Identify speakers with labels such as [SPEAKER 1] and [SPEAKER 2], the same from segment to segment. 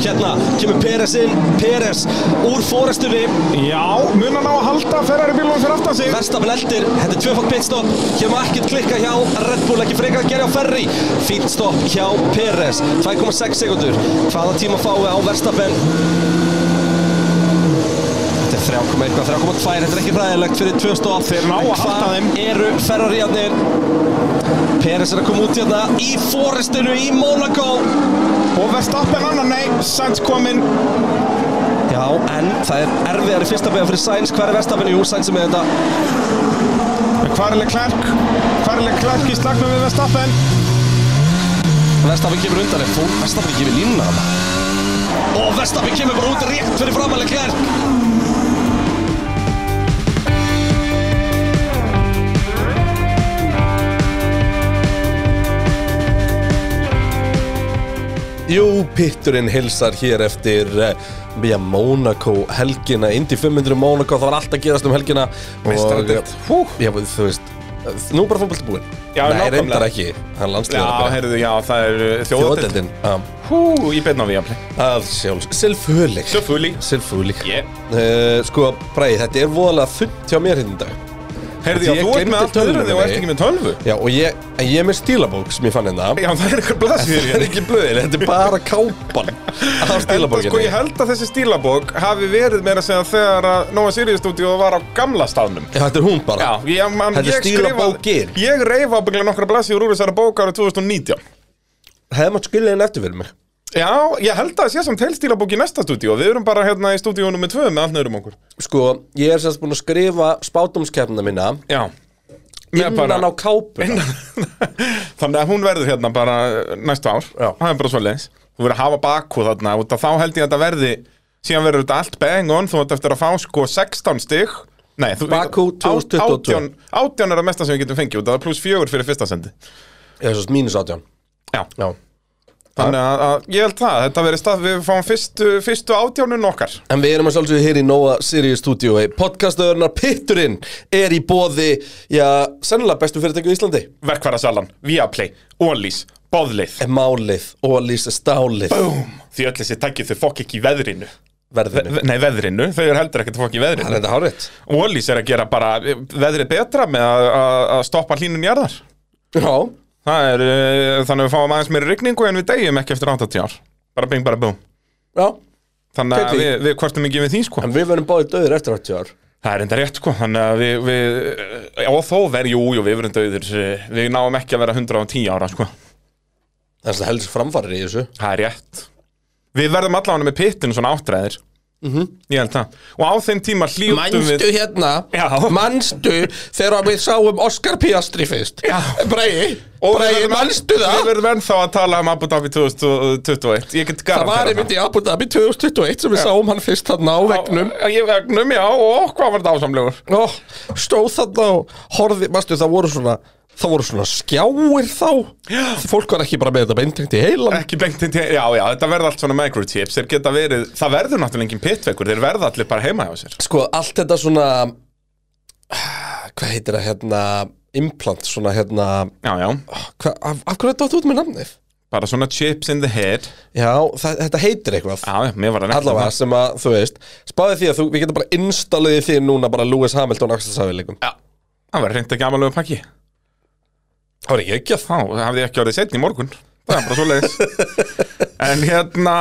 [SPEAKER 1] Hérna kemur Peres inn, Peres úr fórestunni,
[SPEAKER 2] Já, mun hann á að halda Ferrari bílunum fyrir aftan sig
[SPEAKER 1] Verstafn eldir, þetta er tvöfald pitstopp, hér má ekkert klikka hjá Red Bull, ekki frekar að gera á Ferri, fínt stopp hjá Peres, 2,6 sekundur, hvaða tíma fáið á Verstafn? Þetta er 3,1, 3,2, þetta er ekki ræðilegt fyrir tvö stopp.
[SPEAKER 2] Þeir ná að
[SPEAKER 1] En
[SPEAKER 2] halda
[SPEAKER 1] hvar
[SPEAKER 2] þeim.
[SPEAKER 1] eru Ferrariarnir? Peres er að koma út hérna í fórestinu í Monaco.
[SPEAKER 2] Og Verstappen annan, nei, Sainz kominn
[SPEAKER 1] Já, en það er erfiðar í fyrsta beða fyrir Sainz, hver er Verstafn? Jú, Sainz er með þetta.
[SPEAKER 2] Hvað er Leclerc? Hvað er Leclerc í slagnum við Verstappen?
[SPEAKER 1] Verstafinn kemur undan en fór Verstafinn ekki við línuna þarna og Verstafinn kemur bara út rétt fyrir framalega klær
[SPEAKER 3] Jú, pitturinn hilsar hér eftir eh, já, Monaco helgina Indy 500 Monaco, það var allt að gerast um helgina eh,
[SPEAKER 2] Meistaradeild.
[SPEAKER 3] Hú, já, þú veist eh, Nú er bara fótbolti búinn
[SPEAKER 2] Já,
[SPEAKER 3] Nei,
[SPEAKER 2] nákvæmlega.
[SPEAKER 3] reyndar ekki, hann
[SPEAKER 2] Já,
[SPEAKER 3] landsliðar
[SPEAKER 2] heyrðu, já, það er þjóðatöldin
[SPEAKER 3] Þjóðadeldin já,
[SPEAKER 2] Hú, í beinna við jafnleg
[SPEAKER 3] Að sjálfs, selvfölig
[SPEAKER 2] Sjöfúli
[SPEAKER 3] Selvfölig
[SPEAKER 2] Yeah.
[SPEAKER 3] Sko, Bræði, þetta er voðalega þunnt hjá mér hérna í dag
[SPEAKER 2] Heyrðu, já,
[SPEAKER 3] Ég
[SPEAKER 2] þú ert
[SPEAKER 3] gleymdi
[SPEAKER 2] með allt öðru
[SPEAKER 3] tölvunni.
[SPEAKER 2] en þú ert ekki með tölvu
[SPEAKER 3] Já, og ég, en ég er með stílabók sem ég fann hérna
[SPEAKER 2] Já, það er eitthvað hérna. blasfyrir
[SPEAKER 3] Það er ekki blöðin, þetta er bara hérna. kápan Það er
[SPEAKER 2] Sko, ég
[SPEAKER 3] stílabókinni
[SPEAKER 2] held að þessi stílabók hafi verið meira að segja þegar að Nóa Sirius stúdíu var á gamla staðnum
[SPEAKER 3] Já, Þetta er hún bara
[SPEAKER 2] Já, ég, man,
[SPEAKER 3] Þetta er
[SPEAKER 2] ég
[SPEAKER 3] stílabókin.
[SPEAKER 2] Ég reyfa ábygglega nokkra blasfyrir úr þessari bók árið 2019
[SPEAKER 3] Hefði mátt skilja henni eftir fyrir mig
[SPEAKER 2] Já, ég held að það sé samt heil stílabók í næsta stúdíu Við erum bara hérna í stúdíunum með tvö með allt nöðrum okkur
[SPEAKER 3] Sko, ég er semst búin að skrifa spátumskeppna mína
[SPEAKER 2] Já
[SPEAKER 3] innan á kápuna
[SPEAKER 2] Þannig að hún verður hérna bara næsta ár
[SPEAKER 3] Já.
[SPEAKER 2] Það er bara svo leins Þú verður að hafa baku þarna út að þá held ég að þetta verði Síðan verður þetta allt bang on Þú ert eftir að fá sko 16 stig Nei, þú,
[SPEAKER 3] Bakú 2022.
[SPEAKER 2] 18, 18 er að mesta sem við getum fengið út að Það er pluss fjögur fyrir fyrsta sendi
[SPEAKER 3] Eða svo mínus átján
[SPEAKER 2] Já,
[SPEAKER 3] Já
[SPEAKER 2] þannig að, að ég held það Þetta verður stað, við fáum fyrstu, fyrstu átjánun okkar
[SPEAKER 3] En við erum að sjálfsögðu hér í Nóa Sirius Studioi Podcastöðurnar Pitturinn er í bóði, já, sennilega bestu fyrirtækju í Íslandi
[SPEAKER 2] Verkvarasalan, Viaplay, Ólís, Bóðlið
[SPEAKER 3] Málið og lýsa stálið
[SPEAKER 2] Því öll þessi tækið þau fokk ekki í veðrinu
[SPEAKER 3] Verðinu
[SPEAKER 2] Nei, veðrinu, þau eru heldur ekkert fokk í veðrinu
[SPEAKER 3] Það er þetta hárið
[SPEAKER 2] Ólís er að gera bara veðrið betra með að, að, að stoppa hlínun jarðar
[SPEAKER 3] Já
[SPEAKER 2] Það er, eh, þannig að við fáum aðeins meiri rigningu en við degjum ekki eftir 80 ár Bara bing, bara búm
[SPEAKER 3] Já
[SPEAKER 2] Þannig að
[SPEAKER 3] Gæti.
[SPEAKER 2] við, við kvartum ekki við því sko
[SPEAKER 3] En við verðum báðið döður eftir 80 ár
[SPEAKER 2] Það er enda rétt sko Þannig að við, við eh, og þó verð, jú, jú, við verum döður Við náum ekki að vera 110 ára sko
[SPEAKER 3] Það er svona helst framfarir í þessu
[SPEAKER 2] Það er rétt Við verðum allavega með pittinu svona áttræðir mm -hmm. Ég held það Og á þeim tíma hlýtum við
[SPEAKER 3] Mhm. Manstu hérna
[SPEAKER 2] Já.
[SPEAKER 3] Manstu þegar við sáum Oscar Piastri fyrst
[SPEAKER 2] Já.
[SPEAKER 3] Bregi
[SPEAKER 2] Og við
[SPEAKER 3] Bregi,
[SPEAKER 2] verðum-
[SPEAKER 3] manstu
[SPEAKER 2] Við
[SPEAKER 3] það
[SPEAKER 2] verðum ennþá að tala um Abu Dhabi 2021 Ég get
[SPEAKER 3] Það
[SPEAKER 2] garantera
[SPEAKER 3] var einmitt í Abu Dhabi 2021 sem við sáum hann fyrst þarna á vegnum
[SPEAKER 2] Á- Ég vegnum, já, og hvað var þetta ásamlegur?
[SPEAKER 3] Ó, stóð þarna og horfði, manstu það voru svona það voru svona skjáir þá Já. fólk var ekki bara með þetta beintengt í heilan
[SPEAKER 2] Ekki bengt inn til, já, já, þetta verða allt svona microchips Þeir geta verið, það verður náttúrulega engin pitvekur Þeir verða allir bara heima hjá sér
[SPEAKER 3] Sko, allt þetta svona hvað heitir það hérna implant, svona hérna
[SPEAKER 2] Já, já,
[SPEAKER 3] Ah, hva, af, af hverju þetta átt út með namnið?
[SPEAKER 2] bara svona chips in the head
[SPEAKER 3] Já, það, þetta heitir eitthvað
[SPEAKER 2] Já, já, mér var það
[SPEAKER 3] allavega sem að, þú veist, spáði því að þú, við getum bara installiði því núna bara Lewis Hamilton axelsafileikum.
[SPEAKER 2] Já, það var reynd ekki amalegu pakki
[SPEAKER 3] Það var ekki ekki að það.
[SPEAKER 2] Þá hafði ég ekki orðið setn í morgun Það er bara svo leiðis En hérna,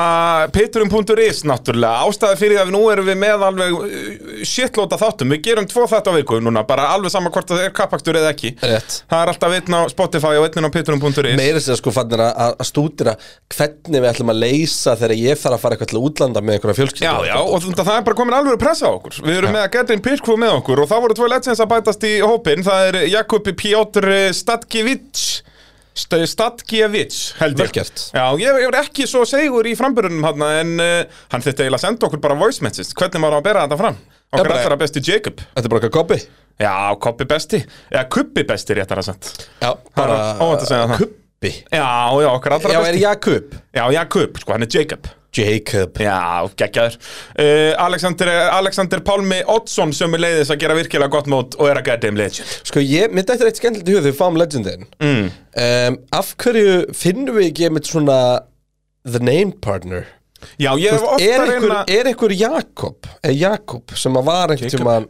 [SPEAKER 2] pitturum.is náttúrulega Ástæði fyrir því að nú erum við með alveg shitlóta þáttum Við gerum tvo þetta viku núna Bara alveg sama hvort það er kappakstur eða ekki
[SPEAKER 3] Rétt.
[SPEAKER 2] Það er alltaf einn á Spotify og einn á pitturum.is
[SPEAKER 3] Meira sér sko fannir að, að stúdira hvernig við ætlum að leysa þegar ég þarf að fara eitthvað til útlanda með einhverja fjölskyldu.
[SPEAKER 2] Já, já, og þetta, það er bara komin alveg að pressa á okkur Við erum með að geta einn Pirkvo með okkur og það voru tvö legends að bætast í hópin Það er Jakob Piotr Stadkiewicz St- Stadkiewicz, held ég
[SPEAKER 3] Vel gert.
[SPEAKER 2] Já, ég er ekki svo segur í framburunum hann En uh, hann þetta eiginlega að senda okkur bara voice message Hvernig maður á að bera þetta fram? Okkar
[SPEAKER 3] bara-
[SPEAKER 2] allra besti Jacob
[SPEAKER 3] Þetta er bara eitthvað kopi.
[SPEAKER 2] Já, Koppi besti Eða Kuppi besti réttar að senda
[SPEAKER 3] Já, bara
[SPEAKER 2] er óvænt að segja það.
[SPEAKER 3] kubbi.
[SPEAKER 2] Já, já, okkar allra
[SPEAKER 3] Já,
[SPEAKER 2] besti
[SPEAKER 3] er Jakub?
[SPEAKER 2] Já, Jakob, sko, hann er Jacob
[SPEAKER 3] Jacob.
[SPEAKER 2] Já, geggjaður uh, Alexander, Alexander Pálmi Oddsson sem er leiðis að gera virkilega gott mót og er að gera þeim legend
[SPEAKER 3] Sko ég, mitt eftir eitt skemmtilegt í hugðu, við fáum legendin. Mm. Um, af hverju finnum við ekki einmitt svona the name partner?
[SPEAKER 2] Já, ég hef ofta
[SPEAKER 3] er, ykkur,
[SPEAKER 2] reyna
[SPEAKER 3] er ykkur Jakob, er Jakob sem að var einhvern
[SPEAKER 2] Jacob.
[SPEAKER 3] tímann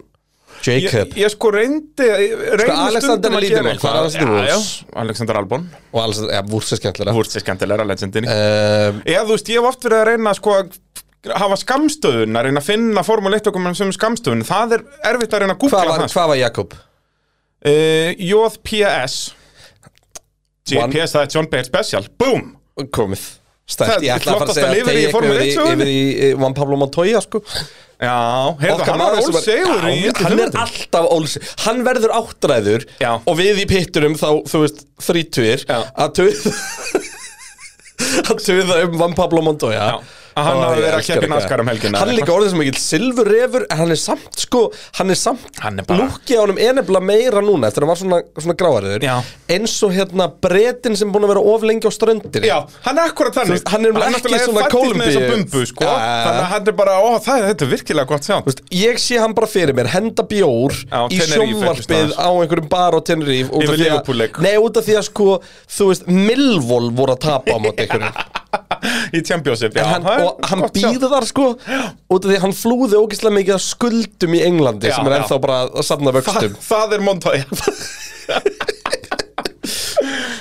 [SPEAKER 2] Ég,
[SPEAKER 3] Jacob
[SPEAKER 2] ég sko reyndi reyndi
[SPEAKER 3] Alexander
[SPEAKER 2] stundum
[SPEAKER 3] er
[SPEAKER 2] að
[SPEAKER 3] lítið
[SPEAKER 2] gera
[SPEAKER 3] mál, hvað er
[SPEAKER 2] eitthvað.
[SPEAKER 3] Alexander
[SPEAKER 2] Já,
[SPEAKER 3] Woods?
[SPEAKER 2] já, Alexander Albon Eh.
[SPEAKER 3] og alls, ja, vúrst er skemmtilega
[SPEAKER 2] Þú ert sér skemmtilega legendinni
[SPEAKER 3] um,
[SPEAKER 2] Eða þú veist, ég hef oft verið að reyna sko, að hafa skamstöðun, að reyna að finna formule 1 okkur sem skamstöðun, það er erfitt að reyna að googla
[SPEAKER 3] Hvað var,
[SPEAKER 2] það
[SPEAKER 3] hva var Jakob?
[SPEAKER 2] uh, JPS
[SPEAKER 3] One-
[SPEAKER 2] JPS, það er John Baird Special Boom!
[SPEAKER 3] Komið
[SPEAKER 2] Það
[SPEAKER 3] Stært,
[SPEAKER 2] er
[SPEAKER 3] ég ætla að fara að
[SPEAKER 2] flottasta
[SPEAKER 3] segja
[SPEAKER 2] lifur í
[SPEAKER 3] Teygja
[SPEAKER 2] Formule 1
[SPEAKER 3] yfir í-
[SPEAKER 2] sögunni.
[SPEAKER 3] yfir í eh, Juan Pablo Montoya sko
[SPEAKER 2] Já, heyrðu,
[SPEAKER 3] Okkar
[SPEAKER 2] hann var
[SPEAKER 3] maður sem
[SPEAKER 2] ólsegur í
[SPEAKER 3] Já, Hann er alltaf ólsegur Hann verður áttræður
[SPEAKER 2] Já.
[SPEAKER 3] Og við í pitturum þá, þú veist, þrítugir
[SPEAKER 2] Já.
[SPEAKER 3] Að tuða Að tuða um Juan Pablo Montoya
[SPEAKER 2] Já, að hann
[SPEAKER 3] Ó,
[SPEAKER 2] hafi
[SPEAKER 3] ég
[SPEAKER 2] verið að
[SPEAKER 3] elska
[SPEAKER 2] keppa í
[SPEAKER 3] þetta.
[SPEAKER 2] NASCAR um helgina
[SPEAKER 3] Hann
[SPEAKER 2] eða
[SPEAKER 3] er líka orðið sem ekki silfurrefur En hann er samt sko Hann er samt
[SPEAKER 2] Hann er bara-
[SPEAKER 3] Lúkið á honum er nefnilega meira núna Eftir að hann var svona, svona gráariður
[SPEAKER 2] Já.
[SPEAKER 3] Eins og hérna bretin sem er búin að vera of lengi á ströndir
[SPEAKER 2] Já, hann er akkurat þannig
[SPEAKER 3] veist, hann er ekki
[SPEAKER 2] náttúrulega
[SPEAKER 3] svona
[SPEAKER 2] fæddist með þessa
[SPEAKER 3] Kólumbíu.
[SPEAKER 2] bumbu, sko
[SPEAKER 3] Já.
[SPEAKER 2] Þannig að hann er bara, ó, það er þetta er virkilega gott sjátt
[SPEAKER 3] Vist, ég sé hann bara fyrir mér, henda bjór
[SPEAKER 2] Á
[SPEAKER 3] í
[SPEAKER 2] Tenerife einhvers
[SPEAKER 3] sjónvarpið
[SPEAKER 2] staðar.
[SPEAKER 3] á einhverjum bar á Tenerife út af
[SPEAKER 2] Yfir
[SPEAKER 3] því að-
[SPEAKER 2] Liverpool-leik.
[SPEAKER 3] Nei, út af því að sko, þú veist, Milvol voru að tapa á móti einhverjum
[SPEAKER 2] Í Championship, já
[SPEAKER 3] En hann,
[SPEAKER 2] það er
[SPEAKER 3] Og hann
[SPEAKER 2] gott sjátt.
[SPEAKER 3] býður þar sko, út af því að hann flúði ógeðslega mikið að skuldum í Englandi
[SPEAKER 2] Já,
[SPEAKER 3] sem er
[SPEAKER 2] já.
[SPEAKER 3] ennþá bara að safna vöxtum
[SPEAKER 2] Þa- Það er Montoya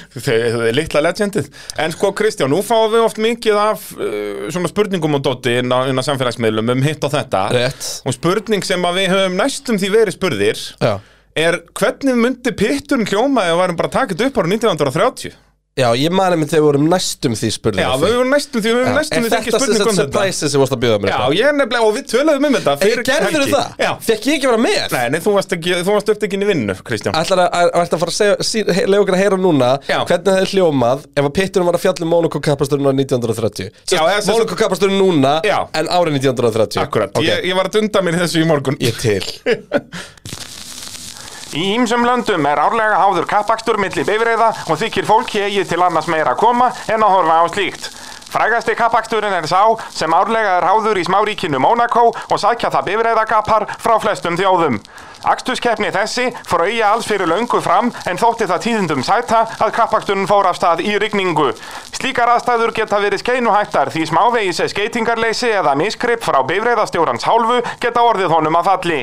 [SPEAKER 2] Þau er litla legendið En sko Kristján, nú fáum við oft mikið af uh, svona spurningum og dotti inn á, inn á samfélagsmiðlum um hitt og þetta
[SPEAKER 3] Rétt.
[SPEAKER 2] Og spurning sem að við höfum næstum því verið spurðir
[SPEAKER 3] Já,
[SPEAKER 2] er hvernig myndi pitturinn hljóma ef við varum bara að taka þetta upp ára 1930
[SPEAKER 3] já ég mani mig þegar við vorum næstum því spurning
[SPEAKER 2] Já, við höfum næstum því, við höfum
[SPEAKER 3] Er
[SPEAKER 2] næstum því
[SPEAKER 3] þetta
[SPEAKER 2] fengið
[SPEAKER 3] sem
[SPEAKER 2] spurning
[SPEAKER 3] þetta
[SPEAKER 2] um þetta
[SPEAKER 3] surprise sem vorst að bjóða mér
[SPEAKER 2] Já, ég er nefnilega, og við töluðum um þetta
[SPEAKER 3] ég
[SPEAKER 2] fyrir
[SPEAKER 3] gerður
[SPEAKER 2] helgi.
[SPEAKER 3] það,
[SPEAKER 2] Já,
[SPEAKER 3] fekk ég ekki að vera með
[SPEAKER 2] nei, nei, þú varst, ekki, þú varst upptekinn í vinnu, Kristján
[SPEAKER 3] Ætlar að, að, að fara að segja, sí, he, leið okkur að heyra núna
[SPEAKER 2] Já.
[SPEAKER 3] hvernig það er hljómað ef að pitturinn var að fjalla um Monaco kappasturinn á 1930
[SPEAKER 2] Já, eða sem sagt-
[SPEAKER 3] Monaco kappasturinn núna
[SPEAKER 2] Já.
[SPEAKER 3] en árið 1930
[SPEAKER 2] Akkurat,
[SPEAKER 3] Ok,
[SPEAKER 2] ég, ég var að dunda mér í þessu í morgun
[SPEAKER 3] ég til
[SPEAKER 2] Í ýmsum löndum er árlega háður kappakstur milli bifreiða og þykir fólki eigi til annars meira að koma en að horfa á slíkt. Frægasti kappaksturinn er sá sem árlega er háður í smáríkinu Mónakó og sækja það bifreiðagappar frá flestum þjóðum. Akstuskeppni þessi fór auja alls fyrir löngu fram en þótti það tíðindum sæta að kappaksturinn fór af stað í rigningu. Slíkar aðstæður geta verið skeinuhættar því smávegis er skeitingarleysi eða miskripp frá bifreiðastjórans hálfu geta orðið honum að falli.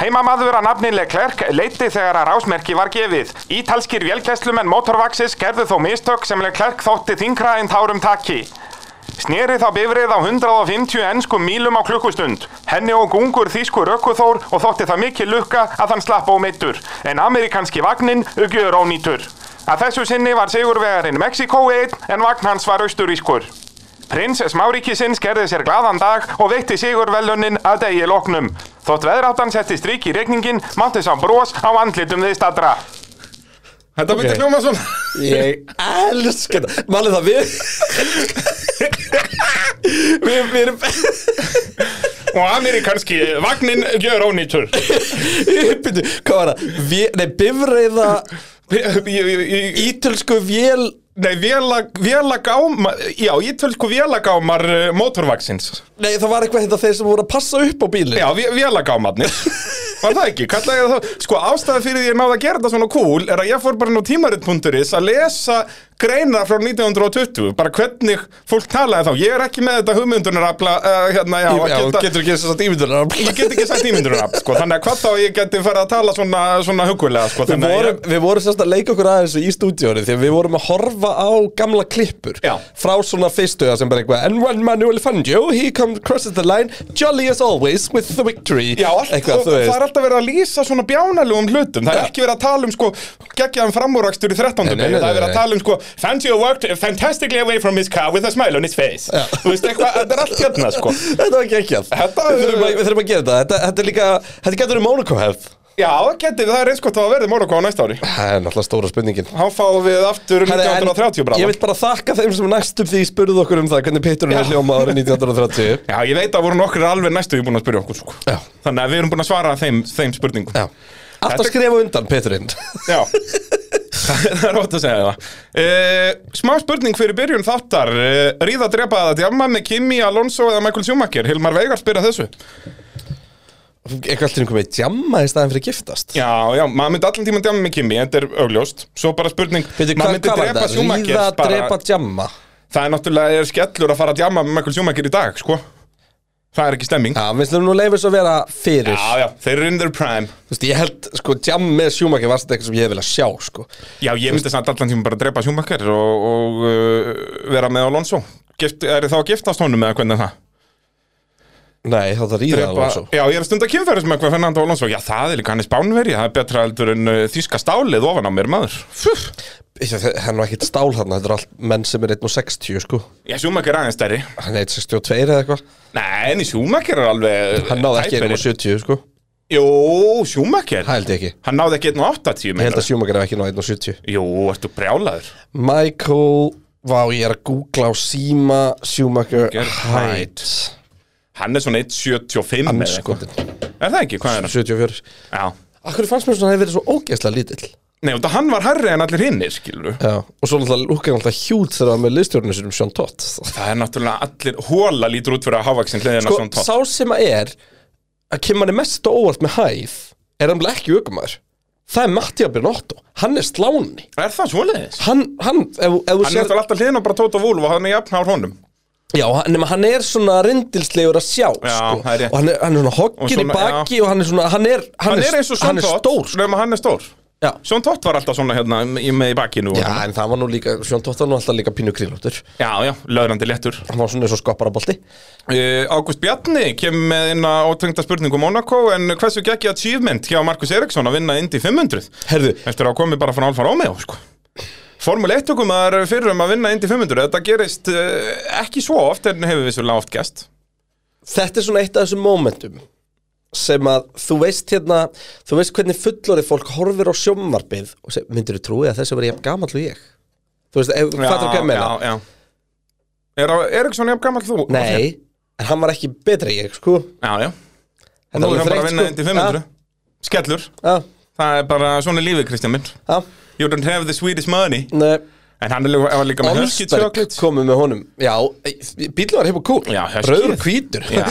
[SPEAKER 2] Heimamaður að nafni Leclerc leiti þegar að rásmerki var gefið. Ítalskir vélkesslumenn Motorvaxis gerðu þó mistök sem Leclerc þótti þingra en tárum takki. Sneri þá bifrið á 150 ennskum mílum á klukkustund. Henni og gungur þýskur ökkuþór og þótti það mikil lukka að hann slapp ómeittur. En amerikanski vagnin ugjör ónýtur. Að þessu sinni var sigurvegarinn Mexiko einn en vagn hans var austurískur. Prins Smáríkisins gerði sér glaðan dag og veitti sigur velunin að degi loknum. Þótt veðráttan setti strik í regningin, mátti sá brós á andlitum þið stadra. Þetta myndi
[SPEAKER 3] Ok.
[SPEAKER 2] hljóma svona.
[SPEAKER 3] ég elska þetta Málið það við við, við erum
[SPEAKER 2] Og amerikanski vagnin gjör ónýtur.
[SPEAKER 3] byrju, hvað var það Vé, nei, bifreiða
[SPEAKER 2] Í-
[SPEAKER 3] ítölsku vél
[SPEAKER 2] Nei, vélag- vélagámar, já, ítölsku vélagámar eh, mótorvaxins.
[SPEAKER 3] nei, það var eitthvað þetta þeir sem voru að passa upp á bílinn
[SPEAKER 2] Já, vé- vélagámarnir. Var það ekki? Kallaði ég það, sko, ástæði fyrir því ég náði að gera þetta svona cool er að ég fór bara nú tímarit.is að lesa greina frá 1920, bara hvernig fólk talaði þá. Ég er ekki með þetta hugmyndunarafla, uh, hérna, já,
[SPEAKER 3] Já,
[SPEAKER 2] að geta...
[SPEAKER 3] getur ekki þess að ímyndunar
[SPEAKER 2] Ég get ekki sagt ímyndunarafl, sko, þannig að hvað þá ég geti farið að tala svona, svona hugulega, sko,
[SPEAKER 3] Við
[SPEAKER 2] þannig að
[SPEAKER 3] vorum,
[SPEAKER 2] ég...
[SPEAKER 3] við vorum sérst að leika okkur aðeins í stúdíónu því að við vorum að horfa á gamla klippur
[SPEAKER 2] Já.
[SPEAKER 3] frá svona fyrstuða sem bara eitthvað And when Manuel Fangio, he comes crosses the line jolly as always with the victory
[SPEAKER 2] Já, allt,
[SPEAKER 3] eitthvað,
[SPEAKER 2] og,
[SPEAKER 3] þú
[SPEAKER 2] það er
[SPEAKER 3] veist
[SPEAKER 2] alltaf verið að lýsa svona bjánalugum hlutum Það er
[SPEAKER 3] Ja.
[SPEAKER 2] ekki verið að tala um sko geggjaðan framúrækstur í 13.
[SPEAKER 3] Nei, nei,
[SPEAKER 2] begi
[SPEAKER 3] nei,
[SPEAKER 2] Það er verið að
[SPEAKER 3] nei.
[SPEAKER 2] tala um sko Fangio worked fantastically away from his car with a smile on his face Þú veist eitthvað, þetta er allt hérna sko
[SPEAKER 3] Þetta var ekki ekki að
[SPEAKER 2] Þetta-
[SPEAKER 3] við, þurfum að- við þurfum að gera þetta Þetta, þetta er líka, þetta getur um Monaco hefð
[SPEAKER 2] Já, geti, það er eins gott að verði Monaco á næsta ári
[SPEAKER 3] Það er náttúrulega stóra spurningin
[SPEAKER 2] Há fáum við aftur
[SPEAKER 3] Herra, en
[SPEAKER 2] 1930 bráðan
[SPEAKER 3] Ég vil bara þakka þeim sem næstum því spurðu okkur um það hvernig pitturinn er hljómað árið 1930
[SPEAKER 2] Já, ég veit að voru nokkur alveg næstu því búin að spyrja okkur sko.
[SPEAKER 3] Já.
[SPEAKER 2] Þannig að við erum búin að svara þeim, þeim spurningum
[SPEAKER 3] Já Alltaf
[SPEAKER 2] Þetta-
[SPEAKER 3] skrifa undan, Peturinn
[SPEAKER 2] Já Það er ótt að segja það uh, Smá spurning fyrir byrjun þáttar uh, Ríða drepa að djama með Kimi, Alonso eða Michael Schumacher Hilmar Veigar spyrja þessu
[SPEAKER 3] Eitthvað allt í einhverjum með jamma í staðin fyrir að giftast
[SPEAKER 2] Já, já, maður myndi allan tíma djama með Kimi Þetta er augljóst Svo bara spurning
[SPEAKER 3] Veitir,
[SPEAKER 2] maður
[SPEAKER 3] hvað,
[SPEAKER 2] myndi
[SPEAKER 3] hvað var
[SPEAKER 2] drepa
[SPEAKER 3] þetta?
[SPEAKER 2] Schumacher
[SPEAKER 3] Ríða,
[SPEAKER 2] bara-
[SPEAKER 3] drepa, djamma
[SPEAKER 2] það er náttúrulega er skellur að fara að djama með Michael Schumacher í dag, sko Það er ekki stemming
[SPEAKER 3] Já, við slum nú leifir svo vera fyrir
[SPEAKER 2] Já, já, þeir eru in their prime
[SPEAKER 3] Þú veist, ég held, sko, jam með Schumacher var þetta eitthvað sem ég hef viljað sjá, sko
[SPEAKER 2] Já, ég myndi samt allan tíma bara að drepa Schumacher og, og uh, vera með Alonso Gift, Er þá að giftast honum eða hvernig er það?
[SPEAKER 3] Nei, þá það ríða alveg svo
[SPEAKER 2] Já, ég er að stunda kynferðis með hvað Fernando Alonso Já, það er líka hann er spánveri, það er betra heldur en uh, þýska stálið ofan á mér maður Fuh.
[SPEAKER 3] Það er nú ekkit stál þarna, þetta er allt menn sem er 1.60, sko
[SPEAKER 2] Já, Schumacher er aðeins stærri
[SPEAKER 3] Hann er 1.62 eða eitthvað
[SPEAKER 2] Nei, en í Schumacher er alveg uh,
[SPEAKER 3] Hann náði ekki
[SPEAKER 2] tæpari.
[SPEAKER 3] 1.70, sko
[SPEAKER 2] Jú, Schumacher
[SPEAKER 3] Það held ég ekki
[SPEAKER 2] Hann náði ekki
[SPEAKER 3] Ég
[SPEAKER 2] 1.80
[SPEAKER 3] held
[SPEAKER 2] meinar.
[SPEAKER 3] að Schumacher hef ekki náði 1.70
[SPEAKER 2] Jú, ertu brjálaður
[SPEAKER 3] Michael, vá, ég er að googla á síma Schumacher
[SPEAKER 2] Schumacher
[SPEAKER 3] height
[SPEAKER 2] Hann er svona 1.75 eða eitthvað.
[SPEAKER 3] Anskotin,
[SPEAKER 2] Er það ekki? Hvað er hann?
[SPEAKER 3] 74
[SPEAKER 2] Já
[SPEAKER 3] Akkur fannst mér svona að það hefur verið svo ógeðslega lítill
[SPEAKER 2] Nei, og það hann var hærri en allir hinnir, skilur
[SPEAKER 3] Já, og svo náttúrulega lúkkaði alltaf hjút þegar það var með liðstjórnum sinum Sean Todd
[SPEAKER 2] Það er náttúrulega allir hóla lítur út fyrir að hávaksin hliðina
[SPEAKER 3] Sko,
[SPEAKER 2] svona tótt
[SPEAKER 3] sá sem að er að kemur hann mest á óvart með hæð er hann ekki aukumæður Það er Mattia Bernotto, hann er sláni
[SPEAKER 2] Er það svoleiðis?
[SPEAKER 3] Hann, hann, ef, ef þú
[SPEAKER 2] Hann er
[SPEAKER 3] sér
[SPEAKER 2] náttúrulega alltaf hliðina á bara tóta vúlu og hann er jafnhár honum
[SPEAKER 3] Já, hann- nema hann er svona rindilslegur að sjá sko.
[SPEAKER 2] það er rétt.
[SPEAKER 3] Og hann er, hann er svona
[SPEAKER 2] Og
[SPEAKER 3] hoggin í
[SPEAKER 2] svona,
[SPEAKER 3] baki og hann er svona, hann er Hann,
[SPEAKER 2] Hann er eins og
[SPEAKER 3] hann
[SPEAKER 2] Sjón
[SPEAKER 3] er stór
[SPEAKER 2] Tótt
[SPEAKER 3] sko.
[SPEAKER 2] Nefnum að hann er stór
[SPEAKER 3] Já,
[SPEAKER 2] Sjón Tótt var alltaf svona hérna í- með í bakinu og-
[SPEAKER 3] já en það var nú líka, Sean Todd var nú alltaf líka pínu krílóttur
[SPEAKER 2] já, já löðrandi léttur
[SPEAKER 3] Hann var svona eins og skopparabolti
[SPEAKER 2] uh, Ágúst Bjarni kemur með inn á ótengda spurningu Monaco En hversu gekk achievement hjá Markus Eriksson að vinna Indy 500?
[SPEAKER 3] Herðu,
[SPEAKER 2] Eftir að hafa komið bara frá Alfa Romeo sko. Formule 1 tökum maður fyrir um að vinna Indy 500 Þetta gerist uh, ekki svo oft en hefur vissulega oft gæst
[SPEAKER 3] þetta er svona eitt af þessum momentum sem að þú veist hérna þú veist hvernig fullorið fólk horfir á sjómvarpið og segir, myndir þú trúið að þessi var jafn gamall og ég þú veist, ef, fattar hvað ég meina
[SPEAKER 2] já, já. Er á- Eriksson jafn gammal þú?
[SPEAKER 3] nei, en hann var ekki betri en ég, sko
[SPEAKER 2] Já, já
[SPEAKER 3] Þetta
[SPEAKER 2] Nú
[SPEAKER 3] alveg
[SPEAKER 2] er hann bara
[SPEAKER 3] frekkt,
[SPEAKER 2] að
[SPEAKER 3] sko.
[SPEAKER 2] vinna Indy 500 Skellur
[SPEAKER 3] já,
[SPEAKER 2] Það er bara svona er lífið Kristján minn
[SPEAKER 3] já,
[SPEAKER 2] You don't have the Swedish money
[SPEAKER 3] já Nei,
[SPEAKER 2] En hann er líka, var líka með Husky
[SPEAKER 3] Olsberg
[SPEAKER 2] Chocolate
[SPEAKER 3] komu með honum já, bílum var hefur kúl
[SPEAKER 2] Já, Husky.
[SPEAKER 3] rauður og hvítur
[SPEAKER 2] Já,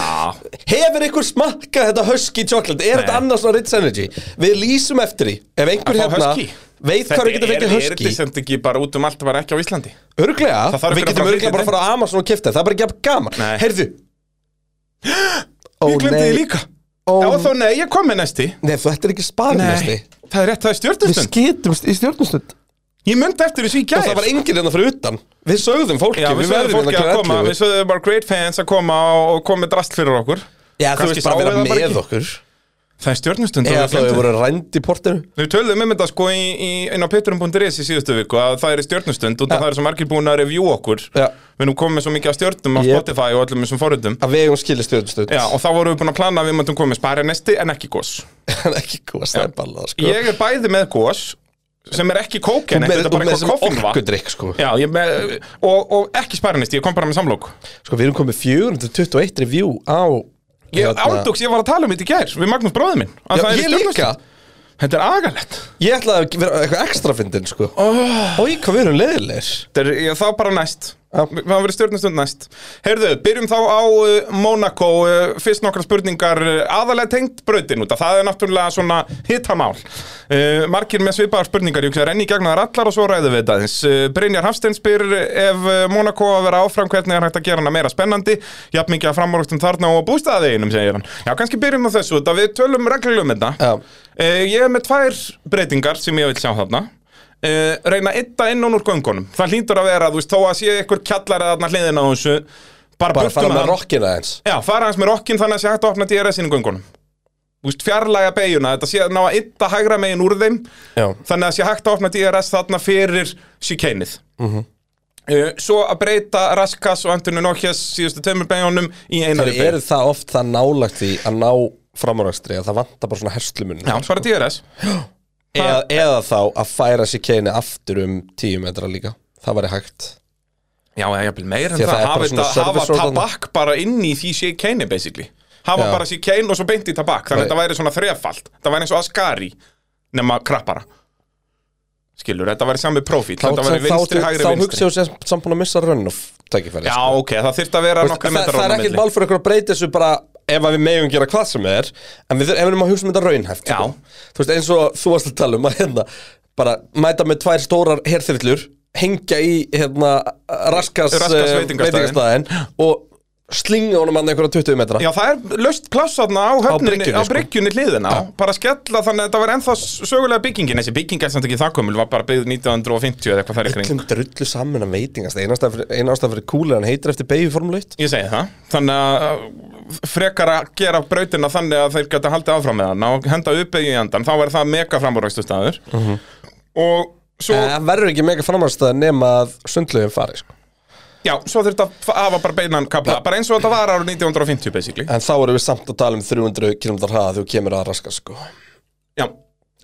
[SPEAKER 3] hefur ykkur smakkað þetta husky chocolate er þetta annars svona Ritz Energy við lýsum eftir því ef einhver
[SPEAKER 2] Að fá
[SPEAKER 3] hérna
[SPEAKER 2] Husky.
[SPEAKER 3] veit hvað við getum fengið
[SPEAKER 2] er þetta
[SPEAKER 3] husky
[SPEAKER 2] sem ekki bara út um allt bara ekki á Íslandi
[SPEAKER 3] Örglega,
[SPEAKER 2] Það þarf
[SPEAKER 3] við
[SPEAKER 2] ekki að
[SPEAKER 3] getum
[SPEAKER 2] fara
[SPEAKER 3] örglega bara að
[SPEAKER 2] fyrir
[SPEAKER 3] fara á Amazon og kifta Það er bara ekki jafn gaman
[SPEAKER 2] Nei.
[SPEAKER 3] Heyrðu Ó
[SPEAKER 2] Ég glemdi því
[SPEAKER 3] nei,
[SPEAKER 2] líka
[SPEAKER 3] ó
[SPEAKER 2] Já þá nei, ég kom með næsti
[SPEAKER 3] nei, þetta er ekki sparnesti
[SPEAKER 2] Nei, það er rétt, það er
[SPEAKER 3] Við
[SPEAKER 2] stjórnustund
[SPEAKER 3] skitumst í stjórnustund Og
[SPEAKER 2] Ég myndi eftir þessu í gæð
[SPEAKER 3] það var enginn hérna fyrir utan Við sögðum fólki,
[SPEAKER 2] Já, við sögðum
[SPEAKER 3] verðum
[SPEAKER 2] fólki
[SPEAKER 3] hérna
[SPEAKER 2] að
[SPEAKER 3] klukkan
[SPEAKER 2] koma,
[SPEAKER 3] 11.
[SPEAKER 2] við sögðum bara great fans að koma og, og komið drast fyrir okkur
[SPEAKER 3] Já, þú
[SPEAKER 2] Kannski
[SPEAKER 3] veist bara
[SPEAKER 2] sáum
[SPEAKER 3] að vera
[SPEAKER 2] við það bara
[SPEAKER 3] með
[SPEAKER 2] ekki.
[SPEAKER 3] okkur
[SPEAKER 2] Það er stjórnustund
[SPEAKER 3] Eða
[SPEAKER 2] og
[SPEAKER 3] þá
[SPEAKER 2] gleymdum
[SPEAKER 3] við
[SPEAKER 2] því.
[SPEAKER 3] voru rænd í portinu
[SPEAKER 2] Við töluðum um þetta sko í, í, inn á pitturum.is í síðustu viku að það er stjórnustund og
[SPEAKER 3] Já.
[SPEAKER 2] það er svo margir búin að review okkur
[SPEAKER 3] Já.
[SPEAKER 2] Við erum komið með svo mikið af stjórnum á
[SPEAKER 3] Yep.
[SPEAKER 2] Spotify og öllum þessum forritum
[SPEAKER 3] Að vegum skilja stjórnustund
[SPEAKER 2] Já, og þá vorum við búin að plana að við möttum komið spæri nesti en ekki gos
[SPEAKER 3] En ekki góða stærbalað sko.
[SPEAKER 2] Ég er bæði með gos sem er ekki kóken,
[SPEAKER 3] með,
[SPEAKER 2] þetta er
[SPEAKER 3] og
[SPEAKER 2] bara
[SPEAKER 3] með
[SPEAKER 2] eitthvað
[SPEAKER 3] þessum
[SPEAKER 2] koffingva
[SPEAKER 3] orkudrykk sko.
[SPEAKER 2] Já, ég með, og, og ekki spæri nesti, ég kom bara með samlóku
[SPEAKER 3] sko, við erum komið 421 review á
[SPEAKER 2] Ég
[SPEAKER 3] hérna-
[SPEAKER 2] ándóks, ég var að tala um þetta í gær við Magnús bróðið minn að
[SPEAKER 3] Já,
[SPEAKER 2] það er
[SPEAKER 3] Ég
[SPEAKER 2] stjórnustund.
[SPEAKER 3] líka
[SPEAKER 2] Þetta er agalegt
[SPEAKER 3] Ég ætlaði að vera eitthvað ekstra fyndin sko oh. Í hvað við erum leiðilegir
[SPEAKER 2] Þetta er ég, þá bara næst
[SPEAKER 3] Já.
[SPEAKER 2] Við hafa verið stjórnastund næst Heyrðu, byrjum þá á uh, Monaco uh, Fyrst nokkra spurningar uh, aðalega tengt brautin út að Það er náttúrulega svona hitamál uh, Markir með svipaðar spurningar Ég hugsa renni í gegna þar allar og svo ræðum við þetta aðeins uh, Brynjar Hafstein spyr uh, ef uh, Monaco að vera áfram Hvernig er hægt að gera hana meira spennandi Jafn mikið að framorgstum þarna og bústaðeginum segir hann Já, kannski byrjum á þessu út að við tölum reglulum þetta
[SPEAKER 3] Já.
[SPEAKER 2] uh, Ég er með tvær breytingar sem ég vil sjá þarna uh, reyna að ytta inn og úr göngunum það hlýtur að vera, þú veist, þó að sé ykkur kjallar að þarna hliðina á þessu bara,
[SPEAKER 3] Bara
[SPEAKER 2] bara
[SPEAKER 3] að fara með
[SPEAKER 2] um hann.
[SPEAKER 3] rockina eins
[SPEAKER 2] Já, fara hans með rokkin þannig að sé hægt að opna DRS inn í göngunum Þú veist, fjarlæga beiguna, þetta sé að ná að ytta hægra megin úr þeim
[SPEAKER 3] Já
[SPEAKER 2] þannig að sé hægt að opna DRS þarna fyrir síkeinið
[SPEAKER 3] Mhm.
[SPEAKER 2] uh, Svo að breyta Raskas og Antonu Nókjas síðustu tveimur beigunum í
[SPEAKER 3] Það
[SPEAKER 2] einari beigð
[SPEAKER 3] eru það oft það nálagt því að ná framúrækstri að það vantar bara svona herslumun
[SPEAKER 2] Já, bara DRS
[SPEAKER 3] eða, eða þá að færa sér keini aftur um 10 metra líka Það væri hægt
[SPEAKER 2] Já, eða jafnvel meir en
[SPEAKER 3] Því að það
[SPEAKER 2] það,
[SPEAKER 3] er bara
[SPEAKER 2] hafa,
[SPEAKER 3] svona
[SPEAKER 2] þetta, hafa
[SPEAKER 3] service organ.
[SPEAKER 2] tabak bara inn í því sé keini basically hafa
[SPEAKER 3] Já.
[SPEAKER 2] bara sé kein og svo beint í tabak þannig að
[SPEAKER 3] Nei.
[SPEAKER 2] þetta væri svona þrefald þetta væri eins og Ascari nema krappara skilur, þetta væri sami profil
[SPEAKER 3] Þá,
[SPEAKER 2] þetta væri vinstri, hægri,
[SPEAKER 3] þá
[SPEAKER 2] vinstri
[SPEAKER 3] hugsa ég sér sambúin að missa rönnof Tækifæri
[SPEAKER 2] Já,
[SPEAKER 3] sko.
[SPEAKER 2] ok, það þyrfti að vera
[SPEAKER 3] Þú veist,
[SPEAKER 2] nokkri
[SPEAKER 3] það,
[SPEAKER 2] metrar
[SPEAKER 3] það er
[SPEAKER 2] á
[SPEAKER 3] ekkert
[SPEAKER 2] milli.
[SPEAKER 3] mál fyrir okkur að breyta þessu bara ef að við megum gera hvað sem er en við þur- ef við erum að hugsa um þetta raunhæft
[SPEAKER 2] Já.
[SPEAKER 3] sko. þú veist eins og þú varst að tala um að hérna bara mæta með tvær stórar herþyrlur hengja í hérna, raskas,
[SPEAKER 2] Raskas
[SPEAKER 3] eh,
[SPEAKER 2] veitingastaðinn.
[SPEAKER 3] og slinga honum hann einhverja 20 metra
[SPEAKER 2] Já, það er löst pláss þarna á höfninni,
[SPEAKER 3] bryggjunni,
[SPEAKER 2] á
[SPEAKER 3] sko.
[SPEAKER 2] bryggjunni hliðina Bara skella þannig að þetta var ennþá sögulega byggingin Þessi bygging er samt ekki það komul, var bara byggð 1950 eða eitthvað þær í kring
[SPEAKER 3] Öllum drullu saman að veitingast Einn ástæða fyrir, ein ástæða fyrir kúli Hann heitir eftir Baby Formuleit
[SPEAKER 2] Ég segi það, þannig að uh, frekar að gera brautina þannig að þeir geta haldið áfram með hann og henda uppeyju í andan, þá er það mega framúrækstustæður
[SPEAKER 3] Mhm.
[SPEAKER 2] og svo,
[SPEAKER 3] Það verður ekki mega framhaldstæða nema að sundlaugin fari sko.
[SPEAKER 2] já, svo þurfti að fa- hafa bara beinan kapla, bara eins og þetta var árið 1950 basically,
[SPEAKER 3] En þá erum við samt að tala um 300 km hraða Þegar þú kemur að raska sko.
[SPEAKER 2] já,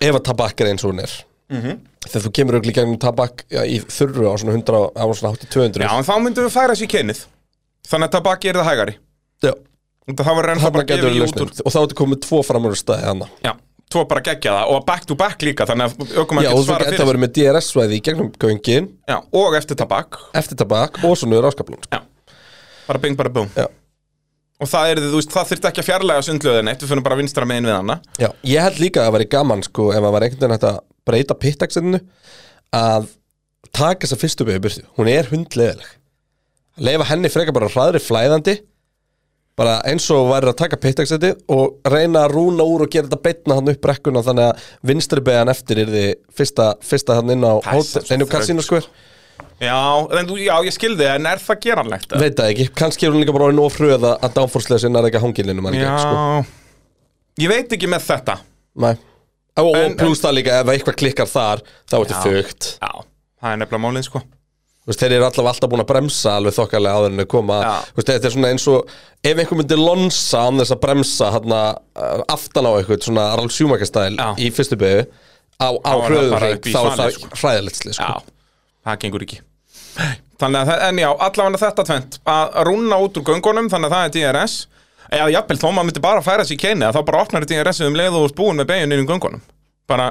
[SPEAKER 3] Ef að tabak er eins og hún er
[SPEAKER 2] Mhm.
[SPEAKER 3] Þegar þú kemur auðvitað gegnum tabak já, Í þurru á svona 100 á svona 80-200
[SPEAKER 2] já, en þá myndum við færa sér kynið, þannig að tabaki er það hægari,
[SPEAKER 3] Já,
[SPEAKER 2] það var ennþá
[SPEAKER 3] þarna
[SPEAKER 2] bara
[SPEAKER 3] getur
[SPEAKER 2] gefið
[SPEAKER 3] við
[SPEAKER 2] í út
[SPEAKER 3] lausnum
[SPEAKER 2] úr,
[SPEAKER 3] Og þá ertu komið tvo framhaldstæði hana
[SPEAKER 2] já, tvo bara geggja það og back to back líka, þannig að ökumann
[SPEAKER 3] Já,
[SPEAKER 2] getur
[SPEAKER 3] og þú
[SPEAKER 2] svarað
[SPEAKER 3] geta
[SPEAKER 2] fyrir,
[SPEAKER 3] verið með DRS-svæði í gegnum göngin
[SPEAKER 2] já, og eftir tabak,
[SPEAKER 3] Eftir tabak og svo nöður áskaplun
[SPEAKER 2] já, bara bing, bara búm.
[SPEAKER 3] Já
[SPEAKER 2] Og það er, þú veist, það þurfti ekki að fjarlæga sundlöðin eitt, við finnum bara vinstra megin við hana.
[SPEAKER 3] Já, ég held líka að það væri gaman sko ef það var einhvern veginn hægt að breyta pittaxinu að taka þessa fyrstu beigju burtu, hún er hundleðileg leifa henni frekar bara hraðri flæðandi bara eins og væri að taka pittaxinu og reyna að rúna úr og gera þetta beitna hann upp brekkuna þannig að vinstri beigjan eftir er því fyrsta, fyrsta hann inn á
[SPEAKER 2] Það er
[SPEAKER 3] hótel,
[SPEAKER 2] svo
[SPEAKER 3] inn á
[SPEAKER 2] þröngt,
[SPEAKER 3] kasínu sko
[SPEAKER 2] Já, en, þú- já, ég skildi, en er það geranlegt? eða?
[SPEAKER 3] veit það ekki, kannski er hún líka bara orðin of hröða að downforce-lega sinna er ekki að hangilinu mann
[SPEAKER 2] já,
[SPEAKER 3] gegn sko
[SPEAKER 2] ég veit ekki með þetta.
[SPEAKER 3] Nei. og, og
[SPEAKER 2] En-
[SPEAKER 3] plus það líka ef eitthvað klikkar þar þá ertu
[SPEAKER 2] Já.
[SPEAKER 3] fugt
[SPEAKER 2] Já, það er nefnilega málið, sko.
[SPEAKER 3] Þú veist, þeir eru allavega alltaf búin að bremsa alveg þokkalega áður en þau koma
[SPEAKER 2] Já.
[SPEAKER 3] Þú veist, þetta er svona eins og ef einhver myndi lonsa án þess að bremsa hana, aftan á eitthvað svona Ralf Sjúmakastæl
[SPEAKER 2] Já.
[SPEAKER 3] í fyrstu begu á, á
[SPEAKER 2] er það
[SPEAKER 3] hröðum
[SPEAKER 2] bara
[SPEAKER 3] hring,
[SPEAKER 2] upp í
[SPEAKER 3] þá er
[SPEAKER 2] svalið,
[SPEAKER 3] það
[SPEAKER 2] sko.
[SPEAKER 3] hræðilegt slið sko.
[SPEAKER 2] Já, það gengur ekki. Þannig að, það- en já, allavega þetta tvent, að rúna út úr göngunum, þannig að það er DRS. Eða jafnvel, þó maður myndi bara færa sér í keini, þá bara opnar DRS-ið um leið og þú ert búin með beginni inn í göngunum. Bara,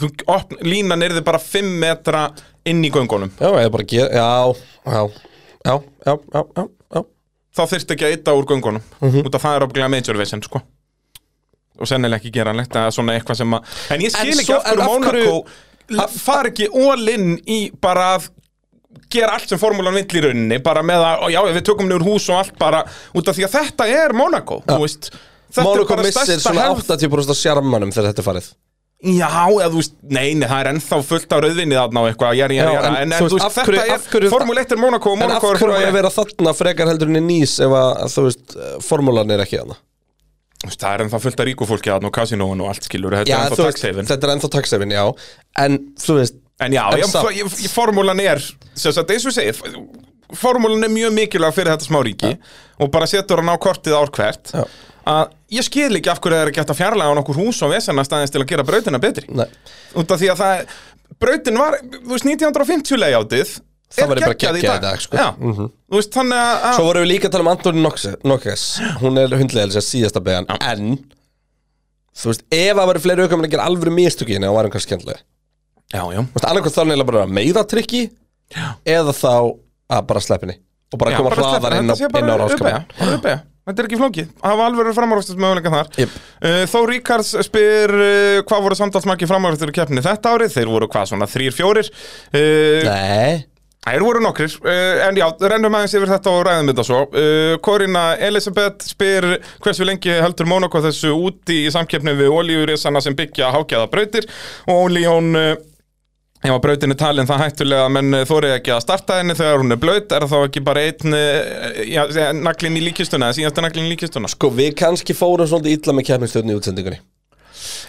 [SPEAKER 2] þú, opn, línan er bara 5 metra inn í göngunum.
[SPEAKER 3] Já, eða bara gera, já, já, já, já, já, já, já.
[SPEAKER 2] þá þyrfti ekki að eita úr göngunum
[SPEAKER 3] Mhm.
[SPEAKER 2] út af það er ábygglega major vision sko. og sennilega ekki geranlegt eða svona eitthvað sem að en ég skil
[SPEAKER 3] En
[SPEAKER 2] ekki
[SPEAKER 3] svo-
[SPEAKER 2] af hverju
[SPEAKER 3] en af hverju-
[SPEAKER 2] Monaco af... far ekki all-in í bara að gera allt sem formúlan vill í rauninni bara með að, ó, já, við tökum niður hús og allt bara út af því að þetta er Monaco þú veist, þetta
[SPEAKER 3] Mónukó
[SPEAKER 2] er bara
[SPEAKER 3] missir
[SPEAKER 2] stærsta
[SPEAKER 3] svona
[SPEAKER 2] hefð
[SPEAKER 3] 80% af sjarmanum þegar þetta er farið
[SPEAKER 2] já, eða þú veist, nei, nei, það er ennþá fullt á rauðvinni þarna og eitthvað, jæri, jæri,
[SPEAKER 3] Já,
[SPEAKER 2] jæri
[SPEAKER 3] en
[SPEAKER 2] en, en
[SPEAKER 3] þú
[SPEAKER 2] þú
[SPEAKER 3] veist,
[SPEAKER 2] veist,
[SPEAKER 3] af hverju-
[SPEAKER 2] þetta
[SPEAKER 3] af hverju-
[SPEAKER 2] er formúl 1 er Monaco og
[SPEAKER 3] En af
[SPEAKER 2] Monaco er
[SPEAKER 3] hverju að
[SPEAKER 2] Formule 1.
[SPEAKER 3] vera þarna frekar heldur en í nýs ef að, þú veist, formúlan er ekki hana
[SPEAKER 2] Þú veist, það er ennþá fullt af ríkufólki þarna og kasinóin og allt skilur, þetta
[SPEAKER 3] Já,
[SPEAKER 2] er ennþá
[SPEAKER 3] þú veist,
[SPEAKER 2] taxheifin
[SPEAKER 3] þetta er ennþá taxefin, já En, þú veist,
[SPEAKER 2] En já,
[SPEAKER 3] En
[SPEAKER 2] já
[SPEAKER 3] samt.
[SPEAKER 2] f- f- formúlan er sem sagt, eins og ég segir, formúlan er mjög mikilvæg fyrir þetta smá ríki og bara setur hann á kortið ár hvert
[SPEAKER 3] Já.
[SPEAKER 2] að ég skil ekki af hverju það er ekki hægt að fjarlæga á nokkur hús og vesena staðins til að gera brautina betri
[SPEAKER 3] nei
[SPEAKER 2] út af því að það, brautin var þú veist, 1950 leiðjátið
[SPEAKER 3] Það væri bara geggjað í dag, sko.
[SPEAKER 2] Já, þú veist, þannig að
[SPEAKER 3] Svo vorum við líka að tala um Antoni Nokkes Hún er hundlega þess að síðasta beðan En Þú veist, ef að verið fleiri aukum en ekki alvöru mistökin eða varum kannski skemmtilega Þú
[SPEAKER 2] Já, já
[SPEAKER 3] veist, annarkvæmt þá er neila bara að meiða trikki Eða þá að bara sleppinni Og bara
[SPEAKER 2] Já,
[SPEAKER 3] koma
[SPEAKER 2] bara
[SPEAKER 3] hraðar
[SPEAKER 2] sleppa,
[SPEAKER 3] inn á,
[SPEAKER 2] þetta sé bara
[SPEAKER 3] inn á ráskamann
[SPEAKER 2] uppeygja, bara uppeygja. Þetta er ekki flókið, það var alveg framárástismöguleika þar
[SPEAKER 3] Jep.
[SPEAKER 2] uh, Þó Ríkars spyr uh, hvað voru samtalsmarki framárástur í keppni þetta árið Þeir voru hvað svona, þrýr, fjórir uh,
[SPEAKER 3] Nei,
[SPEAKER 2] Þeir voru nokkrir, uh, en já, rennum aðeins yfir þetta og ræðum þetta svo uh, Corina Elisabeth spyr hversu lengi heldur Monaco þessu úti í samkeppni við olíurisana sem byggja hágjaða brautir Og Óljón uh, Ef að brautin er talin það hættulega að menn þórið ekki að starta henni þegar hún er blöyt er þá ekki bara einn eh, já, segja, naglinn í líkistuna, síðasta naglinn í líkistuna
[SPEAKER 3] sko, við kannski fórum svolítið illa með keppnistöðni í útsendingunni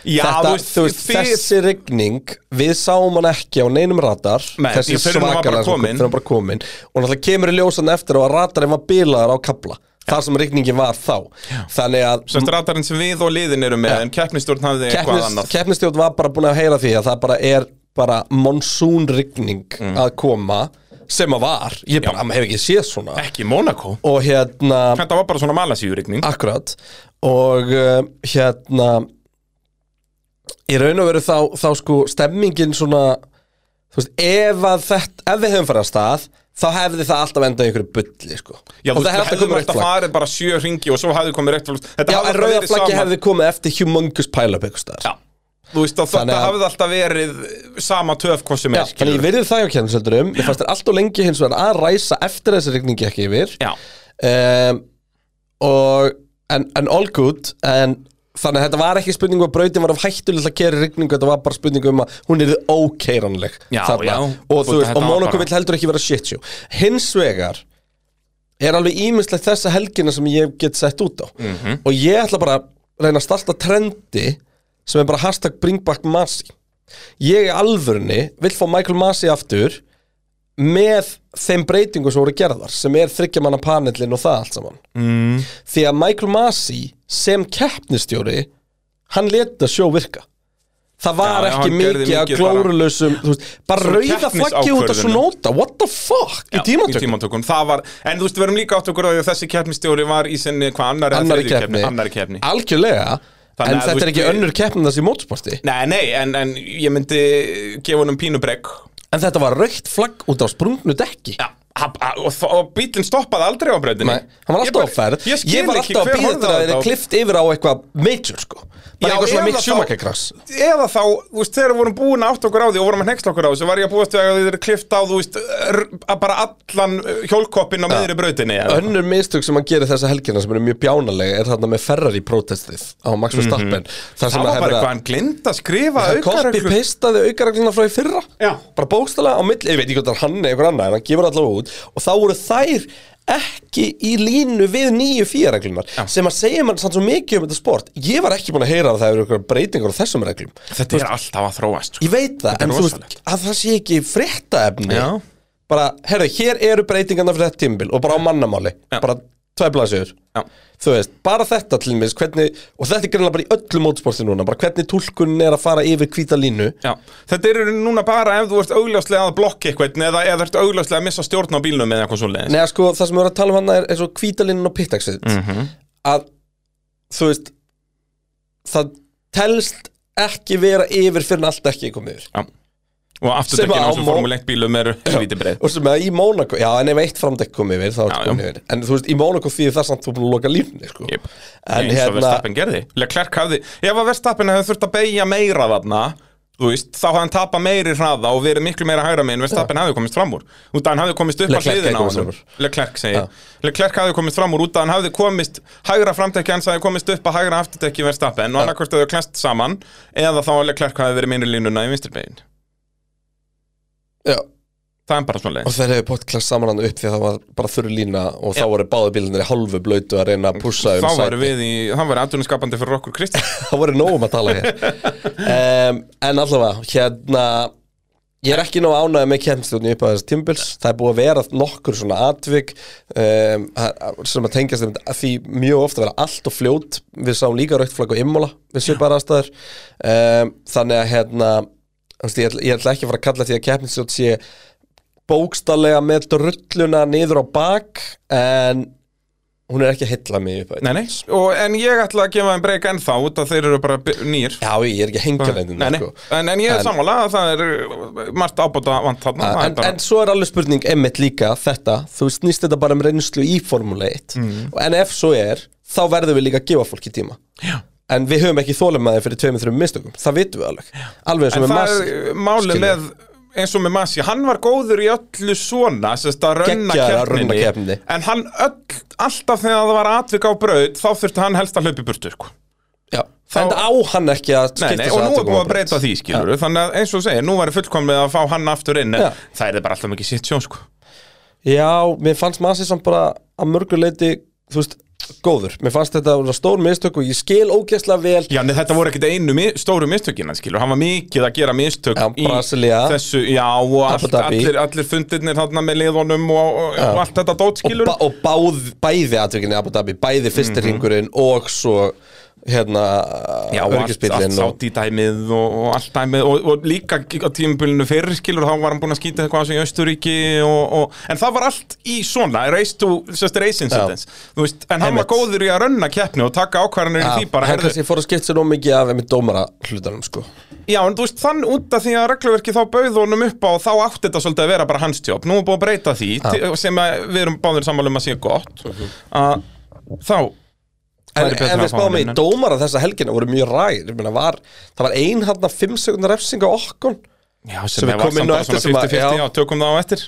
[SPEAKER 2] Já,
[SPEAKER 3] Þetta, þú veist, þessi regning Við sáum hann ekki á neinum radar
[SPEAKER 2] Nei,
[SPEAKER 3] Þessi
[SPEAKER 2] ég- fyrr en hann var bara
[SPEAKER 3] svakalega
[SPEAKER 2] kominn.
[SPEAKER 3] Fyrir hann bara komin Og náttúrulega kemur í ljósan eftir á að radarinn var bilaðar á kabla Þar sem regningin var þá Þannig að
[SPEAKER 2] Sem stratarinn sem við og liðin eru með en keppnistjórn hafði eitthvað annað
[SPEAKER 3] keppnistjótt var bara búin að heyra því að það bara er bara monsúnrigning
[SPEAKER 2] Mm.
[SPEAKER 3] að koma sem að var, ég bara, "Ah, maður hefur ekki séð svona
[SPEAKER 2] Ekki Monaco
[SPEAKER 3] og hérna,
[SPEAKER 2] Þetta var bara svona malasíurigning
[SPEAKER 3] akkurat og uh, hérna í raun og veru þá, þá sko stemmingin svona þú veist, ef að þetta ef við hefum farið að stað, þá hefði það alltaf endað í einhverju bulli, sko
[SPEAKER 2] Já,
[SPEAKER 3] og
[SPEAKER 2] þú
[SPEAKER 3] það hefði alltaf
[SPEAKER 2] hefðum
[SPEAKER 3] komið rautt
[SPEAKER 2] alltaf
[SPEAKER 3] flagg
[SPEAKER 2] farið bara sjö ringi og svo hafði komið reykt flagg Þetta
[SPEAKER 3] Já,
[SPEAKER 2] hafði
[SPEAKER 3] en
[SPEAKER 2] alltaf
[SPEAKER 3] rauða
[SPEAKER 2] verið
[SPEAKER 3] flaggi
[SPEAKER 2] sama.
[SPEAKER 3] hefði komið eftir humongous pile-up einhvers staðar
[SPEAKER 2] Já, þú veist að
[SPEAKER 3] Þannig
[SPEAKER 2] þetta
[SPEAKER 3] að-
[SPEAKER 2] hafði alltaf verið sama töf hvað sem
[SPEAKER 3] Já, þannig
[SPEAKER 2] er
[SPEAKER 3] ég
[SPEAKER 2] skilurðu.
[SPEAKER 3] verði það hjá kjærnseldurum Ég fannst þér allt og lengi hins vegar að ræsa eftir að þessi rigning ekki yfir
[SPEAKER 2] Já.
[SPEAKER 3] um, Og en, en all good en, Þannig að þetta var ekki spurning um að brautin var af hættulega að kera rigningu Þetta var bara spurning um að hún er ókeiranleg
[SPEAKER 2] Já,
[SPEAKER 3] þarna.
[SPEAKER 2] já.
[SPEAKER 3] Og, þú
[SPEAKER 2] Og
[SPEAKER 3] veist,
[SPEAKER 2] þetta
[SPEAKER 3] og
[SPEAKER 2] var
[SPEAKER 3] Monaco
[SPEAKER 2] bara-
[SPEAKER 3] vill heldur ekki vera shit show Hins vegar er alveg ímislegt þessa helgina sem ég get sett út á
[SPEAKER 2] Mhm.
[SPEAKER 3] Og ég ætla bara að reyna að starta trendi sem er bara hashtag bring back Masi Ég í alvörni vill fá Michael Masi aftur með þeim breytingum sem voru gerðar sem er þryggjamanna panellin og það allt saman
[SPEAKER 2] Mm.
[SPEAKER 3] því að Michael Masi sem keppnistjóri hann leta sjó virka það var
[SPEAKER 2] Já, já,
[SPEAKER 3] ekki
[SPEAKER 2] hann gerði
[SPEAKER 3] mikið að
[SPEAKER 2] mikið bara-
[SPEAKER 3] glórulausum þú veist, bara
[SPEAKER 2] Svona
[SPEAKER 3] rauða flaggi út af
[SPEAKER 2] keppnisákvörðunum.
[SPEAKER 3] svo nota what the fuck,
[SPEAKER 2] Já,
[SPEAKER 3] í tímantökum
[SPEAKER 2] tímatökum. Það var, en þú veist, við erum líka átt okkur á því að þessi keppnistjóri var í sinni hvað annar
[SPEAKER 3] annari keppni,
[SPEAKER 2] annari keppni.
[SPEAKER 3] algjörlega
[SPEAKER 2] Þannig
[SPEAKER 3] en
[SPEAKER 2] að,
[SPEAKER 3] þetta
[SPEAKER 2] þú
[SPEAKER 3] er ekki
[SPEAKER 2] veist,
[SPEAKER 3] önnur keppnin þessi í mótsporti
[SPEAKER 2] Nei, nei, en, en ég myndi gefa honum pínubrekk
[SPEAKER 3] en þetta var raukt flagg út af sprungnu dekki
[SPEAKER 2] Já, ha- ha- og, þó- og bílinn stoppaði aldrei á breytinni
[SPEAKER 3] Nei, hann var alltaf á ferð
[SPEAKER 2] Ég,
[SPEAKER 3] Ég,
[SPEAKER 2] skil
[SPEAKER 3] var
[SPEAKER 2] ekki
[SPEAKER 3] alltaf að
[SPEAKER 2] hver
[SPEAKER 3] býða
[SPEAKER 2] horfði
[SPEAKER 3] þetta
[SPEAKER 2] á
[SPEAKER 3] að þeir
[SPEAKER 2] þetta.
[SPEAKER 3] klift yfir á eitthvað major sko Bara
[SPEAKER 2] Já,
[SPEAKER 3] eitthvað svona
[SPEAKER 2] eða
[SPEAKER 3] Mick
[SPEAKER 2] þá-
[SPEAKER 3] Schumacher krass
[SPEAKER 2] Eða þá, þú veist, þegar við vorum búin að átt okkur á því og vorum að hnext okkur á þessu, var ég að búast við að þeir klift á, þú veist, r- að bara allan uh, hjólkoppinn á miðri brautinni eða-
[SPEAKER 3] Önnur mistök sem hann gerir þessa helgina sem eru mjög bjánalega er þarna með Ferrari protestið á Max Verstappen mm þar sem
[SPEAKER 2] Mhm.
[SPEAKER 3] að
[SPEAKER 2] Það var bara eitthvað
[SPEAKER 3] hefra
[SPEAKER 2] hann glind að skrifa
[SPEAKER 3] Kospi
[SPEAKER 2] aukareglur
[SPEAKER 3] pistaði aukaregluna frá í fyrra
[SPEAKER 2] Já.
[SPEAKER 3] bara bókstælega á milli, ég veit ekki hvað það er hann eða einhver annar en hann gefur allavega út og þá voru þær ekki í línu við nýju fíareglunar sem að segja mann sann svo mikið um þetta sport ég var ekki búin að heyra að það eru einhverjar breytingar á þessum reglum
[SPEAKER 2] Þetta er alltaf að þróast sko.
[SPEAKER 3] Ég veit það,
[SPEAKER 2] er
[SPEAKER 3] en þú veist,
[SPEAKER 2] rosalegt.
[SPEAKER 3] að það sé ekki fréttaefni
[SPEAKER 2] Já.
[SPEAKER 3] Bara, herðu, hér eru breytingarna fyrir þetta tímbil og bara á mannamáli
[SPEAKER 2] Já.
[SPEAKER 3] Bara tvei blaðsjöður
[SPEAKER 2] Já.
[SPEAKER 3] Þú veist, bara þetta til mér, hvernig, og þetta er greinlega bara í öllu mótsporti núna Bara hvernig tólkunin er að fara yfir hvíta línu
[SPEAKER 2] Já. Þetta eru núna bara ef þú ert augljóslega að blokka eitthvað eða eða ert augljóslega að missa stjórn á bílnum eða eitthvað svoleiðis
[SPEAKER 3] Nei, að sko, það sem við erum að tala um hann er eins og hvítalinn og pittaksveit
[SPEAKER 2] Mhm.
[SPEAKER 3] Að, þú veist, það telst ekki vera yfir fyrir en allt ekki er komið yfir
[SPEAKER 2] Já. Og
[SPEAKER 3] Sem
[SPEAKER 2] afturdekkin
[SPEAKER 3] að á
[SPEAKER 2] á þessum
[SPEAKER 3] mó-
[SPEAKER 2] formule 1 bílum eru helvítið breið
[SPEAKER 3] Og sem að í Mónaco, já en ef eitt framdekk kom yfir þá er
[SPEAKER 2] Já,
[SPEAKER 3] þetta
[SPEAKER 2] já.
[SPEAKER 3] komið yfir En þú veist, í Mónaco því það samt þú búin að loka lífni sko.
[SPEAKER 2] Jep.
[SPEAKER 3] En
[SPEAKER 2] eins og
[SPEAKER 3] hérna,
[SPEAKER 2] Verstappen gerði Leclerc hafði, ef að Verstappen hefði þurft að beigja meira þarna þú veist, þá hafði hann tapað meiri hraða og verið miklu meira hægra meginn Verstappen hafði komist fram úr út að hann hafði komist upp
[SPEAKER 3] Leclerc
[SPEAKER 2] á hliðina á
[SPEAKER 3] hafði komist
[SPEAKER 2] honum
[SPEAKER 3] fram
[SPEAKER 2] Leclerc segi, Leclerc hafði komist fram úr út að hann hafði komist hægra framtekki hans hafði komist upp að hægra afturtekki Verstappen og annarkvort hefði klest saman eða þá að Leclerc hafði verið minni línuna í vinstri meginn
[SPEAKER 3] já,
[SPEAKER 2] það er bara svona
[SPEAKER 3] og þeir hefur potklast saman hann upp því að það var bara þurru lína og þá voru báðu bílinir í hálfu blöytu að reyna að pussa um
[SPEAKER 2] þá
[SPEAKER 3] sæti.
[SPEAKER 2] varum við í, það var atvinniskapandi fyrir okkur Kristján
[SPEAKER 3] þá voru nógum að tala hér um, En allavega, hérna Ég er ekki nóg ánægð með kemstjóðni upp á þessi tímbils Það er búið að vera nokkur svona atvik um, að- sem að tengjast þeim að því mjög ofta vera allt og fljót Við sáum líka raukt flagg og immola við svipaðar aðstæður um, Þannig að hérna þú veist, ég ætla, ég ætla ekki að fara að kalla því að keppnistjótt sé bókstallega með drulluna niður á bak en hún er ekki að hylla mig upp á
[SPEAKER 2] Nei, nei, og, en ég ætla að gefa þeim breyk ennþá út að þeir eru bara by- nýr
[SPEAKER 3] Já, ég er ekki að hengja sko.
[SPEAKER 2] Nei,
[SPEAKER 3] neindin
[SPEAKER 2] nei, en, en ég er sammála að það er uh, margt ábúta vant þarna það er
[SPEAKER 3] en,
[SPEAKER 2] bara-
[SPEAKER 3] en svo er alveg spurning emmitt líka þetta, þú snýst þetta bara um reynslu í Formule 1
[SPEAKER 2] Mm.
[SPEAKER 3] og en ef svo er, þá verðum við líka að gefa fólki tíma
[SPEAKER 2] Já.
[SPEAKER 3] en við höfum ekki þólemaði fyrir tveimur, þreimur mistökum, það vitum við alveg alveg eins og með
[SPEAKER 2] En það
[SPEAKER 3] massi
[SPEAKER 2] er uh, málið
[SPEAKER 3] skilur.
[SPEAKER 2] með eins og með Masi, hann var góður í öllu svona sérst að rönna
[SPEAKER 3] Geggjaður að
[SPEAKER 2] keppninni,
[SPEAKER 3] runna keppninni.
[SPEAKER 2] en hann öll, alltaf þegar það var atvik á braut þá þurfti hann helst að hlaupi burtu sko.
[SPEAKER 3] þá... en á hann ekki að
[SPEAKER 2] nei,
[SPEAKER 3] skipta
[SPEAKER 2] nei,
[SPEAKER 3] sig
[SPEAKER 2] og nú er
[SPEAKER 3] aðtökum
[SPEAKER 2] búið
[SPEAKER 3] á
[SPEAKER 2] að breyta
[SPEAKER 3] braut.
[SPEAKER 2] því skilur þannig að eins og þú segir, nú væri fullkomlega að fá hann aftur inn en
[SPEAKER 3] Já.
[SPEAKER 2] það er bara alltaf mikið sitt sjón sko.
[SPEAKER 3] Já, mér fannst Masi samt bara að mörgu leiti, þú veist, góður mér fannst þetta vera stór mistök og ég skil ógeðslega vel
[SPEAKER 2] Já, nei, þetta voru ekkert einu mi stóru mistökina, skilur, hann var mikið að gera mistök
[SPEAKER 3] Já,
[SPEAKER 2] í
[SPEAKER 3] Brasilia.
[SPEAKER 2] þessu, já, og
[SPEAKER 3] Abu
[SPEAKER 2] allt,
[SPEAKER 3] Dhabi.
[SPEAKER 2] allir, allir fundirnir þarna með liðunum og, og, og allt þetta dót,
[SPEAKER 3] og,
[SPEAKER 2] skilur.
[SPEAKER 3] ba og báð, bæði atvikinni Abu Dhabi, bæði fyrsti hringurinn og svo hérna
[SPEAKER 2] Mhm. Já, og allt, allt
[SPEAKER 3] örgisbíllinn og,
[SPEAKER 2] sátt í dæmið og, og allt dæmið og, og líka á tímabilinu fyrr, skilur, þá var hann búinn að skýta eitthvað á sig í Austuríki og, og, en það var allt í svona, race to, sérst, race incidents, þú veist, en hann
[SPEAKER 3] Einmitt.
[SPEAKER 2] var góður í að rönna keppni og taka ákvarðanir í
[SPEAKER 3] Já,
[SPEAKER 2] því bara,
[SPEAKER 3] hann
[SPEAKER 2] herðu,
[SPEAKER 3] kannski fór að skipta sér nóg mikið af með dómara hlutanum sko
[SPEAKER 2] Já, en þú veist, þann út af því að regluverki þá bauð honum upp á og þá átti þetta svolítið að vera bara hans tjóp. Nú er búið að breyta því til- sem að við erum báðir sammála um að sé gott að þá
[SPEAKER 3] En,
[SPEAKER 2] væri betra
[SPEAKER 3] en við
[SPEAKER 2] að fá hann
[SPEAKER 3] spáum í
[SPEAKER 2] inn, en-
[SPEAKER 3] dómara þessa helgina voru mjög ræðir var, Það var einharnar 5 sekundar refsing á okkon
[SPEAKER 2] Já,
[SPEAKER 3] sem
[SPEAKER 2] sem
[SPEAKER 3] við
[SPEAKER 2] er var
[SPEAKER 3] komum inn á
[SPEAKER 2] samt bara
[SPEAKER 3] eftir
[SPEAKER 2] svona
[SPEAKER 3] sem að-
[SPEAKER 2] 50-50,
[SPEAKER 3] já.
[SPEAKER 2] já, tökum það á eftir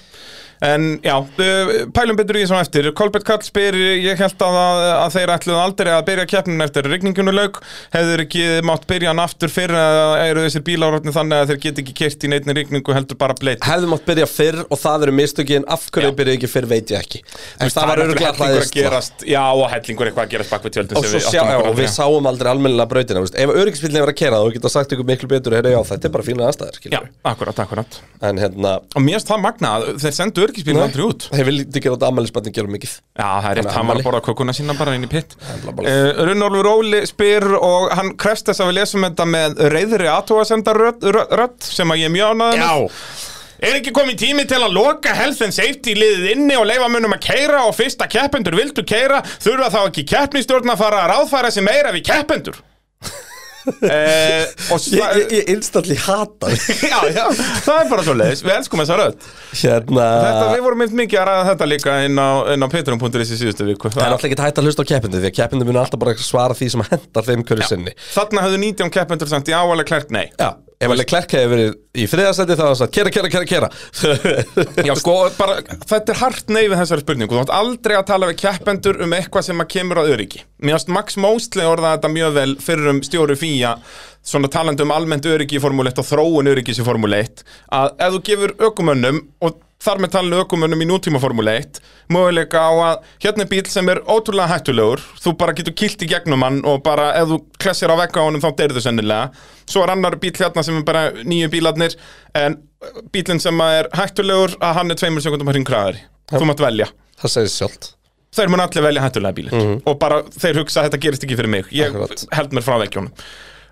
[SPEAKER 2] En já, uh, pælum betur í þessum eftir Kolbett Kall spyr, ég held að, að, að þeir ætluðu aldrei að byrja keppnin eftir rigningunuleik, hefur ekki mátt byrja hann aftur fyrir að eru þessir bílárotni þannig að þeir get ekki kert í neittni rigningu heldur bara bleitt
[SPEAKER 3] Hefðu mátt byrja fyrr og það eru mistökin Af hverju
[SPEAKER 2] Já.
[SPEAKER 3] byrja ekki fyrr veit ég ekki En það
[SPEAKER 2] er
[SPEAKER 3] var
[SPEAKER 2] náttúrulega
[SPEAKER 3] örgulega
[SPEAKER 2] hellingur að
[SPEAKER 3] hræðisla
[SPEAKER 2] gerast Já, og hellingur eitthvað að gerast bakvið tjöldin
[SPEAKER 3] Og,
[SPEAKER 2] sem
[SPEAKER 3] svo
[SPEAKER 2] við
[SPEAKER 3] sjá,
[SPEAKER 2] áttum
[SPEAKER 3] já,
[SPEAKER 2] okkur á
[SPEAKER 3] og við
[SPEAKER 2] því.
[SPEAKER 3] sáum aldrei almennilega brautina þú veist. Ef öryggisbílinni var að kera þá geta sagt ykkur miklu betur heyra, já, Þetta er bara fína aðstæður
[SPEAKER 2] Já,
[SPEAKER 3] skilurðu.
[SPEAKER 2] akkurat, akkurat
[SPEAKER 3] En hérna
[SPEAKER 2] Og mér erst það magna að þeir sendu örgisbílinn aldrei út
[SPEAKER 3] Þeir vildi ekki láta ammælisbarni gera mikið
[SPEAKER 2] Já, það er rétt,
[SPEAKER 3] Þannig að
[SPEAKER 2] hann var
[SPEAKER 3] afmæli.
[SPEAKER 2] að borða kökuna sína bara inn í pitt
[SPEAKER 3] Bla, bla, bla.
[SPEAKER 2] uh, Runnolfur Óli spyr og hann krefst þess að við lesum þetta með reyðri aðtóasendarrödd sem að ég er mjög ánægður með. Er ekki komið tími til að loka health and safety liðið inni og leifa munum að keira og fyrsta keppendur vildu keira þurfa þá ekki keppnistjórn að fara að ráðfæra sig meira við keppendur uh, og
[SPEAKER 3] Ég,
[SPEAKER 2] það,
[SPEAKER 3] ég, ég instantly hata þig.
[SPEAKER 2] já, já, það er bara svo leiðis, við elskum þessa rödd
[SPEAKER 3] Hérna
[SPEAKER 2] Þetta, við vorum mynd mikið að ræða þetta líka inn á, inn á petrum.is í síðustu viku
[SPEAKER 3] Það er alltaf ekki hægt að hlusta á keppindu því að keppindu munu alltaf bara svara því sem hendar þeim hverju sinni
[SPEAKER 2] Þarna höfðu 19 keppendur samt í áalega klærk, nei
[SPEAKER 3] Já, ef alveg klerk hefur verið í þriðasæti þá er það að kera, kera, kera, kera
[SPEAKER 2] Já, sko, bara, þetta er hart nei við þessari spurningu Þú átt aldrei að tala við keppendur um eitthvað sem að kemur að öryggi Mér ást Max Mosley orðaði þetta mjög vel fyrir um stjóru fíja Svona talandi um almennt öryggi í Formule 1 og þróun öryggis í Formule 1 Að ef þú gefur ökumönnum og þar með talinu ökumönnum í nútíma Formule 1 Möguleika á að hérna er bíl sem er ótrúlega hættulegur Þú bara getur kilt í gegnum hann og bara ef þú klessir á vegga á honum þá deyrðu sennilega Svo er annar bíl hérna sem er bara nýju bílarnir En bílinn sem að er hættulegur að hann er tveimur sekundum að hringraðari þú mátt velja
[SPEAKER 3] Það segir sjálft
[SPEAKER 2] þeir mun allir velja hættulega bílinn og bara þeir hugsa að þetta gerist ekki fyrir mig ég
[SPEAKER 3] Mhm. Akkurat.
[SPEAKER 2] held mér frá veggjónum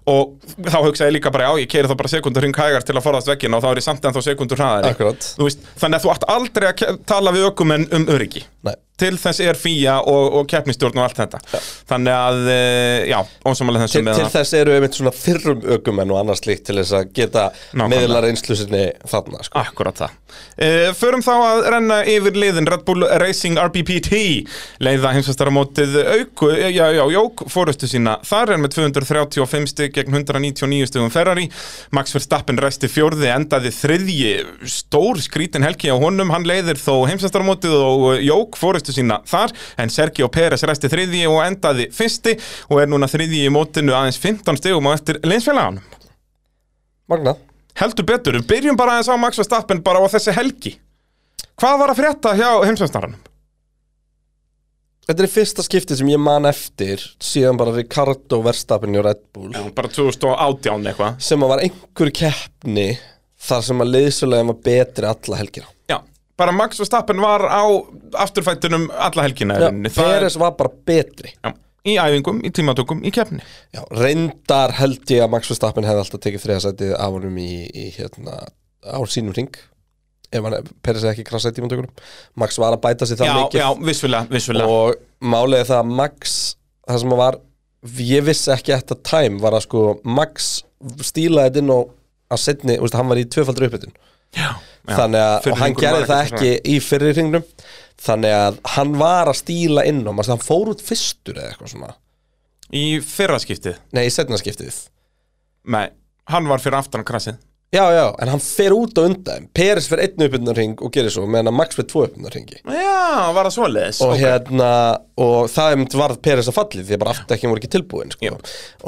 [SPEAKER 2] og þá hugsa ég líka bara já, ég keiri þá bara sekundur hring hægar til að forðast veggina og þá er ég samt en þá sekundur hraðari
[SPEAKER 3] Akkurat.
[SPEAKER 2] Þú veist, þannig að þú átt aldrei að ke- tala við ökumenn um öryggi
[SPEAKER 3] Nei.
[SPEAKER 2] til þess er fíja og, og keppnistjórn og allt þetta þannig að, e, já, ósamalega þessu
[SPEAKER 3] Til,
[SPEAKER 2] með
[SPEAKER 3] til
[SPEAKER 2] að-
[SPEAKER 3] þess eru einmitt svona fyrrum ökumenn og annars líkt til þess að geta
[SPEAKER 2] Nákvæmlega.
[SPEAKER 3] meðlar einslu sinni þarna sko.
[SPEAKER 2] Akkurat það. Uh, förum þá að renna yfir liðin Red Bull Racing RBPT leiða heimsvastara mótið auku, já, já, jók, fórustu sína þar er með 235 stygg gegn 199 stygum Ferrari. Max Verstappen resti fjórði, endaði þriðji stór skrítin helgi á honum hann leiðir þó heimsvastara mótið og eh, jók fórustu sína þar, en Sergio Pérez resti þriðji og endaði fyrsti og er núna þriðji í mótinu aðeins 15 stygum á eftir leinsfélaganum.
[SPEAKER 3] Magna
[SPEAKER 2] Heldur betur, við byrjum bara aðeins á Max Verstappen bara á þessi helgi Hvað var að frétta hjá heimsveisnaranum?
[SPEAKER 3] Þetta er í fyrsta skipti sem ég man eftir síðan bara Ricardo Verstappen í Red Bull
[SPEAKER 2] Bara 2018 eitthvað
[SPEAKER 3] sem að var einhver keppni þar sem að liðsulegum var betri alla helgina
[SPEAKER 2] Já, bara Max Verstappen var á afturfættunum alla helgina í
[SPEAKER 3] Já,
[SPEAKER 2] rauninni. Það er-
[SPEAKER 3] Peres var bara betri
[SPEAKER 2] Já, Í æfingum, í tímatökum, í keppni
[SPEAKER 3] Já, reyndar held ég að Max Verstappen hefði alltaf tekið þriðasætið af honum í, í hérna, á sínum ring ef hann Peres hefði ekki krasað í tímantökunum Max var að bæta sig það
[SPEAKER 2] Já,
[SPEAKER 3] mikið
[SPEAKER 2] já, vissulega, vissulega
[SPEAKER 3] og málið er það að Max það sem var, ég vissi ekki at the time var að sko Max stílaði þetta inn og að setni, veist, hann var í tvöfaldri uppbytun
[SPEAKER 2] Já, já.
[SPEAKER 3] þannig að,
[SPEAKER 2] Fyrri
[SPEAKER 3] og hann
[SPEAKER 2] hringurinn
[SPEAKER 3] gerði
[SPEAKER 2] var
[SPEAKER 3] það
[SPEAKER 2] eitthvað
[SPEAKER 3] ekki í fyrri hringnum þannig að hann var að stíla inn og maður, hann fór út fyrstur eða eitthvað svona
[SPEAKER 2] Í fyrra skiptið
[SPEAKER 3] nei, í setna skiptið
[SPEAKER 2] Nei, hann var fyrir aftan krassið
[SPEAKER 3] Já, já, en hann fer út á undan Peres fer einn uppbyrnarring og gerir svo meðan að Max fer tvo uppbyrnarringi
[SPEAKER 2] Já, var það svoleiðis
[SPEAKER 3] og
[SPEAKER 2] Ok.
[SPEAKER 3] hérna, og það einmitt varð Peres að falli því að bara aftekkin voru ekki tilbúin sko.
[SPEAKER 2] Jú.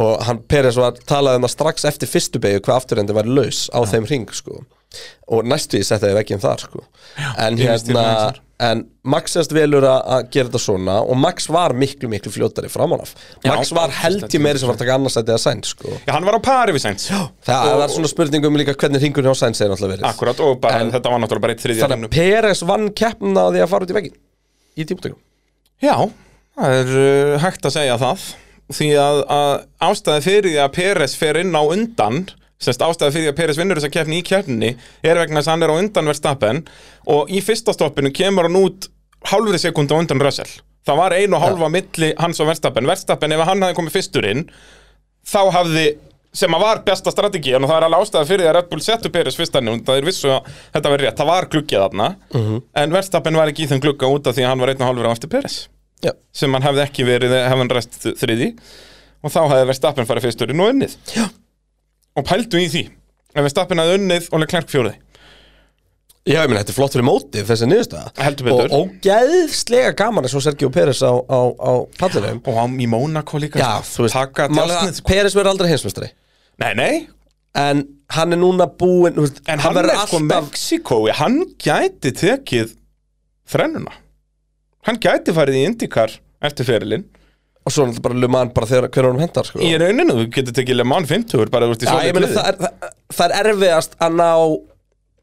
[SPEAKER 3] og hann Peres var talaði um það strax eftir fyrstu beigju hvað afturrendi var laus á þeim ring sko. og næstu ég setja þau ekki um þar sko. en
[SPEAKER 2] ég missti
[SPEAKER 3] hérna
[SPEAKER 2] það eins
[SPEAKER 3] en Max erst velur að að gera þetta svona og Max var miklu miklu fljótari framánaf Max var held ég meiri sem var að taka annarsæti að sæn sko.
[SPEAKER 2] Já, hann var á pari við sænt
[SPEAKER 3] það var svona spurningum líka hvernig ringur hjá sæn segir náttúrulega verið
[SPEAKER 2] Akkurat, hérna. og bara, þetta var náttúrulega bara eitt þriðja
[SPEAKER 3] Þannig að Peres vann keppna á því að fara út í veggin Í tímutökum
[SPEAKER 2] Já, það er uh, hægt að segja það því að, að ástæði fyrir því að Peres fer inn á undan semst ástæði fyrir því að Peres vinnur þess að keppni í keppninni er vegna þess að hann er á undan verðstappen og í fyrsta stoppinu kemur hann út hálfri sekund á undan Russell það var ein og hálfa milli hans og verðstappen verðstappen ef hann hafði komið fyrstur inn þá hafði sem að var besta strategían og það er alveg ástæða fyrir því að Red Bull settu Peres fyrst hann og það er vissu að þetta verið rétt, það var gluggið þarna en verðstappen var ekki í þeim glugga út af því að hann var einn og hálfur á eftir Peres
[SPEAKER 3] Já.
[SPEAKER 2] sem hann hefði ekki verið ef hann rest þriði og þá hefði Verstappen farið fyrsturinn og unnið
[SPEAKER 3] Já.
[SPEAKER 2] og pældu í því ef Verstappen hefði unnið og Leclerc fjóruði
[SPEAKER 3] Já, ég meina, þetta er flott fyrir mótið þessi niðurstaða
[SPEAKER 2] Heldur betur.
[SPEAKER 3] Og ógeðslega gaman er svo Sergio Pérez á, á, á pallinum
[SPEAKER 2] og á, í Mónaco líka
[SPEAKER 3] Já,
[SPEAKER 2] sko,
[SPEAKER 3] þú veist,
[SPEAKER 2] taka
[SPEAKER 3] málið að
[SPEAKER 2] djásnið sko.
[SPEAKER 3] Pérez verður aldrei heimsmestari
[SPEAKER 2] nei, nei,
[SPEAKER 3] En hann er núna búinn þú veist,
[SPEAKER 2] en hann,
[SPEAKER 3] verður
[SPEAKER 2] er sko Mexikói hann gæti tekið þrennuna hann gæti farið í Indikar eftir ferilinn
[SPEAKER 3] Og svo er þetta bara lumann bara þegar hvernig hann hendar sko.
[SPEAKER 2] í rauninu, þú getur tekið Le Mans 50 bara þú ert í
[SPEAKER 3] Já, ég meina,
[SPEAKER 2] svolítið
[SPEAKER 3] það er, það, það er erfiðast að ná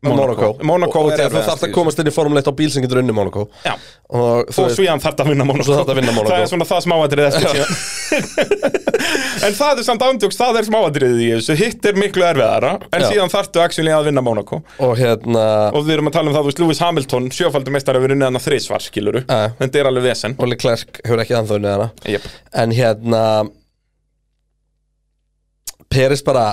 [SPEAKER 3] Monaco
[SPEAKER 2] Monaco
[SPEAKER 3] Og
[SPEAKER 2] er
[SPEAKER 3] þegar þú
[SPEAKER 2] erfiðast
[SPEAKER 3] þarft
[SPEAKER 2] í
[SPEAKER 3] að komast inn í formuleitt á bíl sem getur unni Monaco
[SPEAKER 2] Já.
[SPEAKER 3] Og þú
[SPEAKER 2] og
[SPEAKER 3] veist,
[SPEAKER 2] svo ég hann þarf að vinna Monaco
[SPEAKER 3] svo þarft að vinna Monaco.
[SPEAKER 2] það er svona það smáadrið en það er samt ándjóks það er smáadriðið í þessu hitt er miklu erfiðara en
[SPEAKER 3] Já.
[SPEAKER 2] síðan þarftu actually að vinna Monaco
[SPEAKER 3] og hérna
[SPEAKER 2] og við erum að tala um það, þú veist, Lewis Hamilton sjöfaldur meistari hefur unnið hann að þrísvar, skiluru
[SPEAKER 3] Já.
[SPEAKER 2] þetta er alveg vesen
[SPEAKER 3] Og eh, Leclerc hefur ekki anþá unnið hana
[SPEAKER 2] yep.
[SPEAKER 3] En hérna Peris bara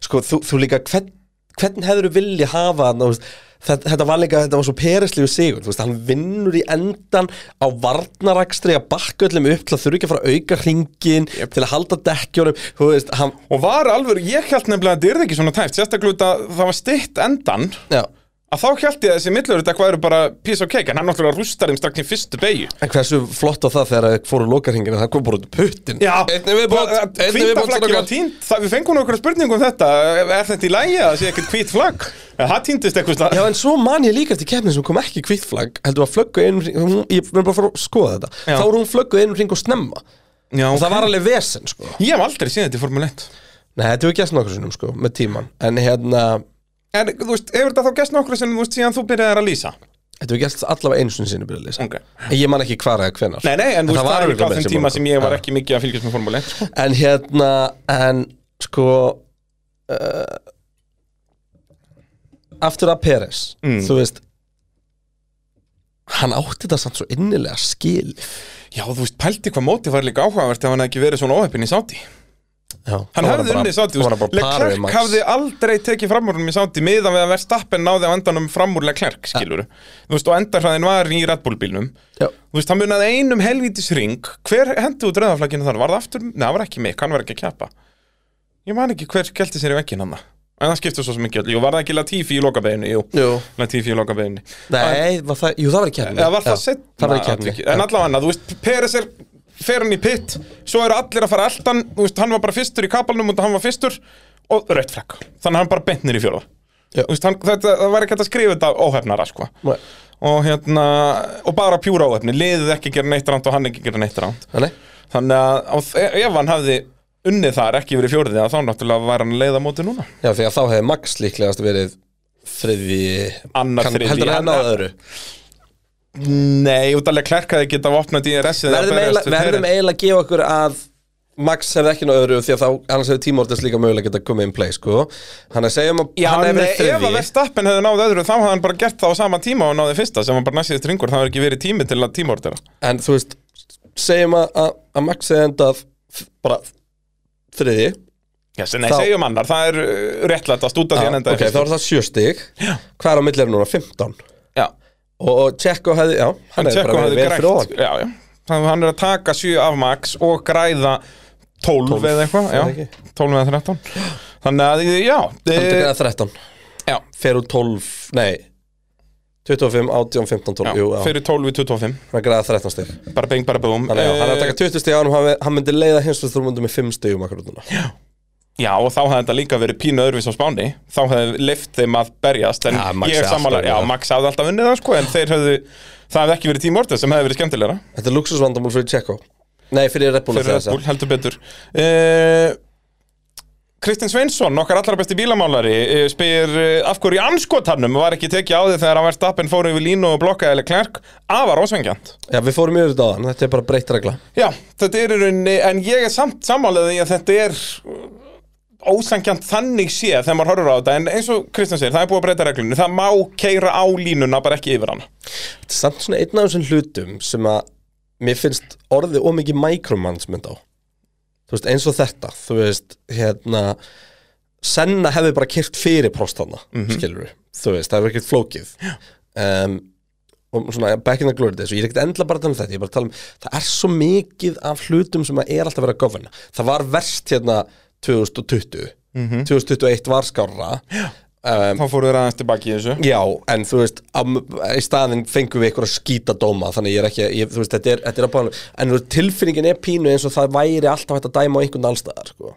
[SPEAKER 3] Sko, þú, þú líka hvern, Hvernig hefur þú vilja hafa ná, veist, þetta, þetta var líka, þetta var svo Perislegu sigur þú veist, Hann vinnur í endan Á varnarakstri að bakka öllum upp Til að þurfa ekki að fara að auka hringin Til að halda dekkjónum Þú veist, hann,
[SPEAKER 2] og var alveg, ég held nefnilega að þetta yrði ekki svona tæft sérstaklega út að það var stytt endan
[SPEAKER 3] já
[SPEAKER 2] að þá held ég að þessi millur þetta hvað eru bara piece of cake en hann náttúrulega rústar þeim strax í fyrstu beigju
[SPEAKER 3] En hversu flott á það þegar þeir fóru lokarhingin Það kom bara út puttin einnig viðbót einnig viðbót,
[SPEAKER 2] Hvítaflaggi var
[SPEAKER 3] strákar.
[SPEAKER 2] tínt Það- Við fengum okkur spurningum um þetta Er þetta í lægi að það sé ekkert hvít flagg? En Það tíntist eitthvað stað
[SPEAKER 3] Já, en svo man ég líka eftir keppnin sem kom ekki kvítflag heldur að flöggu einu hring, hún, ég verður bara að fara að skoða þetta
[SPEAKER 2] Já.
[SPEAKER 3] þá er hún flöggu einu hring og snemma
[SPEAKER 2] Já,
[SPEAKER 3] og það var alveg vesen, sko
[SPEAKER 2] Ég hef aldrei séð þetta í Formule 1
[SPEAKER 3] Nei, þetta hefur gæst nokkur sinnum, sko, með tíman en hérna,
[SPEAKER 2] En þú veist, hefur þetta þá gæst nokkru sem þú veist síðan þú byrjaðir að lýsa
[SPEAKER 3] þetta hefur gæst allavega einu sinni sinni byrja að lýsa
[SPEAKER 2] Ok.
[SPEAKER 3] En ég man ekki hvar eða hvenar
[SPEAKER 2] Nei, nei, en þú
[SPEAKER 3] það
[SPEAKER 2] veist,
[SPEAKER 3] var
[SPEAKER 2] það er
[SPEAKER 3] örugglega með
[SPEAKER 2] ekki á þeim
[SPEAKER 3] þessi
[SPEAKER 2] tíma
[SPEAKER 3] Monaco.
[SPEAKER 2] sem ég var ekki mikið að fylgjast með Formule 1 sko.
[SPEAKER 3] En hérna, en sko uh, aftur að Peres
[SPEAKER 2] Mm.
[SPEAKER 3] þú veist hann átti þetta samt svo innilega skil
[SPEAKER 2] Já, þú veist, pælti hvað mótið var líka áhugavert ef hann hefði ekki verið svona óheppin í sáti
[SPEAKER 3] Já,
[SPEAKER 2] Hann hefði unnið sáti, þú veist, Leclerc hafði aldrei tekið framúrunum í sáti miðan við að Verstappen náði á endanum framúrlega Leclerc, skilur Þú veist, og endarhraðin var í Red Bull bílnum
[SPEAKER 3] Já,
[SPEAKER 2] Þú veist, hann munaði einum helvítis ring Hver hendi út rauðaflagginu þar? Var það aftur? Nei, það var ekki mig, hann var ekki að keppa Ég man ekki hver kelti sér í vekkinn hann En það skipti svo sem ekki öll Jú, var það ekki Latifi í lokabeginu? Jú,
[SPEAKER 3] Jú.
[SPEAKER 2] Latifi í lokabeginu
[SPEAKER 3] nei, var það, jú það var í kefni
[SPEAKER 2] Eða var það setna?
[SPEAKER 3] Það var í kefni
[SPEAKER 2] atvikið? En allavega, þú veist, Peres er fer hann í pitt Svo eru allir að fara eldan Þú veist, hann var bara fyrstur í kapalnum og hann var fyrstur Og rautt frekk Þannig að hann bara bentnir í fjóra
[SPEAKER 3] Já.
[SPEAKER 2] Þú veist, hann, þetta, það var ekki hægt að skrifa þetta óhefnara, sko og hérna, og bara pjúra áhefni liðið ekki gera neitt ránt og hann ekki gera neitt ránt
[SPEAKER 3] Þannig,
[SPEAKER 2] þannig að á þe- ef hann hafði unnið þar ekki verið fjórið þá náttúrulega var hann að leiða móti núna
[SPEAKER 3] já því að þá hefði Max líklegast verið þriði
[SPEAKER 2] Annar þriðji,
[SPEAKER 3] Heldur hann
[SPEAKER 2] annar-
[SPEAKER 3] náða öðru
[SPEAKER 2] Nei, út alveg klerkaði geta opnað DRS-ið að
[SPEAKER 3] Verðum eiginlega
[SPEAKER 2] berjast við
[SPEAKER 3] verðum
[SPEAKER 2] Perez.
[SPEAKER 3] eiginlega að gefa okkur að Max hefði ekki náða öðru því að þá annars hefði tímortis líka mögulega geta komið in play sko Þannig að segjum að
[SPEAKER 2] Já,
[SPEAKER 3] hann hefði
[SPEAKER 2] nei,
[SPEAKER 3] verið
[SPEAKER 2] ef að
[SPEAKER 3] þriði
[SPEAKER 2] Verstappen hefði náð öðru þá hafði hann bara gert það á sama tíma og náði fyrsta sem var bara næstíðist ringur, það var ekki verið tími til að tímaordera
[SPEAKER 3] En þú veist, segjum að, að, að Max hefði endað f- bara þriði
[SPEAKER 2] Já, sem nei,
[SPEAKER 3] Þá-
[SPEAKER 2] segjum annar, það er uh, réttlætast út af því
[SPEAKER 3] Já,
[SPEAKER 2] hann
[SPEAKER 3] Ok,
[SPEAKER 2] endaði
[SPEAKER 3] þá er það sjö stig Hvað er á milli er núna? 15
[SPEAKER 2] Já,
[SPEAKER 3] Og, og Tjekko hefði, já, hann
[SPEAKER 2] hann
[SPEAKER 3] hefði
[SPEAKER 2] tjekkum
[SPEAKER 3] bara
[SPEAKER 2] hafði
[SPEAKER 3] verið vel fyrir ofan
[SPEAKER 2] grætt Já, já, þannig að hann er að taka 7 af max og græða 12, eða eitthvað,
[SPEAKER 3] er það
[SPEAKER 2] já,
[SPEAKER 3] ekki?
[SPEAKER 2] 12 eða 13 Þannig að, já,
[SPEAKER 3] Hann
[SPEAKER 2] e,
[SPEAKER 3] tekur það 13
[SPEAKER 2] Já.
[SPEAKER 3] Eh, Fer úr 12, nei 25, 18, 15, 12
[SPEAKER 2] já,
[SPEAKER 3] Jú, já
[SPEAKER 2] fyrir 12 í 25
[SPEAKER 3] Hann græða 13 stig
[SPEAKER 2] Bara beng, bara búm
[SPEAKER 3] Þannig að hann er að
[SPEAKER 2] Eh,
[SPEAKER 3] taka 20 stig á hann Hann, hann myndi leiða hins veist þurmundu með 5 stigum akkur út núna
[SPEAKER 2] Já, og þá hefði þetta líka verið pínu öðruvís á Spáni Þá hefði leift þeim að berjast En
[SPEAKER 3] Já, Max
[SPEAKER 2] ég
[SPEAKER 3] hefði
[SPEAKER 2] er
[SPEAKER 3] alltaf
[SPEAKER 2] samanlega, já,
[SPEAKER 3] unnið það.
[SPEAKER 2] Max hafði alltaf unnið það sko En þeir hefðu, það hefði ekki verið tímortið sem hefði verið skemmtilegra
[SPEAKER 3] Þetta er luxusvandamál fyrir Tjekko Nei, fyrir Red Bull
[SPEAKER 2] Fyrir Red Bull, heldur betur uh, Kristinn Sveinsson, okkar allra besti bílamálari uh, spyr uh, af hverju í anskotarnum var ekki tekið á því þegar hann verðst appin fór yfir línu og blokkaði eða klærk afar ósvengjant
[SPEAKER 3] Já, við fórum yfir þetta á hann Þetta er bara breytt regla
[SPEAKER 2] Já, þetta er í rauninni, en ég er samt sammálaðið í að þetta er ósangjant þannig séð þegar maður horfur á þetta en eins og Kristján segir, það er búið að breyta reglunni það má keira á línuna, bara ekki yfir hana
[SPEAKER 3] Þetta er samt svona einn af þessum hlutum sem að mér finnst orðið ómikið micromanagement á þú veist, eins og þetta þú veist, hérna Senna hefði bara kyrkt fyrir próstanna mm skilur við, þú veist, það er ekkert flókið um, og svona ja, back in the glory days og ég er ekkert endla bara að tala um þetta, ég er bara að tala um það er svo mikið af hlutum sem að er alltaf verið að governna það var verst hérna 2020 2021 var skárra um,
[SPEAKER 2] Þá fóru þeir aðeins tilbaki í þessu
[SPEAKER 3] já, en þú veist á, í staðin fengum við ykkur að skýta dóma þannig ég er ekki, ég, þú veist, þetta er, þetta er að bánu en þú veist, tilfinningin er pínu eins og það væri alltaf hægt að dæma á einhvern allstaðar sko.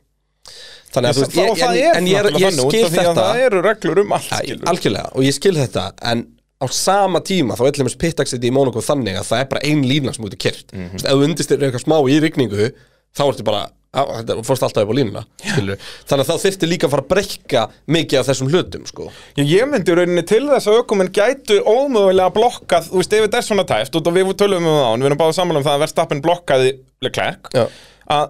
[SPEAKER 3] þannig að þú veist,
[SPEAKER 2] Það,
[SPEAKER 3] ég,
[SPEAKER 2] það
[SPEAKER 3] ég,
[SPEAKER 2] er
[SPEAKER 3] en ég, er-
[SPEAKER 2] náttúrulega
[SPEAKER 3] ég
[SPEAKER 2] þannig út
[SPEAKER 3] skil
[SPEAKER 2] af því að
[SPEAKER 3] þetta
[SPEAKER 2] Það eru reglur um allt
[SPEAKER 3] Æ,
[SPEAKER 2] skilur
[SPEAKER 3] algjörlega, og ég skil þetta en á sama tíma þá er til dæmis pittaxit í Monaco þannig að það er bara ein lína sem út er kert
[SPEAKER 2] Mhm.
[SPEAKER 3] mm -hmm. ef þú undirstyrir eitthvað smá í rigningu þá ertu bara, á, þetta fórst alltaf upp á línuna skilur. þannig að þá þyrfti líka að fara að brekka mikið af þessum hlutum sko.
[SPEAKER 2] Ég, ég myndi í rauninni til þess að ökumenn gætu ómögulega blokkað, þú veist, ef þetta er svona tæft og við tölum um það án, við erum báðið sammála um það að Verstappen blokkaði Leclerc
[SPEAKER 3] Já.
[SPEAKER 2] að,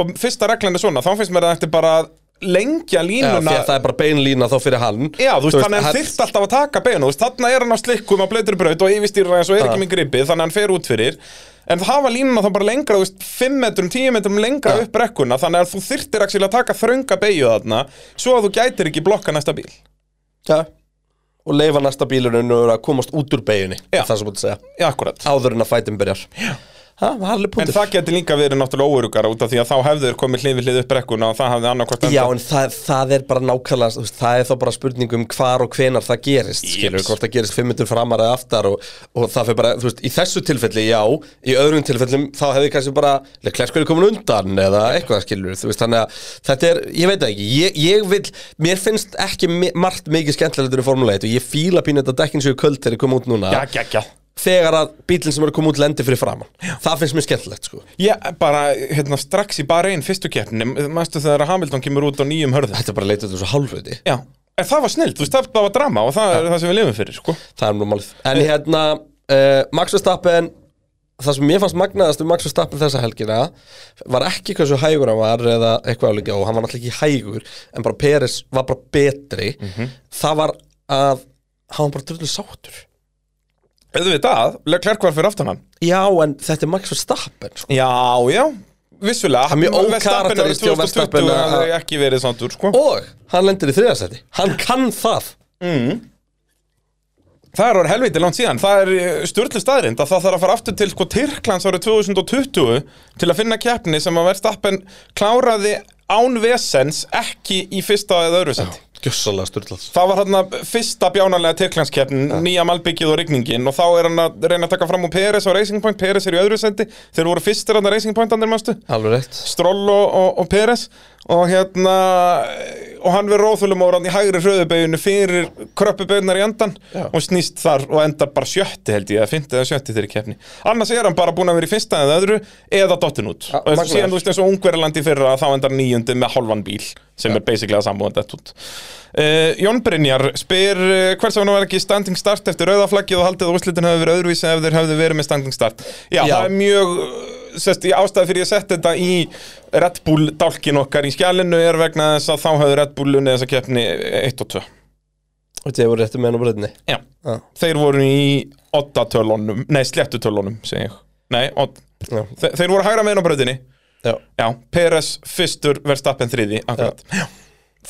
[SPEAKER 2] og fyrsta reglan er svona, þá finnst mér að þetta er bara að lengja
[SPEAKER 3] Já, því
[SPEAKER 2] línuna
[SPEAKER 3] að það er bara bein lína þá fyrir hann
[SPEAKER 2] Já, þú veist, þannig að hann
[SPEAKER 3] hann-
[SPEAKER 2] þyrft alltaf að taka beinu, þú veist, þannig er hann á slikkum á blöytur braut og yfirstýra eins og er ekki með gripið, þannig að hann fer út fyrir En það var línuna þá bara lengra, þú veist, 5 metrum, 10 metrum lengra upp brekkuna Þannig að þú þyrftir actually að taka þrönga beigju þarna Svo að þú gætir ekki blokka næsta bíl
[SPEAKER 3] Já. og leifa næsta bílunum að komast út úr beiginni
[SPEAKER 2] Já.
[SPEAKER 3] það sem búið að segja,
[SPEAKER 2] Já, akkurat
[SPEAKER 3] áður en að fætum byrjar Já, það var alveg
[SPEAKER 2] En
[SPEAKER 3] punktur
[SPEAKER 2] það geti líka verið náttúrulega óörugara út af því að þá hefðu þeir komið hlið við hlið upp brekkuna og það hafði annarkvort
[SPEAKER 3] Já, en það, það er bara nákvæmlega þú veist, það er þá bara spurning um hvar og hvenar það gerist
[SPEAKER 2] Yes.
[SPEAKER 3] skilur, hvort það gerist 5 minutur framar eða aftar og, og það fyrir bara, þú veist, í þessu tilfelli já, í öðrum tilfellum þá hefði kannski bara, klæskur er komin undan eða eitthvað skilur, þú veist, þannig að þetta er, ég veit það ekki, ég, ég vil mér finnst ekki mi- margt mikið skemmtilegur í Formule 1 og ég fíla pínu þetta dekkin séu köld þegar ég kom út núna,
[SPEAKER 2] Já, já, já
[SPEAKER 3] þegar að bílinn sem er að koma út lendi fyrir framan, það finnst mér skemmtilegt sko.
[SPEAKER 2] Já, bara, hérna, strax í bara einn fyrstu keppni, mæstu þegar Hamilton kemur út á nýjum hörðum
[SPEAKER 3] Þetta er bara að leita út úr þessu hálfviti
[SPEAKER 2] Já, en það var snill, þú veist, það var drama og það er það sem við lifum fyrir, sko
[SPEAKER 3] Það er nú málið En hérna, uh, Max Verstappen Það sem mér fannst magnaðast um Max Verstappen þessa helgina Var ekki hversu hægur hann var Eða eitthvað álíka og hann var náttúrulega ekki hægur En bara Peres var bara betri Það var að Hann var bara drullu sáttur
[SPEAKER 2] Auðvitað, Leclerc var fyrir aftan hann
[SPEAKER 3] Já, en þetta er Max Verstappen sko.
[SPEAKER 2] Já, já, vissulega
[SPEAKER 3] er mjög
[SPEAKER 2] Verstappen árið
[SPEAKER 3] ókarakterískt hjá
[SPEAKER 2] 2020
[SPEAKER 3] Verstappen að-
[SPEAKER 2] hafði ekki verið sandur, sko
[SPEAKER 3] Og hann lendir í þriðasæti Hann kann það
[SPEAKER 2] Það er orðið helviti langt síðan Það er störtlu staðrind að það þarf að fara aftur til sko Tyrklands árið 2020 til að finna keppni sem að Verstappen kláraði án vesens ekki í fyrsta eða öðru seti
[SPEAKER 3] Gjössalega styrlað
[SPEAKER 2] Það var þarna fyrsta bjánarlega Tyrklandskeppn, nýja malbyggið og rigningin og þá er hann að reyna að taka fram úr Peres og Racing Point, Peres er í öðru sendi þeir voru fyrstir hann að Racing Point andir mannstu
[SPEAKER 3] Alveg rétt
[SPEAKER 2] Stroll og, og, og Peres og hérna og hann verður róþulum ára hann í hægri hröðubeginu fyrir kröppubegnar í endan
[SPEAKER 3] Já.
[SPEAKER 2] og snýst þar og endar bara sjötti held ég eða fymti eða sjötti þeirri keppni annars er hann bara búin að vera í fyrsta eða öðru eða dottin út
[SPEAKER 3] Ja,
[SPEAKER 2] og eins-
[SPEAKER 3] magnaður.
[SPEAKER 2] síðan þú veist eins og ungverjalandi fyrra þá endar nýjundi með hálfan bíl sem er basically að sambúðan dett út Uh, Jón Brynjar spyr uh, hvers að hann var ekki standing start eftir rauðaflaggið og haldið að úrslitin hefði verið öðruvísi ef þeir hefði verið með standing start Já,
[SPEAKER 3] Já.
[SPEAKER 2] það er mjög uh, sest, í ástæði fyrir ég sett þetta í Red Bull dálkin okkar í skjælinu er vegna þess að þá hefði Red Bull unnið þessa keppni 1 og 2
[SPEAKER 3] Og þetta voru réttu með hann á breytinni
[SPEAKER 2] Já,
[SPEAKER 3] Já,
[SPEAKER 2] þeir voru í 8 tölunum, nei sléttu tölunum segi ég, nei, odd-
[SPEAKER 3] já,
[SPEAKER 2] þe þeir voru hægra meðin á bröðinni
[SPEAKER 3] já
[SPEAKER 2] Já, Peres fyrstur verðstappen þriði akkurat. Já.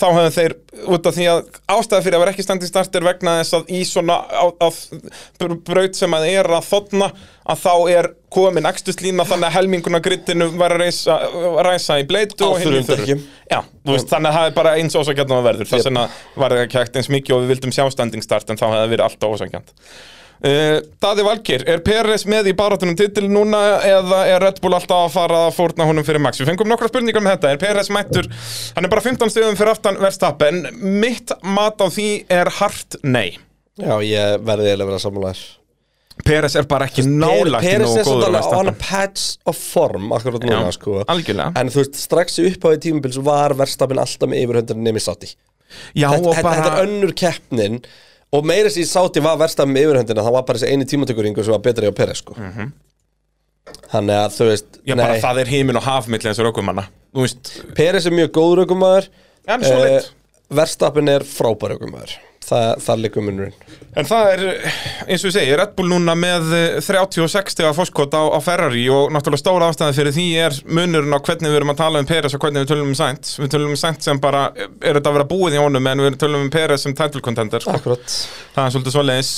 [SPEAKER 2] Þá hefðu þeir, út af því að ástæða fyrir að vera ekki standið startir vegna þess að í svona á, á, br- braut sem að er að þotna að þá er komin ekstuslína þannig að helminguna grittinu var að ræsa, ræsa í bleitu
[SPEAKER 3] Á
[SPEAKER 2] og hinn í
[SPEAKER 3] þurrum
[SPEAKER 2] þurru.
[SPEAKER 3] dekkjum.
[SPEAKER 2] Já, þú veist, þannig að það er bara eins ósakjöndum að verður þess vegna var það ekki hægt eins mikið og við vildum sjá standing start en þá hefði verið alltaf ósakjönd Uh, Daði Valkir, er Peres með í barátunum titil núna eða er Red Bull alltaf að fara að fórna honum fyrir Max? Við fengum nokkra spurningar um þetta, er Peres mættur, hann er bara 15 stöðum fyrir aftan verðstappen, mitt mat á því er hart nei.
[SPEAKER 3] Já, ég verði eiginlega að vera sammálaðir
[SPEAKER 2] Peres er bara ekki nálægt í
[SPEAKER 3] Peres er
[SPEAKER 2] nógu góður
[SPEAKER 3] svolítið alveg
[SPEAKER 2] að
[SPEAKER 3] on a
[SPEAKER 2] verðstappen.
[SPEAKER 3] patch of form akkurat núna
[SPEAKER 2] Já,
[SPEAKER 3] sko
[SPEAKER 2] algjörlega.
[SPEAKER 3] En þú veist, strax í uppháði tímubils var verstafinn alltaf með yfirhöndin nemi sátti
[SPEAKER 2] Já,
[SPEAKER 3] þetta,
[SPEAKER 2] og
[SPEAKER 3] þetta, þetta er
[SPEAKER 2] bara,
[SPEAKER 3] önnur keppnin Og meira sér sátti var verstafinn með yfirhöndina Það var bara þessi eini tímatökuringur sem var betri á Peres sko Þannig að þú veist,
[SPEAKER 2] Mhm. já, bara það er heimin og hafmill eins og rökumanna. Þú veist,
[SPEAKER 3] Peres er mjög góður aukumæður
[SPEAKER 2] Já, hann er solid.
[SPEAKER 3] Verstafinn er Eh, frábær aukumæður það, það liggur munurinn
[SPEAKER 2] En það er, eins og ég segi, Red Bull núna með eh, 36 stegar fórskot á, á Ferrari og náttúrulega stóra ástæði fyrir því er munurinn á hvernig við erum að tala um Peres og hvernig við tölum um Sainz. Við tölum um Sainz sem bara eh, er þetta að vera búið í honum en við tölum um Peres sem title contender. sko.
[SPEAKER 3] Akkurat
[SPEAKER 2] Það er svolítið svoleiðis.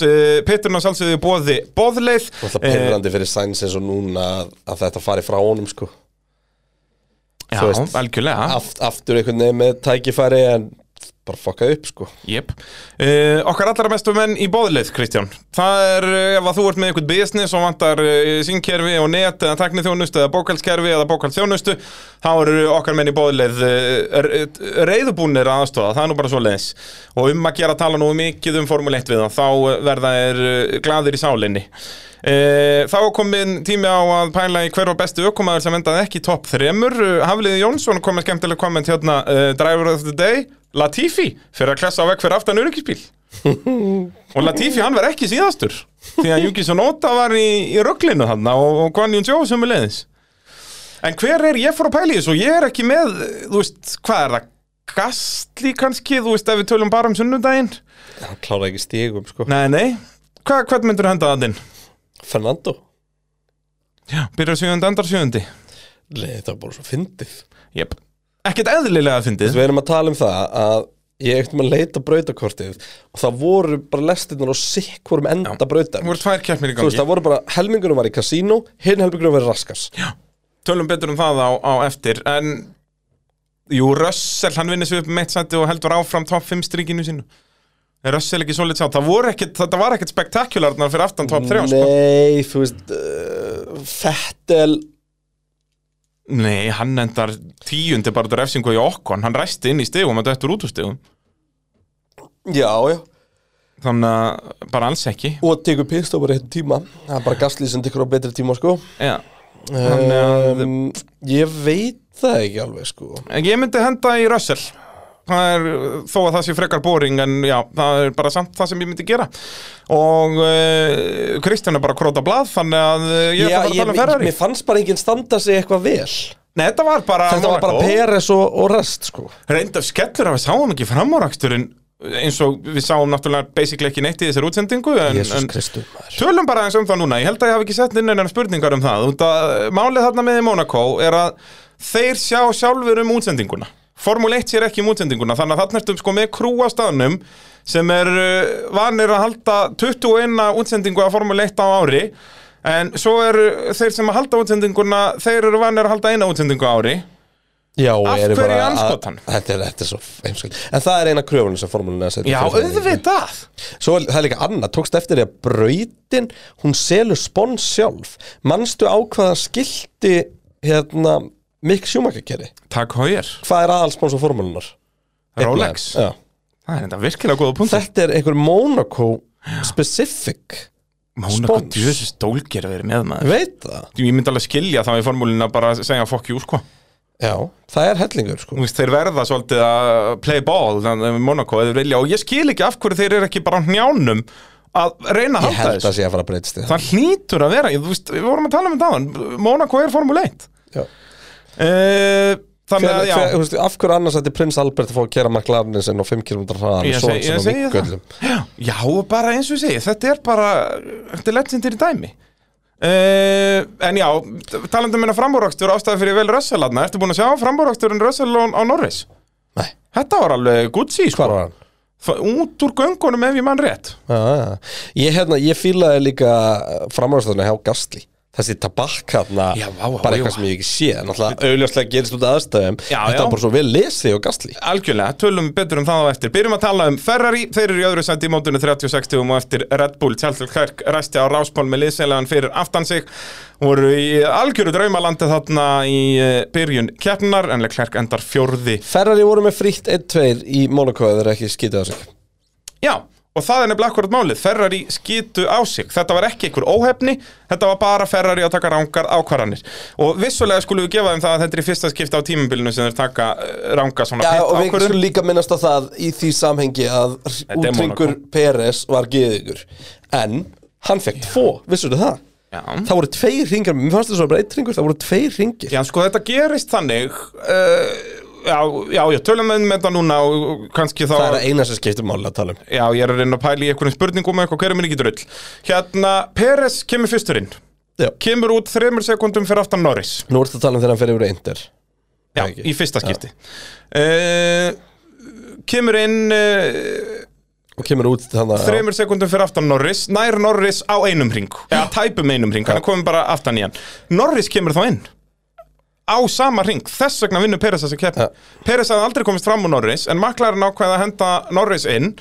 [SPEAKER 2] Peturinn á sjálfsögðu bóði boðleið.
[SPEAKER 3] Það er perrandi fyrir Sainz eins og núna að, að þetta fari frá honum sko
[SPEAKER 2] Eh,
[SPEAKER 3] þú
[SPEAKER 2] Já,
[SPEAKER 3] veist.
[SPEAKER 2] algjörlega.
[SPEAKER 3] Aft, Aftur einhvern veginn með tækifæri en bara fokkað upp sko
[SPEAKER 2] Jep. Uh, okkar allra mestu menn í bóðleið, Kristján. Það er eh, ef að þú ert með eitthvað business og vantar uh, sínkerfi og net eða teknithjónustu eða bókaldskerfi eða bókaldsjónustu, þá eru okkar menn í bóðleið uh, reyðubúnir að aðstofa. Það er nú bara svo leiðis. Og um að gera tala nú mikið um Formule 1 við það, þá eh, verða er uh, gladir í sálinni. Eh, Þá kom minn tími á að pæla í hver var bestu ökumaður sem endaði ekki í topp þremur Eh, Hafliði Jónsson kom með skemmtileg komment hérna uh, Driver of the day, Latifi fyrir að klessa á vekk fyrir aftan öryggisbíl Og Latifi hann var ekki síðastur Því að Júkis og Nota var í, í rögglinu hann og, og Guan Jún Jó sem er leiðis En hver er, ég fór að pæla í þessu og ég er ekki með, eh, þú veist, hvað er það? Gastli kannski, þú veist, ef við tölum bara um sunnudaginn
[SPEAKER 3] Hann klára ekki stígum sko
[SPEAKER 2] Nei, nei, Hva, hvern myndur henda það inn?
[SPEAKER 3] Fernando
[SPEAKER 2] Já, byrjar sjöfundi, endar sjöfundi
[SPEAKER 3] Nei, þetta var bara svo fyndið
[SPEAKER 2] Jep. Ekkert eðlilega að fyndið
[SPEAKER 3] Við erum að tala um það að ég ekkert maður leita brautakortið og það voru bara lestirnar og sikkurum enda brautar
[SPEAKER 2] Það voru tvær keppnir í
[SPEAKER 3] Þú veist,
[SPEAKER 2] gangi
[SPEAKER 3] það voru bara, helmingurum var í kasínó, hinn helmingurum var í raskas
[SPEAKER 2] Tölum betur um það á, á eftir En Jú, Russell, hann vinnir sig upp með eitt sæti og heldur áfram top 5 strikinu sínu Er Russell ekki svolítið sátt? Það voru ekkert, þetta var ekkert spektakularnar fyrir aftan top 3 sko.
[SPEAKER 3] Nei, þú veist, uh, Fettel,
[SPEAKER 2] Nei, hann endar tíundi bara út af refsingu í okkon Hann ræsti inn í stigum og dættur út úr stigum
[SPEAKER 3] já, já,
[SPEAKER 2] Þannig að bara alls ekki
[SPEAKER 3] og tekur pistofur eitt tíma, það er bara gaslið sem tekur á betri tíma, sko
[SPEAKER 2] Já Þannig að-
[SPEAKER 3] um, Ég veit það ekki alveg, sko
[SPEAKER 2] En Ég myndi henda í Russell Það er, þó að það sé frekar boring en já, það er bara samt það sem ég myndi gera og uh, Kristján er bara að króta blað þannig að uh, ég ætla bara að
[SPEAKER 3] ég,
[SPEAKER 2] tala um Ferrari
[SPEAKER 3] mér fannst bara enginn standa sig eitthvað vel
[SPEAKER 2] Nei, þetta var bara
[SPEAKER 3] Þetta var bara Peres og, og rest, sko
[SPEAKER 2] Reynd af skellur að við sáum ekki framáraksturinn eins og við sáum náttúrulega basically ekki neitt í þessar útsendingu en,
[SPEAKER 3] Jésús
[SPEAKER 2] en
[SPEAKER 3] Kristur, maður
[SPEAKER 2] Tölum bara eins um það núna, ég held að ég hafi ekki sett inn einar spurningar um það, út að uh, málið þarna með í Monaco er að þeir sjá sjálfur um útsendinguna Formule 1 sér ekki um útsendinguna, þannig að þarna ertum sko með krú á staðnum sem er uh, vanir að halda 21 útsendingu af Formule 1 á ári en svo eru þeir sem að halda útsendinguna, þeir eru vanir að halda eina útsendingu á ári
[SPEAKER 3] Já,
[SPEAKER 2] Af
[SPEAKER 3] erum
[SPEAKER 2] hverju
[SPEAKER 3] bara að-
[SPEAKER 2] andskotann?
[SPEAKER 3] Þetta er, þetta er svo heimskuld En það er eina kröfunum sem formúlunni að setja
[SPEAKER 2] Já,
[SPEAKER 3] fyrir það.
[SPEAKER 2] auðvitað
[SPEAKER 3] Svo er- það er líka annað, tókst eftir því að brautin Hún selur spons sjálf Manstu á hvaða skilti Hérna, Mick Schumacher keri
[SPEAKER 2] Takk hóir,
[SPEAKER 3] Hvað er aðalspons á formúlunar?
[SPEAKER 2] Rolex
[SPEAKER 3] Já.
[SPEAKER 2] Það er þetta virkilega góða punkt
[SPEAKER 3] Þetta er einhver Monaco Specific
[SPEAKER 2] Mónaco
[SPEAKER 3] spons.
[SPEAKER 2] djöðsir stólger verið með maður
[SPEAKER 3] Veit það?
[SPEAKER 2] ég myndi alveg skilja þá í formúlinu að bara segja fuck you sko
[SPEAKER 3] Já, það er hellingur sko
[SPEAKER 2] Þú veist, þeir verða svolítið að play ball þannig að Monaco eða vilja og ég skil ekki af hverju þeir eru ekki bara á hnjánum að reyna að
[SPEAKER 3] Ég
[SPEAKER 2] halda
[SPEAKER 3] held að
[SPEAKER 2] þessu
[SPEAKER 3] sé að fara að breytist í það
[SPEAKER 2] það hlýtur að vera, ég, þú veist, við vorum að tala um þetta áðan Monaco er formúl 1
[SPEAKER 3] Já.
[SPEAKER 2] Eh, þannig
[SPEAKER 3] Hver,
[SPEAKER 2] að já,
[SPEAKER 3] hver, þú veist, af hverju annars ætti prins Albert að fá að kera McLaren sinn á 5 km hraðan
[SPEAKER 2] Ég seg- ég segi það.
[SPEAKER 3] það
[SPEAKER 2] já, bara eins og ég segi þetta er bara, þetta er legendir í dæmi Uh, en já, talandi um minna frambúrrakstur ástæði fyrir vel Russell aðna, ertu búin að sjá frambúrraksturinn Russell á, á Norris?
[SPEAKER 3] Nei,
[SPEAKER 2] Þetta var alveg Gucci sko.
[SPEAKER 3] hvar var hann?
[SPEAKER 2] F- út úr göngunum ef ég mann rétt
[SPEAKER 3] Já, já. Ég, hérna, ég fílaði líka framræðstöðuna hjá Gastli Þessi tabakkarna,
[SPEAKER 2] Já, vá, vá,
[SPEAKER 3] bara
[SPEAKER 2] já.
[SPEAKER 3] eitthvað sem ég ekki sé Náttúrulega auðljóslega gerist út af aðstæðum
[SPEAKER 2] Já,
[SPEAKER 3] Þetta
[SPEAKER 2] já.
[SPEAKER 3] var bara svo vel lesið hjá Gastli
[SPEAKER 2] Algjörlega, tölum betur um það á eftir Byrjum að tala um Ferrari, þeir eru í öðru sæti í mótunni 30-60 og eftir Red Bull Tjálsel Klerk ræsti á ráspól með liðsælegan fyrir aftan sig voru í algjöru draumalandi þarna í eh, byrjun keppnar en Klerk endar fjórði
[SPEAKER 3] Ferrari voru með frítt 1-2 í Monaco eða þeir ekki skítið á sig
[SPEAKER 2] Já, og það er nefnilega akkurat málið Ferrari skýtu á sig, þetta var ekki einhver óhefni Þetta var bara Ferrari að taka rángar ákvarðanir Og vissulega skulum við gefa þeim það að þetta er í fyrsta skipta á tímabilinu sem þeir taka rángar svona
[SPEAKER 3] Já,
[SPEAKER 2] pitt
[SPEAKER 3] og við
[SPEAKER 2] ákvörðun.
[SPEAKER 3] skulum líka minnast á það í því samhengi að
[SPEAKER 2] er
[SPEAKER 3] útringur
[SPEAKER 2] Monaco.
[SPEAKER 3] Peres var geðingur En hann fekk tvo, vissur það?
[SPEAKER 2] Já.
[SPEAKER 3] Það voru tveir ringar, mér fannst það svo bara eitt ringur, það voru tveir ringir
[SPEAKER 2] Já, sko, þetta gerist þannig uh, já, já, já, tölum við með þetta núna og og kannski þá
[SPEAKER 3] Það er að eina sem skiptir máli að tala um
[SPEAKER 2] Já, ég er að reyna að pæla í einhverjum spurningum og eitthvað, hverjum minni getur öll Hérna, Peres kemur fyrsturinn
[SPEAKER 3] Já.
[SPEAKER 2] Kemur út þremur sekundum fyrir aftan Norris
[SPEAKER 3] Nú ertu að tala um þegar hann fer yfir að Inter
[SPEAKER 2] Já,
[SPEAKER 3] ekki.
[SPEAKER 2] í fyrsta skipti uh, Kemur inn uh,
[SPEAKER 3] og kemur út þannig að
[SPEAKER 2] þremur sekundum fyrir aftan Norris Nær Norris á einum ring Já, tæpum einum ring, hann er komin bara aftan í hann Norris kemur þá inn Á sama ring, þess vegna vinnur Peres þessi keppni Peres hafði aldrei komist fram úr Norris En maklarinn ákveði að henda Norris inn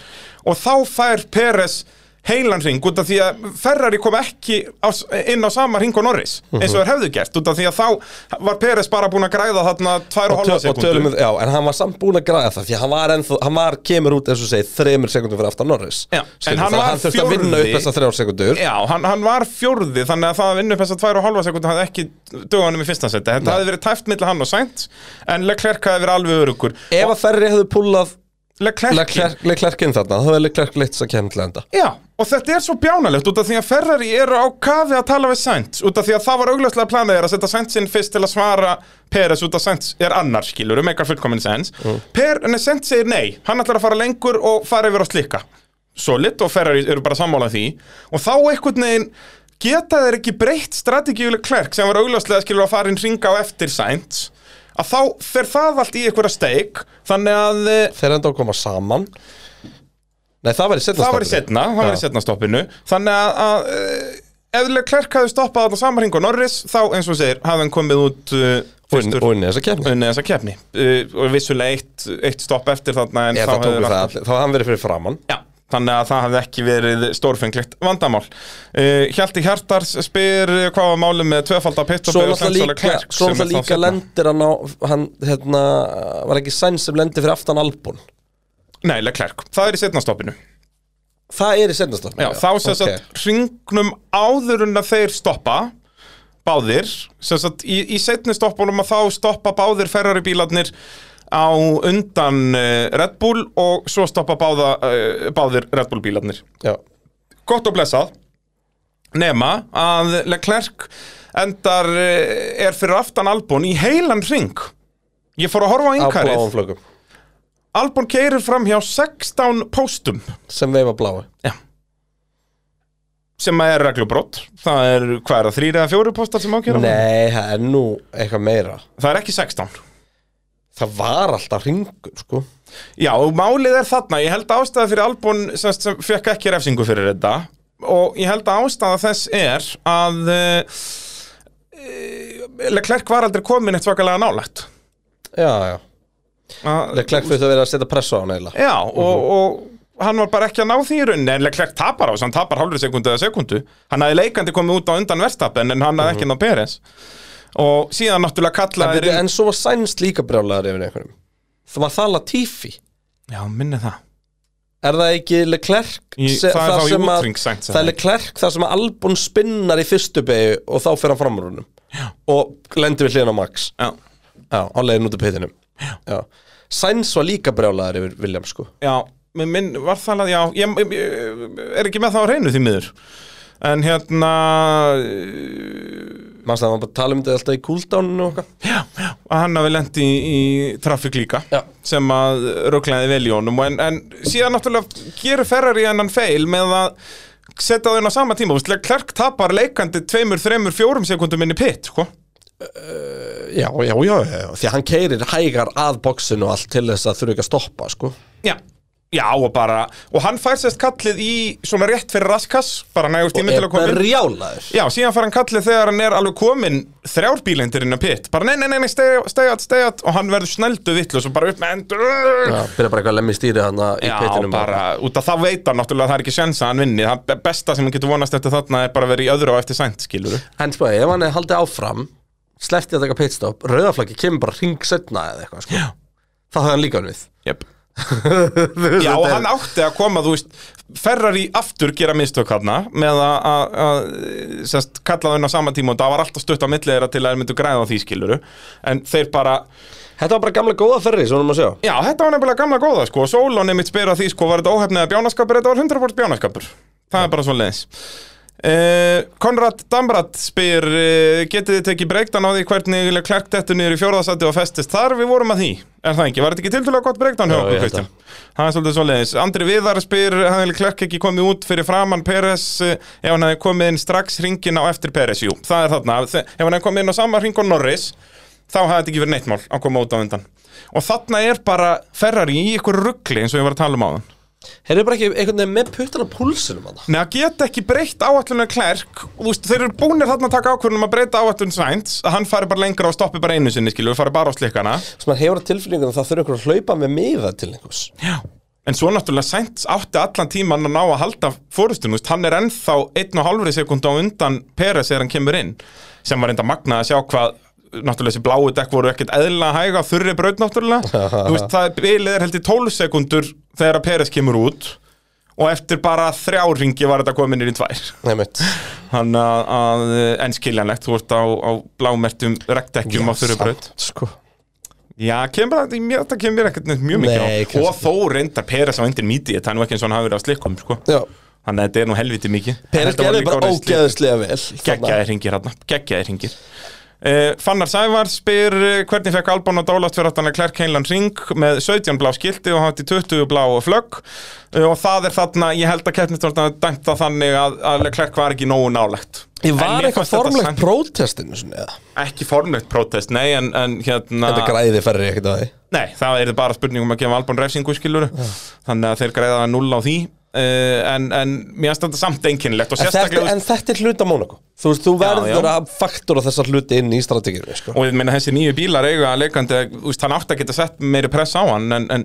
[SPEAKER 2] Og þá fær Peres heilan ring út af því að Ferrari kom ekki á, inn á sama ring og Norris eins og þeir hefðu gert út af því að þá var Peres bara búin að græða þarna tvær og
[SPEAKER 3] og,
[SPEAKER 2] um hálfa
[SPEAKER 3] töl, og
[SPEAKER 2] sekundu
[SPEAKER 3] tölum við, já, en hann var samt búin að græða það því að hann var, ennþá, hann var kemur út eins og segið þremur sekundum fyrir aftan Norris
[SPEAKER 2] Já, en
[SPEAKER 3] Skilur,
[SPEAKER 2] hann
[SPEAKER 3] þannig að
[SPEAKER 2] var
[SPEAKER 3] hann þurfti að vinna upp
[SPEAKER 2] fjórði.
[SPEAKER 3] þessar þrjár sekundur
[SPEAKER 2] Já, hann, hann var fjórði þannig að það að vinna upp þess að tvær og halva sekund hafði ekki dögunum í fyrsta seti þetta hafði verið tæft millir hann og sænt en Leclerc hafði verið alveg örugur
[SPEAKER 3] ef að Ferri hefðu púlað
[SPEAKER 2] Leclerc,
[SPEAKER 3] Leclerc- Leclerc inn þarna, þá hefði Leclerc leitt þess að kemur til enda
[SPEAKER 2] Já, og þetta er svo bjánalegt út af því að Ferrari eru á kafi að tala við Sainz út af því að það var augljóslega planið er að setja Sainz inn fyrst til að svara Peres út af Sainz er annar skilur um eitthvað fullkomin Sainz Per, nei, Sainz segir nei, hann ætlar að fara lengur og fara yfir á slikka Solid og Ferrari eru bara sammálað því og þá einhvern veginn geta þeir ekki breytt strategíuleg klerk sem var augljóslega skilur að fara inn ringa á eftir Sainz að þá fer það allt í einhverja steik þannig að eh,
[SPEAKER 3] þeir enda að koma saman nei, það var í setna
[SPEAKER 2] það var í setna, það var í
[SPEAKER 3] Já.
[SPEAKER 2] setna stoppinu þannig að, að eh, ef Leclerc hafði stoppað þarna sama hring og Norris þá eins og þú segir, hafði hann komið út uh, fyrstur
[SPEAKER 3] og unni þess að kemur
[SPEAKER 2] unni þessa keppni uh, og vissulega eitt, eitt stopp eftir þarna en
[SPEAKER 3] Já,
[SPEAKER 2] þá
[SPEAKER 3] það tóku
[SPEAKER 2] hefði
[SPEAKER 3] það
[SPEAKER 2] hann-
[SPEAKER 3] allir, þá hafði hann verið fyrir framann
[SPEAKER 2] Já, þannig að það hafði ekki verið stórfenglegt vandamál uh, Hjalti Hjartars spyr eh, hvað var málið með tvöfalda pitstoppi
[SPEAKER 3] Svo náttúrulega líka, svo náttúrulega líka lendir hann á, hann, hérna, var ekki Sainz sem lendir fyrir aftan Albon
[SPEAKER 2] Nei, Leclerc, það er í setna stoppinu
[SPEAKER 3] Það er í setnastofn
[SPEAKER 2] Já, þá sem sagt hringnum áður en að þeir stoppa báðir, sem sagt í, í setni stoppunum að þá stoppa báðir ferrari bílarnir á undan uh, Red Bull og svo stoppa báða, uh, báðir Red Bull bílarnir
[SPEAKER 3] Já,
[SPEAKER 2] gott og blessað nema að Leclerc endar uh, er fyrir aftan Albon í heilan hring ég fór að
[SPEAKER 3] á
[SPEAKER 2] horfa á yngarið
[SPEAKER 3] bláum flögum
[SPEAKER 2] Albon keirir fram hjá 16 póstum
[SPEAKER 3] sem veifa bláu
[SPEAKER 2] Já sem að er reglubrótt það er hvað er það, þrýr eða fjóru postar sem ákera
[SPEAKER 3] Nei, það er nú eitthvað meira
[SPEAKER 2] það er ekki 16
[SPEAKER 3] Það var alltaf ringur, sko
[SPEAKER 2] já, og málið er þarna, ég held að ástæða fyrir Albon sem, sem fekk ekki refsingu fyrir þetta og ég held að ástæða þess er að uh, Leclerc var aldrei komin eitt svakalega nálægt
[SPEAKER 3] Já, já
[SPEAKER 2] Að-
[SPEAKER 3] Leclerc þurfti að vera að setja pressu á hann eiginlega
[SPEAKER 2] já, og, og hann var bara ekki að ná því í rauninni en Leclerc tapar á þess, hann tapar hálfri sekundu eða sekundu hann hafði leikandi komið út á undan verstappen en hann hafði ekki náð Peres og síðan náttúrulega
[SPEAKER 3] En,
[SPEAKER 2] kallaði
[SPEAKER 3] byrju, en svo var Sainz líka brjálæður yfir einhverjum Það var það Latifi
[SPEAKER 2] Já, minni það
[SPEAKER 3] Er það ekki Leclerc
[SPEAKER 2] Í-
[SPEAKER 3] se-
[SPEAKER 2] það er þá í
[SPEAKER 3] sem að-
[SPEAKER 2] úthring Sainz,
[SPEAKER 3] Það
[SPEAKER 2] eða
[SPEAKER 3] er
[SPEAKER 2] ekki?
[SPEAKER 3] Leclerc þar sem að Albon spinnar í fyrstu beigju og þá fer hann framrúnum og lendir við hliðin á Max
[SPEAKER 2] Já,
[SPEAKER 3] Já, á leiðin út af pittinum Já, Sainz var líka brjálæður yfir William sko
[SPEAKER 2] já minn, minn var það að, já ég, ég, ég er ekki með það á reynu því miður En hérna
[SPEAKER 3] Manst það var bara að tala um þetta alltaf í cooldowninu og okkar
[SPEAKER 2] Já, já Að hann hafi lendi í, í traffic líka
[SPEAKER 3] Já.
[SPEAKER 2] Sem að röglaði vel í honum Og En, en síðan náttúrulega gerur Ferrari hennan feil með að setja þau inn á sama tíma Þú veist, Klerk tapar leikandi tveimur, þreimur, fjórum sekundum inn í pit, sko
[SPEAKER 3] Já, já, já, já, já. því að hann keirir hægar að boxinu og allt til þess að þurfa ekki að stoppa sko
[SPEAKER 2] Já Já, og bara, og hann fær sérst kallið í svona rétt fyrir raskass, bara nægur tími til
[SPEAKER 3] Er
[SPEAKER 2] að koma inn.
[SPEAKER 3] brjálæður
[SPEAKER 2] Já, síðan fær hann kallið þegar hann er alveg komin þrjár bílendir inn á pitt bara nei, nei, nei, nei stegjat, stegjat, stegjat og hann verður snældu vittlus og bara upp með endur
[SPEAKER 3] Já, byrja bara eitthvað að lemmi stýri hann í
[SPEAKER 2] Já,
[SPEAKER 3] pittinum
[SPEAKER 2] bara, út af það veit hann náttúrulega að það er ekki sjens að hann vinni það besta sem hann getur vonast eftir þarna er bara að vera í öðru og eftir sænt, skilur
[SPEAKER 3] En sko, ef hann er haldið áfram Sleppti að taka pitstop Rauðaflakki kemur bara hring setna eða eitthvað sko. Það hafði hann líka unnið
[SPEAKER 2] yep. Já, og hann átti að koma, þú veist Ferrari aftur gera mistök hana með að- að að, sérst, kalla þau inn á sama tíma og það var alltaf stutt á milli þeirra til að þeir myndu græða á því, skilur en þeir bara,
[SPEAKER 3] Þetta var bara gamla góða ferri, svona maður sjá
[SPEAKER 2] Já, þetta var nefnilega gamla góða sko og Sólon einmitt spyr að því sko var þetta óhefnið að bjánaskapur, þetta var 100% bjánaskapur Það er bara svo leiðis Eh, Konrad Damrat spyr eh, Getið þið tekið breyktan á því hvernig Klerk dettur niður í fjórðasæti og festist þar Við vorum að því, er það ekki? Var þetta ekki tildulega gott breyktan
[SPEAKER 3] Já,
[SPEAKER 2] hjá okkur,
[SPEAKER 3] ég held
[SPEAKER 2] Kristján? Það er svolítið svoleiðis Andri Viðar spyr, hafði Klerk ekki komið út fyrir framann Peres eh, Ef hann hefði komið inn strax ringin á eftir Peres Jú, það er þarna Þe- Ef hann hefði komið inn á sama ring og Norris Þá hafði þetta ekki verið neitt mál að koma út á undan Og þarna er bara Ferrari í ykkur ruggli eins og ég var að tala um á
[SPEAKER 3] Þeir eru bara ekki einhvern veginn með puttana á púlsinum hann
[SPEAKER 2] Nei, það geta ekki breytt áallunum klærk og þú veist, þeir eru búinir þarna að taka ákvörðunum að breyta áallunum sænt að hann fari bara lengra og stoppi bara einu sinni, skilju, fari bara á slikkana
[SPEAKER 3] Svo maður hefur á tilfinningunum að það þurfa einhver að hlaupa með miða til einhvers
[SPEAKER 2] Já En svo náttúrulega sænt átti allan tíman að ná að halda fórustunum, veist, hann er ennþá einn og hálfri sekund á undan Peres þegar hann kemur inn, sem var enda magnað að sjá hvað náttúrulega þessi bláu dekk voru ekkert eðlilega hæga á þurri braut náttúrulega Þú veist, það bilið er held í 12 sekundur þegar að Peres kemur út og eftir bara þrjá ringi var þetta komin inn í tvær
[SPEAKER 3] Nei, mitt
[SPEAKER 2] Þannig að, að enn skiljanlegt, þú ert á, á blámertum rektekjum á þurrubraut.
[SPEAKER 3] Sko
[SPEAKER 2] Já, kemur það, mér, það kemur mér ekkert neitt mjög mikið á.
[SPEAKER 3] Nei, kannski
[SPEAKER 2] Og þó reyndar Peres á endir mítið, það er nú ekki eins og hann hafi verið á slikkum, sko.
[SPEAKER 3] Já
[SPEAKER 2] Þannig að þetta er nú helviti mikið.
[SPEAKER 3] Peres
[SPEAKER 2] Þetta var
[SPEAKER 3] gerði
[SPEAKER 2] líka
[SPEAKER 3] bara
[SPEAKER 2] orðið slik-
[SPEAKER 3] ógeðislega vel
[SPEAKER 2] Geggjaðir hringir hérna, geggjaðir hringir uh, Fannar Sævar spyr eh, hvernig fekk Albon og Dólast fyrir aftan að Klerk Heinland ring með 17 blá skilti og hátti 20 blá flögg uh, og það er þarna, ég held að keppnistorðan hafi dæmt það þannig að, að Klerk var ekki nógu nálegt
[SPEAKER 3] Ég
[SPEAKER 2] En
[SPEAKER 3] var
[SPEAKER 2] mér
[SPEAKER 3] eitthvað
[SPEAKER 2] fannst þetta Ah.
[SPEAKER 3] formlegt
[SPEAKER 2] samt-
[SPEAKER 3] prótestinu svona eða
[SPEAKER 2] Ekki formlegt prótest, nei en, en hérna
[SPEAKER 3] Þetta græði ferri ekkert á því
[SPEAKER 2] Nei, það er bara spurning um að gefa Albon refsingu skilur Þannig að þeir greiða 0 á því uh, en, en mér finnst þetta samt einkennilegt og
[SPEAKER 3] En þetta,
[SPEAKER 2] sérstaklega
[SPEAKER 3] en þetta er hluta Mónaco Þú veist, þú verður
[SPEAKER 2] já.
[SPEAKER 3] að faktura þessar hluti inn í strategirinu sko.
[SPEAKER 2] og ég meina þessi nýju bílar eiga að leikandi, eh, þú veist, hann átti að geta sett meiri press á hann, en, en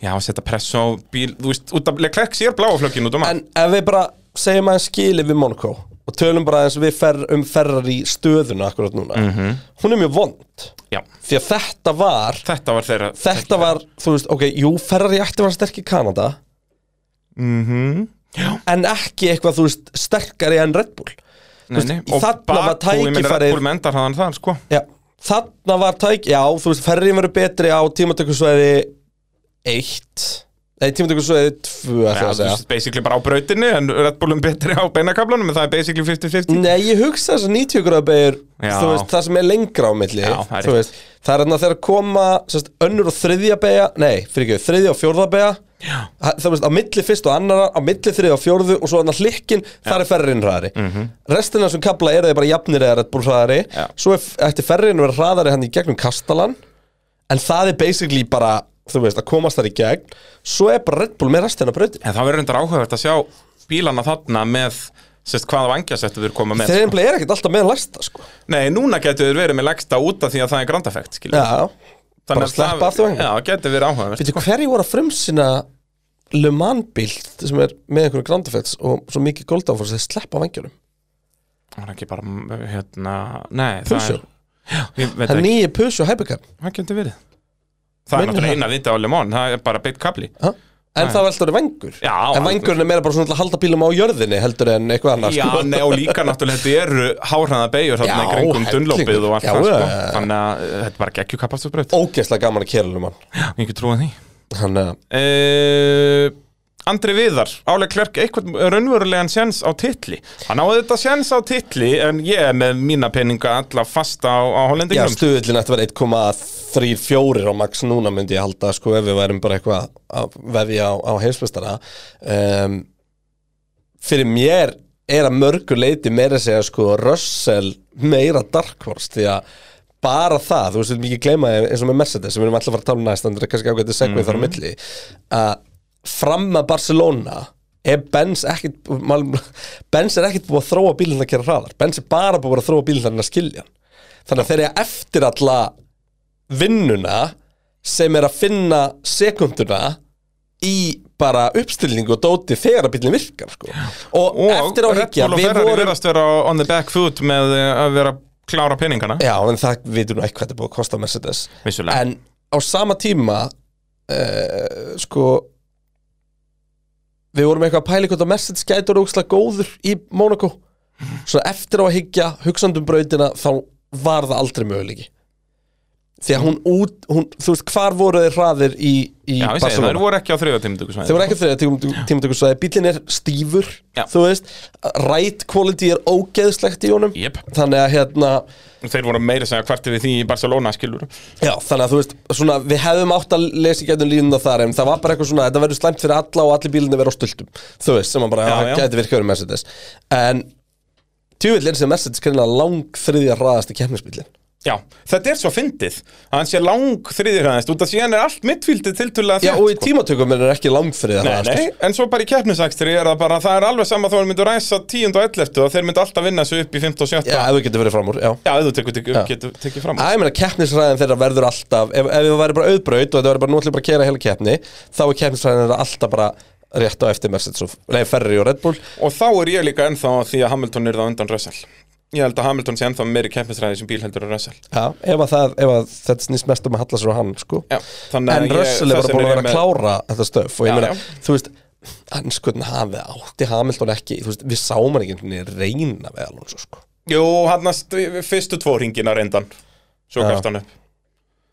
[SPEAKER 2] já, að setja press á bíl, þú veist, út af Leclerc sér bláaflökin út um hann,
[SPEAKER 3] En ef við bara segjum aðeins skilið við Monaco og tölum bara aðeins við fer, um Ferrari stöðuna akkurat núna
[SPEAKER 2] Mhm.
[SPEAKER 3] Hún er mjög vond
[SPEAKER 2] já,
[SPEAKER 3] Því að þetta var
[SPEAKER 2] þetta var þeirra
[SPEAKER 3] Þetta var, þú veist, ok, jú, Ferrari ætti að vera sterk í Kanada
[SPEAKER 2] Mhm.
[SPEAKER 3] -hmm. En ekki eitthvað, þú veist, sterkari en Red Bull
[SPEAKER 2] nei, nei,
[SPEAKER 3] veist, þarna var
[SPEAKER 2] ég meina,
[SPEAKER 3] tækifærið-
[SPEAKER 2] Red Bull mendar hann þar, sko
[SPEAKER 3] Já, þarna var tæk Já, þú veist, ferri verður betri á tímatökusvæði 1 Nei, tímatökusvæði 2
[SPEAKER 2] Já,
[SPEAKER 3] ætla ég að
[SPEAKER 2] þú
[SPEAKER 3] segja.
[SPEAKER 2] veist, basically bara á brautinni, en Red Bullum betri á beinakablanum, en það er basically 50-50
[SPEAKER 3] Nei, ég hugsa þess að 90 gráðbeir
[SPEAKER 2] Já.
[SPEAKER 3] Þú veist, það sem er lengra á milli
[SPEAKER 2] Já, það er
[SPEAKER 3] þú veist, Það er þarna þegar koma sérst, önnur og þriðja beja Nei, fyrir ekki, þriðja og fjórða beja Já. Þú veist, á milli fyrst og annara Á milli þriðja og fjórðu og svo annað hlikkin Þar er ferrin hraðari mm -hmm. Restina sem kabla eru þeir bara jafnir eða Red Bull hraðari
[SPEAKER 2] Mhm. Já.
[SPEAKER 3] Svo er, eftir ferrin verður hraðari hann í gegnum kastalan En það er basically bara Þú veist, að komast þar í gegn Svo er bara Red Bull með restina brautin
[SPEAKER 2] En það verður reyndar áhugavert að sjá bílana þarna með, sérst, hvaða vangjasettu þeir koma með sko.
[SPEAKER 3] Þeir nefnilega eru ekkert alltaf með læsta, sko
[SPEAKER 2] Nei, núna getur þeir verið með legsta út af því að það er grandafekt, skilur
[SPEAKER 3] Já, bara sleppa af því vangi.
[SPEAKER 2] Já, getur verið áhugavert
[SPEAKER 3] Býtu, hverju voru að frumsýna Le Mans bíl sem er með einhverju grandafets og svo mikið goldáfórs þeir sleppa vangjunum
[SPEAKER 2] Það er ekki bara, m- hérna, nei
[SPEAKER 3] Peugeot,
[SPEAKER 2] Það er, ég veit
[SPEAKER 3] það er
[SPEAKER 2] ekki,
[SPEAKER 3] nýju Peugeot Hypercar
[SPEAKER 2] það getur verið Það er
[SPEAKER 3] Minnir það.
[SPEAKER 2] náttúrulega eina viti á Le Mans, það er bara beitt kabli
[SPEAKER 3] ha? en það var alltaf vangur
[SPEAKER 2] Já,
[SPEAKER 3] en
[SPEAKER 2] alveg.
[SPEAKER 3] vangurinn er meira bara svona til að halda bílum á jörðinni heldur en eitthvað annars
[SPEAKER 2] Já, nei, og líka náttúrulega þetta eru háhræða beigur þarna í
[SPEAKER 3] sko. Já,
[SPEAKER 2] kringum
[SPEAKER 3] hellingur.
[SPEAKER 2] dunlópið og allt
[SPEAKER 3] Já,
[SPEAKER 2] það sko.
[SPEAKER 3] já, já.
[SPEAKER 2] Þannig að eh, þetta er bara geggjukapastusbraut
[SPEAKER 3] ógeðslega gaman að kera Le Mans
[SPEAKER 2] Ég ekki trúið því
[SPEAKER 3] hann uh,
[SPEAKER 2] uh, Andri Viðar, áleg klerk eitthvað raunverulegan sjens á titli Hann áði þetta sjens á titli en ég er með mína peninga alla fasta á, á
[SPEAKER 3] já,
[SPEAKER 2] hollendingum
[SPEAKER 3] stuðullin ætti að vera 1,34 á max núna myndi ég halda sko ef við værum bara eitthvað að veðja á, á heimsbestara um, fyrir mér er að mörgu leiti meira að segja sko Russell meira Dark Horse því að bara það, þú veist, við erum ekki gleyma því eins og með Mercedes sem við erum alltaf að fara að tala um næst þannig að kannski ágætið segvið mm þar á milli að fram með Barcelona er Benz ekkit mal- Benz er ekkit búið að þróa bílinn að gera hraðar Benz er bara búið að þróa bílinn þannig að skilja hann þannig að þeir eru eftir alla vinnuna sem er að finna sekunduna í bara uppstillingu og dóti þegar að bílinn virkar sko. og,
[SPEAKER 2] og
[SPEAKER 3] eftir á að
[SPEAKER 2] Red
[SPEAKER 3] higgja
[SPEAKER 2] Bull og
[SPEAKER 3] við
[SPEAKER 2] Ferrari
[SPEAKER 3] vorum
[SPEAKER 2] verðast vera on the back foot með eh, að vera klára peningana
[SPEAKER 3] já, en það vitum nú ekki hvað þetta er búið að kosta Mercedes
[SPEAKER 2] vissulega,
[SPEAKER 3] en á sama tíma uh, sko við vorum eitthvað að pæla hvort að Mercedes gætur ógslag góður í Monaco um svo eftir á að higgja hugsandum brautina þá var það aldrei möguleiki því að hún út, hún, þú veist, hvar voru þeir hraðir í, í
[SPEAKER 2] Já, ég segi, það voru ekki á þriða tímutöku
[SPEAKER 3] Þeir voru ekki þriða tímatökusvæði, bílinn er stífur,
[SPEAKER 2] Já.
[SPEAKER 3] þú veist, ride quality er ógeðslegt í honum
[SPEAKER 2] Jep.
[SPEAKER 3] Þannig að hérna,
[SPEAKER 2] Þeir voru meira að segja kvartir við því í Barcelona skilur
[SPEAKER 3] já, þannig að þú veist, svona, við hefum átt að lesa í gætum línuna þar En það var bara eitthvað svona, þetta verður slæmt fyrir alla og allir bílinni verður á stultum Þú veist, sem að bara,
[SPEAKER 2] Já,
[SPEAKER 3] já,
[SPEAKER 2] já.
[SPEAKER 3] gæti virkað verið Mercedes En tjúvill er sem Mercedes kynna lang þriðja hraðasti kemminsbílinn
[SPEAKER 2] Já, þetta er svo fyndið að hann sé lang þriðirhæðist út af síðan er allt mittfíldið tiltölulega
[SPEAKER 3] Já,
[SPEAKER 2] þétt,
[SPEAKER 3] og í
[SPEAKER 2] sko.
[SPEAKER 3] tímatökum er ekki lang þriðja
[SPEAKER 2] Nei,
[SPEAKER 3] hraðasti
[SPEAKER 2] nei, en svo bara í keppnisakstri er það bara, það er alveg sama þó að þeir myndu ræsa 10 og 11 og þeir myndu alltaf vinna þessu upp í 15 og 17
[SPEAKER 3] Já, ef þú getur verið fram úr, já
[SPEAKER 2] Já, ef þú tekur, tekur,
[SPEAKER 3] Já. Ah.
[SPEAKER 2] getur tekið fram
[SPEAKER 3] Já, ég meina, keppnisræðin þeirra verður alltaf Ef, ef það væri bara auðbraut og þetta væri bara nú ætlum við bara að kera heila keppni Þá er keppnisræðin þeirra alltaf bara rétt á eftir Mercedes og, Nei, Ferrari og Red Bull
[SPEAKER 2] Og þá er ég líka ennþá á því að Hamilton er það undan Russell Ég held að Hamilton sé ennþá meiri keppnisræði sem bíl heldur en Russell
[SPEAKER 3] Já, ef, að það, ef að þetta snýst mest um að halla sér á hann, sko
[SPEAKER 2] Já, þannig að
[SPEAKER 3] En
[SPEAKER 2] ég-
[SPEAKER 3] Russell er
[SPEAKER 2] þess
[SPEAKER 3] bara
[SPEAKER 2] vegna
[SPEAKER 3] búin að vera
[SPEAKER 2] er
[SPEAKER 3] að
[SPEAKER 2] ég með-
[SPEAKER 3] klára þetta stöf Og ég
[SPEAKER 2] Já,
[SPEAKER 3] meina,
[SPEAKER 2] já.
[SPEAKER 3] þú veist Anskotin hafið átti Hamilton ekki Þú veist, við sáum hann ekki einhvern veginn reyna við Alonso, sko
[SPEAKER 2] Jú, hann að fyrstu tvo ringina reyndan Svo
[SPEAKER 3] Já.
[SPEAKER 2] gafst hann upp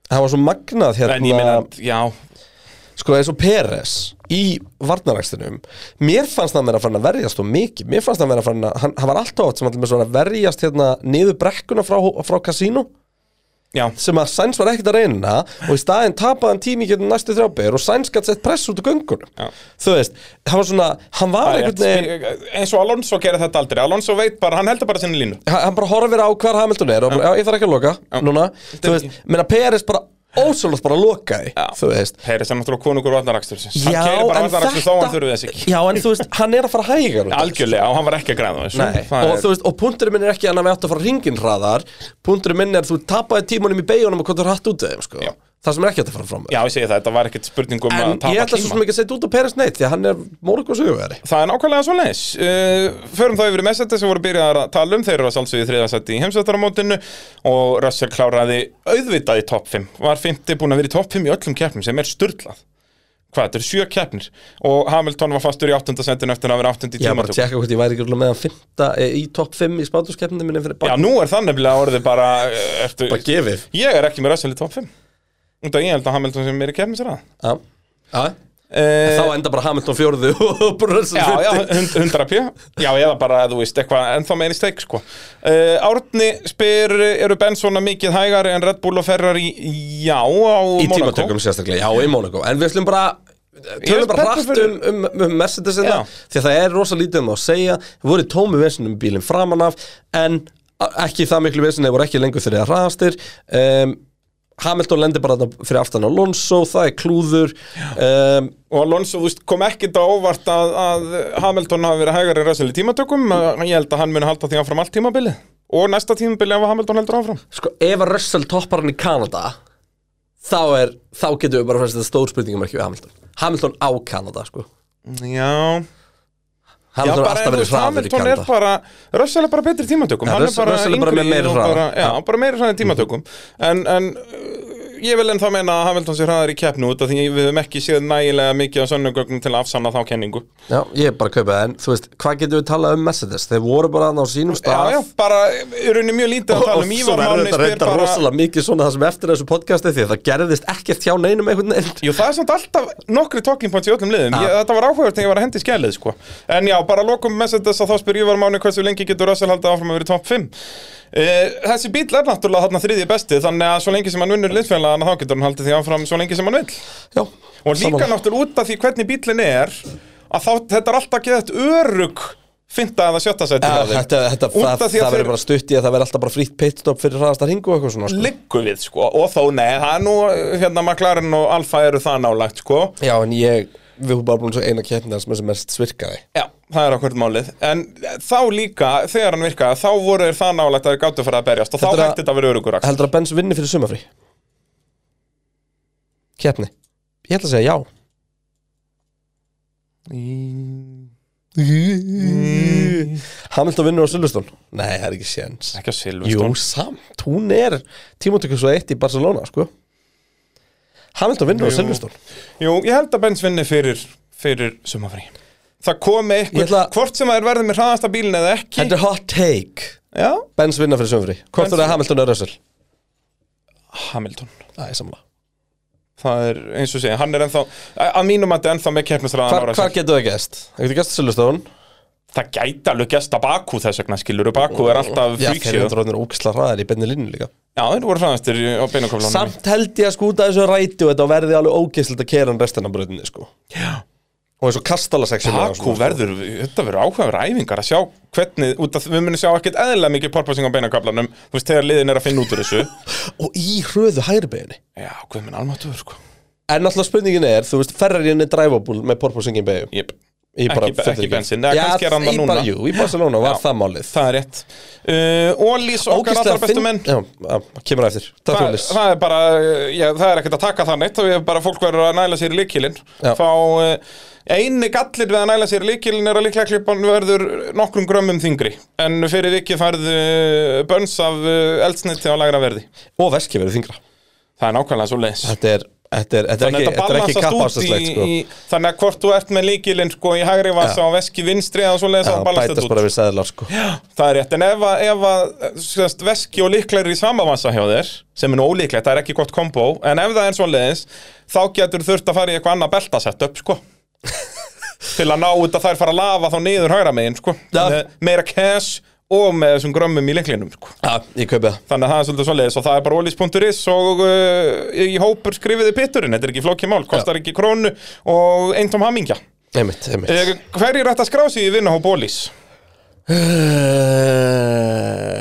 [SPEAKER 3] Það var svo magnað hérna
[SPEAKER 2] En ég minna, já,
[SPEAKER 3] sko eins og Peres í varnarækstinum mér fannst hann vera að fara að verjast og mikið mér fannst hann vera að fara að, hann, hann var alltaf átt sem hann var að verjast hérna niður brekkuna frá, frá kasínu
[SPEAKER 2] já
[SPEAKER 3] sem að Sainz var ekkert að reyna og í staðinn tapaði hann tími getur næstu þrjábyr og Sainz gætt sett press út á göngunum
[SPEAKER 2] Já.
[SPEAKER 3] þú veist, hann var svona hann var
[SPEAKER 2] Það er
[SPEAKER 3] einhvern veginn
[SPEAKER 2] rétt. Spi- eins og Alonso gerir þetta aldrei Alonso veit bara, hann heldur bara sinni línu
[SPEAKER 3] hann hann bara horfir á hvar Hamilton er og bara, já, ég þarf ekki að loka núna, þú
[SPEAKER 2] er
[SPEAKER 3] veist, menna Peres bara ósvöld bara lokaði,
[SPEAKER 2] Já.
[SPEAKER 3] þú veist
[SPEAKER 2] Peris er náttúrulega konungur varnaraksturins hann
[SPEAKER 3] Já,
[SPEAKER 2] keirir bara
[SPEAKER 3] en
[SPEAKER 2] varnarakstur þá hann þurfi þess ekki
[SPEAKER 3] Já, en þú veist, hann er að fara hægar út af þessu.
[SPEAKER 2] algjörlega, og hann var ekki að græða á þessu
[SPEAKER 3] Nei,
[SPEAKER 2] Það
[SPEAKER 3] og
[SPEAKER 2] er-
[SPEAKER 3] þú veist, og punkturinn minn er ekki annað við átt að fara ringin hraðar Punkturinn minn er þú tapaði tímanum í beigunum og hvað þú hratt út af þeim, sko
[SPEAKER 2] Já.
[SPEAKER 3] Það sem er ekki hægt að fara fram með
[SPEAKER 2] já, ég segi það, þetta var ekkert spurning um að
[SPEAKER 3] En ég
[SPEAKER 2] tapa
[SPEAKER 3] ætla svo
[SPEAKER 2] tíma
[SPEAKER 3] sem ekki að setja út á Peres neitt því að hann er morgu og söguveri
[SPEAKER 2] Það er nákvæmlega svo leis uh, Förum þá yfir í Mercedes sem voru byrjaðar að tala um Þeir eru að sálsögðu þriðasætti í heimsvættaramótinu Og Russell kláraði auðvitað í topp 5 Var 50 búin að vera í topp 5 í öllum keppnum sem er sturlað Hvað, þetta eru sjö keppnir Og Hamilton var fastur í 8. sentin eftir að vera 8. í
[SPEAKER 3] Ég var bara að
[SPEAKER 2] tímatöku
[SPEAKER 3] tjekka hvort ég væri ekki með hann fimmta eh, í topp 5 í spátuskeppninu minni fyrir
[SPEAKER 2] Já,
[SPEAKER 3] bara,
[SPEAKER 2] nú er það nefnilega orðið bara eh, ertu,
[SPEAKER 3] bara gefið
[SPEAKER 2] Ég er ekki með Russell í topp 5 Unda ég held að Hamilton sem er í keppnum sér að
[SPEAKER 3] Já, já
[SPEAKER 2] Uh,
[SPEAKER 3] Þá enda bara Hamilton fjórðu og Brunson
[SPEAKER 2] Já, já,
[SPEAKER 3] fimmti
[SPEAKER 2] hund- 100 pjö Já, eða bara, þú veist, eitthvað ennþá meiri steik, sko uh, Árni spyr, eru Bensona mikið hægari en Red Bull og Ferrari? Já, á
[SPEAKER 3] Í
[SPEAKER 2] Monaco.
[SPEAKER 3] tímatökum sérstaklega, já, í Monaco En við slum bara eh,
[SPEAKER 2] Ég
[SPEAKER 3] Tölum
[SPEAKER 2] er
[SPEAKER 3] bara
[SPEAKER 2] spenntur
[SPEAKER 3] hratt um, um, um Mercedes þetta
[SPEAKER 2] Já.
[SPEAKER 3] Því að það er rosa lítið um að segja Það voru tómi vesinum bílinn framan af En a- ekki það miklu vesin Það voru ekki lengur þegar hraðastir um, Hamilton lendir bara þarna fyrir aftan á Alonso Það er klúður um,
[SPEAKER 2] Og Alonso, þú veist, kom ekkit á óvart að, að Hamilton hafi verið hægari en Russell í tímatökum Eh, Ég held að hann muni halda því áfram allt tímabilið Og næsta tímabilið ef að Hamilton heldur áfram
[SPEAKER 3] Sko, ef að Russell toppar hann í Kanada Þá er, þá getum við bara fæst þetta stór spurningum ekki við Hamilton Hamilton á Kanada, sko
[SPEAKER 2] Já, já
[SPEAKER 3] Hamilton er
[SPEAKER 2] bara,
[SPEAKER 3] alltaf
[SPEAKER 2] þú
[SPEAKER 3] verið
[SPEAKER 2] veist,
[SPEAKER 3] hraður í
[SPEAKER 2] Hamilton er
[SPEAKER 3] Kanada
[SPEAKER 2] bara Russell er bara betri í tímatökum
[SPEAKER 3] Ja,
[SPEAKER 2] Hann
[SPEAKER 3] Russell-
[SPEAKER 2] er bara
[SPEAKER 3] Russell er bara
[SPEAKER 2] yngri
[SPEAKER 3] með meiri Mhm.
[SPEAKER 2] og
[SPEAKER 3] hraða.
[SPEAKER 2] bara, Já, bara meiri hraða í tímatökum En, en uh, ég vil ennþá meina að Hamilton sé hraðar í keppnu út af því við höfum ekki séð nægilega mikið á sönnugögnum til að afsanna þá kenningu
[SPEAKER 3] Já, ég er bara að kaupa það, en þú veist, hvað getum við talað um Mercedes? Þeir voru bara þarna á sínum
[SPEAKER 2] Já,
[SPEAKER 3] stað
[SPEAKER 2] já, bara, er rauninni mjög lítið að
[SPEAKER 3] og,
[SPEAKER 2] tala
[SPEAKER 3] og
[SPEAKER 2] um
[SPEAKER 3] svo
[SPEAKER 2] Ívar
[SPEAKER 3] verður
[SPEAKER 2] Máni
[SPEAKER 3] þetta
[SPEAKER 2] spyr
[SPEAKER 3] reynda
[SPEAKER 2] bara
[SPEAKER 3] rosalega mikið svona það sem eftir er þessu podcasti því að það gerðist ekkert hjá neinum einhvern veginn
[SPEAKER 2] Jú, það er samt alltaf nokkri talking points í öllum liðum
[SPEAKER 3] Ah.
[SPEAKER 2] ég, Þetta var áhugavert þegar ég var að hendi skælið, sko En já, bara lokum messendess að þá spyr Ívar Máni hversu lengi getur Russell haldið áfram að vera í topp 5 uh, Þessi bíl er náttúrulega þarna þriðji besti Þannig að svo lengi sem hann vinnur liðsfélagana þá getur hann haldið því áfram svo lengi sem hann vill
[SPEAKER 3] Já,
[SPEAKER 2] Og líka
[SPEAKER 3] Sammála.
[SPEAKER 2] náttúrulega út af því hvernig bílinn er að þá, þetta er alltaf geðt örug fynda eða sjötta sæti
[SPEAKER 3] Já,
[SPEAKER 2] hjá þeim.
[SPEAKER 3] Ah, þetta, þetta,
[SPEAKER 2] Út
[SPEAKER 3] það,
[SPEAKER 2] af því
[SPEAKER 3] það
[SPEAKER 2] að
[SPEAKER 3] verður
[SPEAKER 2] þeir
[SPEAKER 3] bara stutt í að það verður alltaf bara frýtt pitstop fyrir hraðasta hringu og eitthvað svona sko.
[SPEAKER 2] liggu við sko og þó nei, það er nú hérna McLaren og Alfa eru það nálægt sko
[SPEAKER 3] Já, en ég, við erum bara búin svo eina keppnir sem er sem mest svirkaði
[SPEAKER 2] Já, það er okkur málið en þá líka, þegar hann virkaði þá voru þeir það nálægt að þeir gáttu fara að berjast og þá
[SPEAKER 3] Þetta er að-
[SPEAKER 2] hætti þetta að vera örugur axl
[SPEAKER 3] Heldur að Benz vinni fyrir sumafrí? Keppni? Ég ætla að segja já Mm. Hamilton vinnur á Silveston? Nei, það er ekki séns
[SPEAKER 2] Ekki að silfa
[SPEAKER 3] Jú, Sko, samt, hún er tímatökum svo eitt í Barcelona, sko Hamilton vinnur á
[SPEAKER 2] Jú.
[SPEAKER 3] Silveston
[SPEAKER 2] Jú, ég held að Benz vinni fyrir, fyrir sumafrí Það komi
[SPEAKER 3] Ég
[SPEAKER 2] eitthvað,
[SPEAKER 3] ætla-
[SPEAKER 2] hvort sem að þeir verði með hraðasta bílinn eða ekki
[SPEAKER 3] Þetta er hot take
[SPEAKER 2] Já,
[SPEAKER 3] Benz vinnar fyrir sömfri, hvort
[SPEAKER 2] Benz-
[SPEAKER 3] er það Hamilton eða Russell?
[SPEAKER 2] Hamilton
[SPEAKER 3] Það er samla
[SPEAKER 2] Það er eins og segja, hann er ennþá að mínum að þetta er ennþá með
[SPEAKER 3] Hvar,
[SPEAKER 2] keppnisraðan
[SPEAKER 3] hvar getur það gæst? Það getur gæst Silveston
[SPEAKER 2] Það gæti alveg gesta Bakú þess vegna skilur Bakú er alltaf
[SPEAKER 3] Já, þeir eru
[SPEAKER 2] fríksið Já,
[SPEAKER 3] dróðnir ógisla hraðar í benni línu líka
[SPEAKER 2] þeir voru fræðastir í- á beinakoflunum
[SPEAKER 3] Samt held ég að skúta þessu ræti og þetta verði alveg ógislegt að kera hann restina bröðinni sko
[SPEAKER 2] Já.
[SPEAKER 3] Og eins og kastala seksjum
[SPEAKER 2] Bakú verður, þetta verður áhugaður æfingar að sjá hvernig, út að við munum sjá ekkert eðlilega mikið porpoising á beinakoflunum Þú veist, þegar liðin er að finna út úr þessu
[SPEAKER 3] Og í hröðu hægri beginni
[SPEAKER 2] Já, hvað minn almatur, sko
[SPEAKER 3] En alltaf spurningin er, þú veist, Ferrarin er dræfabúl með porposingin beigum
[SPEAKER 2] yep.
[SPEAKER 3] Í bara
[SPEAKER 2] Ekki-
[SPEAKER 3] fullu
[SPEAKER 2] ekki
[SPEAKER 3] gír.
[SPEAKER 2] bensín, eða
[SPEAKER 3] Já,
[SPEAKER 2] kannski er hann það
[SPEAKER 3] í
[SPEAKER 2] núna.
[SPEAKER 3] bara- Jú, í Barcelona var
[SPEAKER 2] Já.
[SPEAKER 3] það málið
[SPEAKER 2] Það er rétt uh, Ólís okkar
[SPEAKER 3] Ógeðslega
[SPEAKER 2] allar bestu
[SPEAKER 3] finn-
[SPEAKER 2] menn
[SPEAKER 3] Já, já, kemur á eftir Takk
[SPEAKER 2] Þa,
[SPEAKER 3] fyrir Ólís
[SPEAKER 2] það er bara, uh, já, það er ekkert að taka það neitt þá er bara fólk verður að næla sér í líkilinn
[SPEAKER 3] Já.
[SPEAKER 2] fá uh, eini gallir við að næla sér í líkilinn er að líklega klippan verður nokkrum grömmum þingri en fyrir vikið færðu uh, bönns af uh, eldsniti á lægra verði
[SPEAKER 3] Og veski verður þingra
[SPEAKER 2] það er nákvæmlega svo leis
[SPEAKER 3] Þetta er, þetta er, þetta er
[SPEAKER 2] Þannig
[SPEAKER 3] ekki,
[SPEAKER 2] að
[SPEAKER 3] þetta er ekki
[SPEAKER 2] balansast út í,
[SPEAKER 3] kappastaslegt sko
[SPEAKER 2] í, þannig að hvort þú ert með líkilinn sko í hægri vasa
[SPEAKER 3] Já.
[SPEAKER 2] og veski vinstri eða svo leiðis
[SPEAKER 3] Já,
[SPEAKER 2] að ballast
[SPEAKER 3] bætast
[SPEAKER 2] þetta
[SPEAKER 3] bara
[SPEAKER 2] út.
[SPEAKER 3] við seðlar sko
[SPEAKER 2] Það er rétt, en ef, að- ef að sérst, veski og líklar í sama vasa hjá þér sem er nú ólíklegt, það er ekki gott kombo en ef það er svoleiðis, þá getur þurft að fara í eitthvað annað beltasett upp sko. til að ná út að þær fara að lafa þá niður hægra megin sko.
[SPEAKER 3] Já.
[SPEAKER 2] Með meira cash og með þessum grömmum í líklinum sko.
[SPEAKER 3] Já, ég kaupi það
[SPEAKER 2] þannig að það er svolítið svoleiðis og það er bara olis.is og uh, í hópur skrifiði pitturinn, þetta er ekki flókið mál, kostar ekki krónu og eintóm hamingja
[SPEAKER 3] Einmitt, einmitt
[SPEAKER 2] uh, hverjir ætti að skrá sig í vinnahóp olis?
[SPEAKER 3] Eh,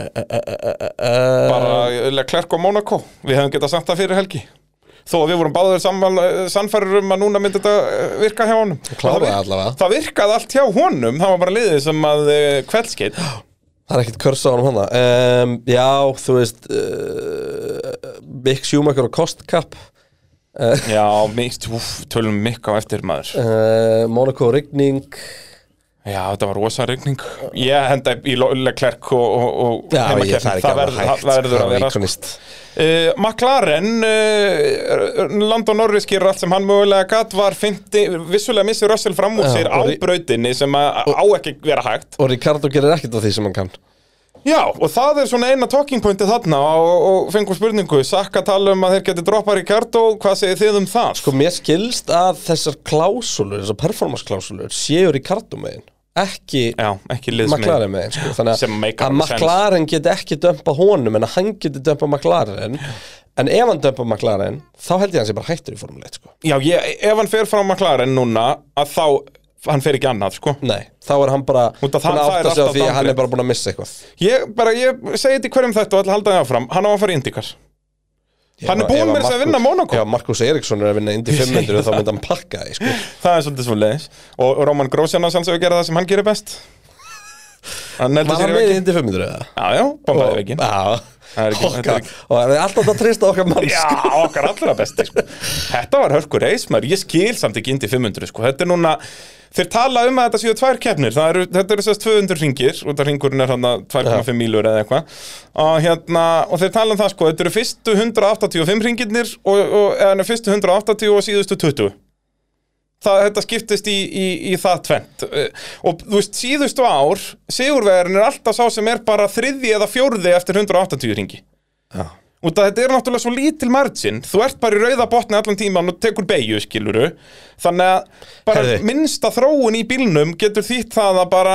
[SPEAKER 3] eh.
[SPEAKER 2] bara eh, Leclerc og Monaco við hefum getað samt það fyrir helgi þó að við vorum báður sannfærir um að núna myndi þetta eh, virka hjá honum
[SPEAKER 3] kláraði
[SPEAKER 2] Og það vir-
[SPEAKER 3] allavega.
[SPEAKER 2] það virkaði allt hjá honum, það var bara liðið sem að eh, kveldskeitt
[SPEAKER 3] Það er ekkert körsa á hann hana um, Já, þú veist uh, Mick Schumacher og Kostkapp
[SPEAKER 2] já, mikt, úf, tölum mikka á eftir maður
[SPEAKER 3] uh, Monaco og Rigning
[SPEAKER 2] já, þetta var rosa rigning ég henda í Lo- Leclerc og, og, og
[SPEAKER 3] Já,
[SPEAKER 2] heimakeppni.
[SPEAKER 3] ég, það er ekki
[SPEAKER 2] það
[SPEAKER 3] alveg
[SPEAKER 2] verður,
[SPEAKER 3] hægt
[SPEAKER 2] það verður að vera sko.
[SPEAKER 3] íkonist
[SPEAKER 2] Uh, McLaren uh, Landon Norris gerir allt sem hann mögulega gatt var 50, vissulega missi Russell fram úr
[SPEAKER 3] Já,
[SPEAKER 2] sér á
[SPEAKER 3] og ri-
[SPEAKER 2] brautinni sem að á ekki vera hægt
[SPEAKER 3] Og Ricardo gerir ekkert af því sem hann kann
[SPEAKER 2] Já, og það er svona eina talking pointi þarna og, og fengur spurningu Sakka tala um að þeir geti droppað Ricardo hvað segir þið um það?
[SPEAKER 3] Sko, mér skilst að þessar klásulur, þessar performance klásulur séu Ricardo megin Ekki
[SPEAKER 2] Já, ekki liðsmi
[SPEAKER 3] McLaren megin sko.
[SPEAKER 2] Sem
[SPEAKER 3] Þannig
[SPEAKER 2] make
[SPEAKER 3] að- að
[SPEAKER 2] alveg sense.
[SPEAKER 3] McLaren get ekki dömpað honum en að hann geti dömpað McLaren En ef hann dömpað McLaren þá held ég að hann sé bara hættur í formuleitt sko.
[SPEAKER 2] Já, ég, ef hann fer frá McLaren núna að þá hann fer ekki annað, sko
[SPEAKER 3] Nei, þá er hann bara
[SPEAKER 2] Út af það-
[SPEAKER 3] búinn að
[SPEAKER 2] það er
[SPEAKER 3] átta sig á
[SPEAKER 2] alltaf
[SPEAKER 3] því að hann
[SPEAKER 2] downgrade.
[SPEAKER 3] er bara búin að missa eitthvað
[SPEAKER 2] Ég, bara, ég segi þetta í hverjum þetta og ætla að halda það áfram Hann á að fara í Indikar Hann
[SPEAKER 3] Ef
[SPEAKER 2] er búinn
[SPEAKER 3] að
[SPEAKER 2] með þess að
[SPEAKER 3] Markús-
[SPEAKER 2] vinna Monaco.
[SPEAKER 3] Já, Markus Eriksson er að vinna Indy 500 þá myndi hann pakka því sko.
[SPEAKER 2] Það er svolítið svo leiðis Og Róman Grósjana sjálfsögur gera það sem hann gerir best Hann
[SPEAKER 3] Var
[SPEAKER 2] neldi
[SPEAKER 3] hann
[SPEAKER 2] sér í
[SPEAKER 3] með í
[SPEAKER 2] vegginn.
[SPEAKER 3] Indy 500 eða?
[SPEAKER 2] Já, já, bombaði veginn
[SPEAKER 3] Já,
[SPEAKER 2] Það er ekki- þetta er
[SPEAKER 3] okkar
[SPEAKER 2] ekki-
[SPEAKER 3] Og það er alltaf að trista okkar mann
[SPEAKER 2] Já,
[SPEAKER 3] sko.
[SPEAKER 2] okkar allra besti sko. Þetta var hörku reis, maður, ég skil samt ekki indi 500, sko, þetta er núna Þeir tala um að þetta séu tvær keppnir, Það eru, þetta eru sérst 200 ringir, út af ringurinn er hann 2,5 mílur eða eitthvað og, hérna, og þeir tala um það, sko, þetta eru fyrstu 185 ringirnir og, og, eða, nei, fyrstu 180 og síðustu 20 það, þetta skiptist í, í, í það tvent og þú veist, síðustu ár sigurvegarinn er alltaf sá sem er bara þriðji eða fjórði eftir 180 ringi
[SPEAKER 3] Já.
[SPEAKER 2] Út að þetta er náttúrulega svo lítil margin Þú ert bara í rauða botni allan tíman og tekur beigju, skiluru Þannig að bara
[SPEAKER 3] Heyrðu.
[SPEAKER 2] minnsta þróun í bílnum getur þýtt það að bara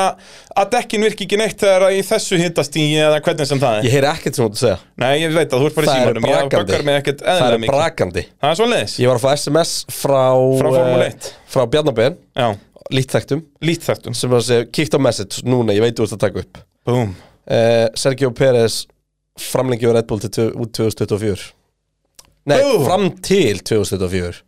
[SPEAKER 2] að dekkin virki ekki neitt þegar að í þessu hittast í eða hvernig sem það er
[SPEAKER 3] Ég heyri ekkert sem þú ert að segja
[SPEAKER 2] Nei, ég veit að þú ert bara í
[SPEAKER 3] Það er
[SPEAKER 2] símanum Ég böggar mig
[SPEAKER 3] brakandi
[SPEAKER 2] ekkert
[SPEAKER 3] Það
[SPEAKER 2] eðlilega
[SPEAKER 3] er
[SPEAKER 2] mikið
[SPEAKER 3] brakandi
[SPEAKER 2] Það er svo leiðis
[SPEAKER 3] Ég var að fá SMS frá
[SPEAKER 2] Frá Formúlu
[SPEAKER 3] eh,
[SPEAKER 2] 1.
[SPEAKER 3] Frá Bjarnabén,
[SPEAKER 2] Já,
[SPEAKER 3] lít þekktum
[SPEAKER 2] lít um. þættum
[SPEAKER 3] sem var að segja, kíkt á message núna, ég veit þú ert að taka upp
[SPEAKER 2] Búm
[SPEAKER 3] uh, Sergio Pérez framlengi á Red Bull til tvö- út 2024 Nei,
[SPEAKER 2] Bú!
[SPEAKER 3] fram til 2024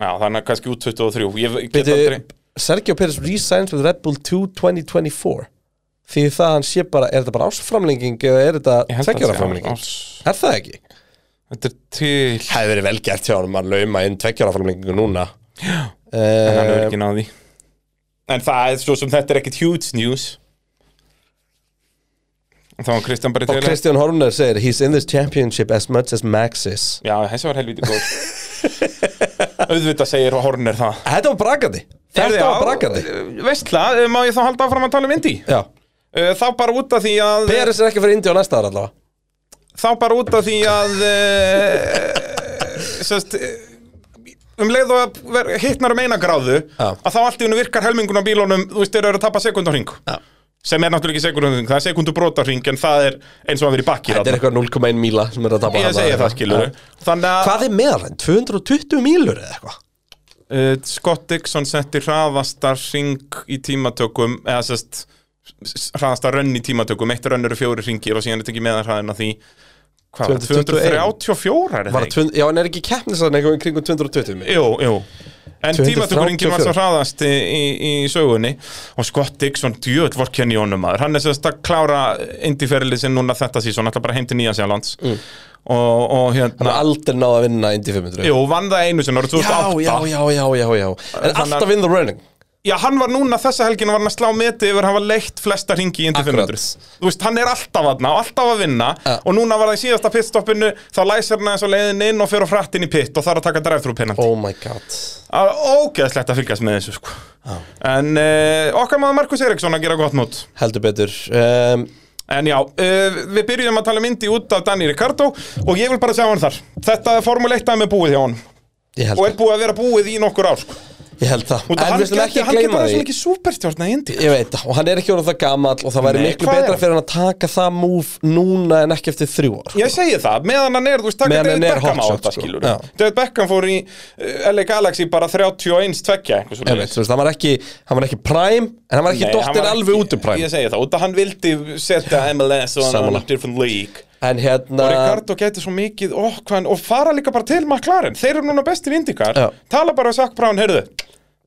[SPEAKER 2] Já, þannig að kannski út 23 Ég ég get
[SPEAKER 3] Byrju,
[SPEAKER 2] aldrei
[SPEAKER 3] Sergio Pérez resigns with Red Bull to 2024 Því það að hann sé bara, er þetta bara ásframlenging eða er
[SPEAKER 2] Ég
[SPEAKER 3] þetta
[SPEAKER 2] held að
[SPEAKER 3] tveggjara
[SPEAKER 2] sé
[SPEAKER 3] framlenging?
[SPEAKER 2] ás-
[SPEAKER 3] Er það ekki?
[SPEAKER 2] Þetta er til
[SPEAKER 3] Það hefði verið vel gert hjá hann að lauma inn tveggjara framlengingu núna
[SPEAKER 2] En hann hefur
[SPEAKER 3] uh,
[SPEAKER 2] ekki náð því En það er svo sem þetta er ekkit huge news Og þá var Kristján bara
[SPEAKER 3] Og
[SPEAKER 2] til
[SPEAKER 3] Kristján Horner segir He's in this championship as much as Max is
[SPEAKER 2] Já, þessi var helviti góð Auðvitað segir Horner það
[SPEAKER 3] Þetta var brakandi Þetta var brakandi
[SPEAKER 2] Vestla, má ég þá halda áfram að tala um Indy?
[SPEAKER 3] Já
[SPEAKER 2] Uh, Þá bara út af því að
[SPEAKER 3] Peres er ekki fyrir Indi á næsta ára allavega
[SPEAKER 2] þá bara út af því að e, sest, um leið og ver, hittnar um eina gráðu
[SPEAKER 3] Já.
[SPEAKER 2] að þá allt í hennu virkar helmingun á bílunum þú veist, þeir eru að tapa sekund á hring
[SPEAKER 3] Já.
[SPEAKER 2] sem er náttúrulega ekki sekund á hring það er sekundu brota hring en það er eins og að vera í bakki
[SPEAKER 3] Þetta er eitthvað 0,1 míla sem er að tapa
[SPEAKER 2] ég
[SPEAKER 3] hana.
[SPEAKER 2] segi það skilur þannig að
[SPEAKER 3] Hvað er meðalenn? 220 mílur eða eitthvað?
[SPEAKER 2] uh, Scott Dixon setti hraðasta ring í tímatökum eða sest hraðasta rönn í tímatökum eitt rönn eru fjóri ringir og síðan er tekið meðan hraðina því hvað var það,
[SPEAKER 3] 221?
[SPEAKER 2] 234 er það
[SPEAKER 3] Var
[SPEAKER 2] ekki?
[SPEAKER 3] 200 Já, en er ekki keppnisann eitthvað í kringum 220 mílur?
[SPEAKER 2] Jú, jú En
[SPEAKER 3] 234.
[SPEAKER 2] tímatökuringin var svo hraðast í, í, í sögunni og Scott Dixon djöð vorkenn í honum maður hann er sérst að klára indiferlið sem núna þetta sísón, ætla bara heim til Nýja Sjálflands og, og
[SPEAKER 3] Mm. Hann
[SPEAKER 2] hérna
[SPEAKER 3] er aldrei náð að vinna Indy 500
[SPEAKER 2] Jú, vann það einu sinni árið
[SPEAKER 3] já,
[SPEAKER 2] 2008
[SPEAKER 3] já, já, já, já, já En
[SPEAKER 2] Þannig að-
[SPEAKER 3] alltaf in the running
[SPEAKER 2] Já, hann var núna þessa helgin var hann að slá meti yfir að hafa leitt flesta ringi í Indy
[SPEAKER 3] Akkurat.
[SPEAKER 2] 500 Þú veist, hann er alltaf aðna og alltaf að vinna
[SPEAKER 3] Ja.
[SPEAKER 2] og núna var það í síðasta pitstoppinu þá læsir hann aðeins á leiðin inn og fer á fratt inn í pitt og þarf að taka drive-thru penalti
[SPEAKER 3] Oh my god
[SPEAKER 2] oh. Ógeðslegt að fylgjast með þessu sko En uh, okkar maður Markus Eriksson að gera gott mót
[SPEAKER 3] Heldur betur um,
[SPEAKER 2] En já, uh, við byrjum að tala myndi út af Dani Ricardo og ég vil bara sjá hann þar Þetta er Formule 1 að með búið hjá hann
[SPEAKER 3] ég, held,
[SPEAKER 2] og er búið að vera búið í nokkur ár sko.
[SPEAKER 3] ég held það
[SPEAKER 2] Út af
[SPEAKER 3] En
[SPEAKER 2] hann
[SPEAKER 3] við slum ekki
[SPEAKER 2] gæti- hann getur
[SPEAKER 3] gleyma
[SPEAKER 2] verið svo
[SPEAKER 3] því
[SPEAKER 2] mikið superstjórna í Indy
[SPEAKER 3] Ég veit það, og hann er ekki orðið það gamall og það væri
[SPEAKER 2] Nei,
[SPEAKER 3] miklu
[SPEAKER 2] hvað er
[SPEAKER 3] betra
[SPEAKER 2] hann?
[SPEAKER 3] fyrir hann að taka það múf núna en ekki eftir þrjú ár
[SPEAKER 2] Ég segi það, meðan hann er, þú veist, taka
[SPEAKER 3] Meðan hann
[SPEAKER 2] David
[SPEAKER 3] er
[SPEAKER 2] Beckham á
[SPEAKER 3] hotshot,
[SPEAKER 2] þetta,
[SPEAKER 3] sko.
[SPEAKER 2] skilur
[SPEAKER 3] Já.
[SPEAKER 2] David Beckham fór í uh, LA Galaxy bara 31 tvekja, einhvers
[SPEAKER 3] Ég veit, þú veist, hann var ekki, hann var ekki prime en hann var ekki dottir alveg út um prime
[SPEAKER 2] Ég segi það, út að hann vildi setja MLS og hann
[SPEAKER 3] Sammála.
[SPEAKER 2] á different league
[SPEAKER 3] En hérna,
[SPEAKER 2] Og Ricardo gæti svo mikið, óh, hvað hann, og fara líka bara til McLaren Þeir eru núna bestir indikar,
[SPEAKER 3] Já.
[SPEAKER 2] tala bara við Sack Brown, heyrðu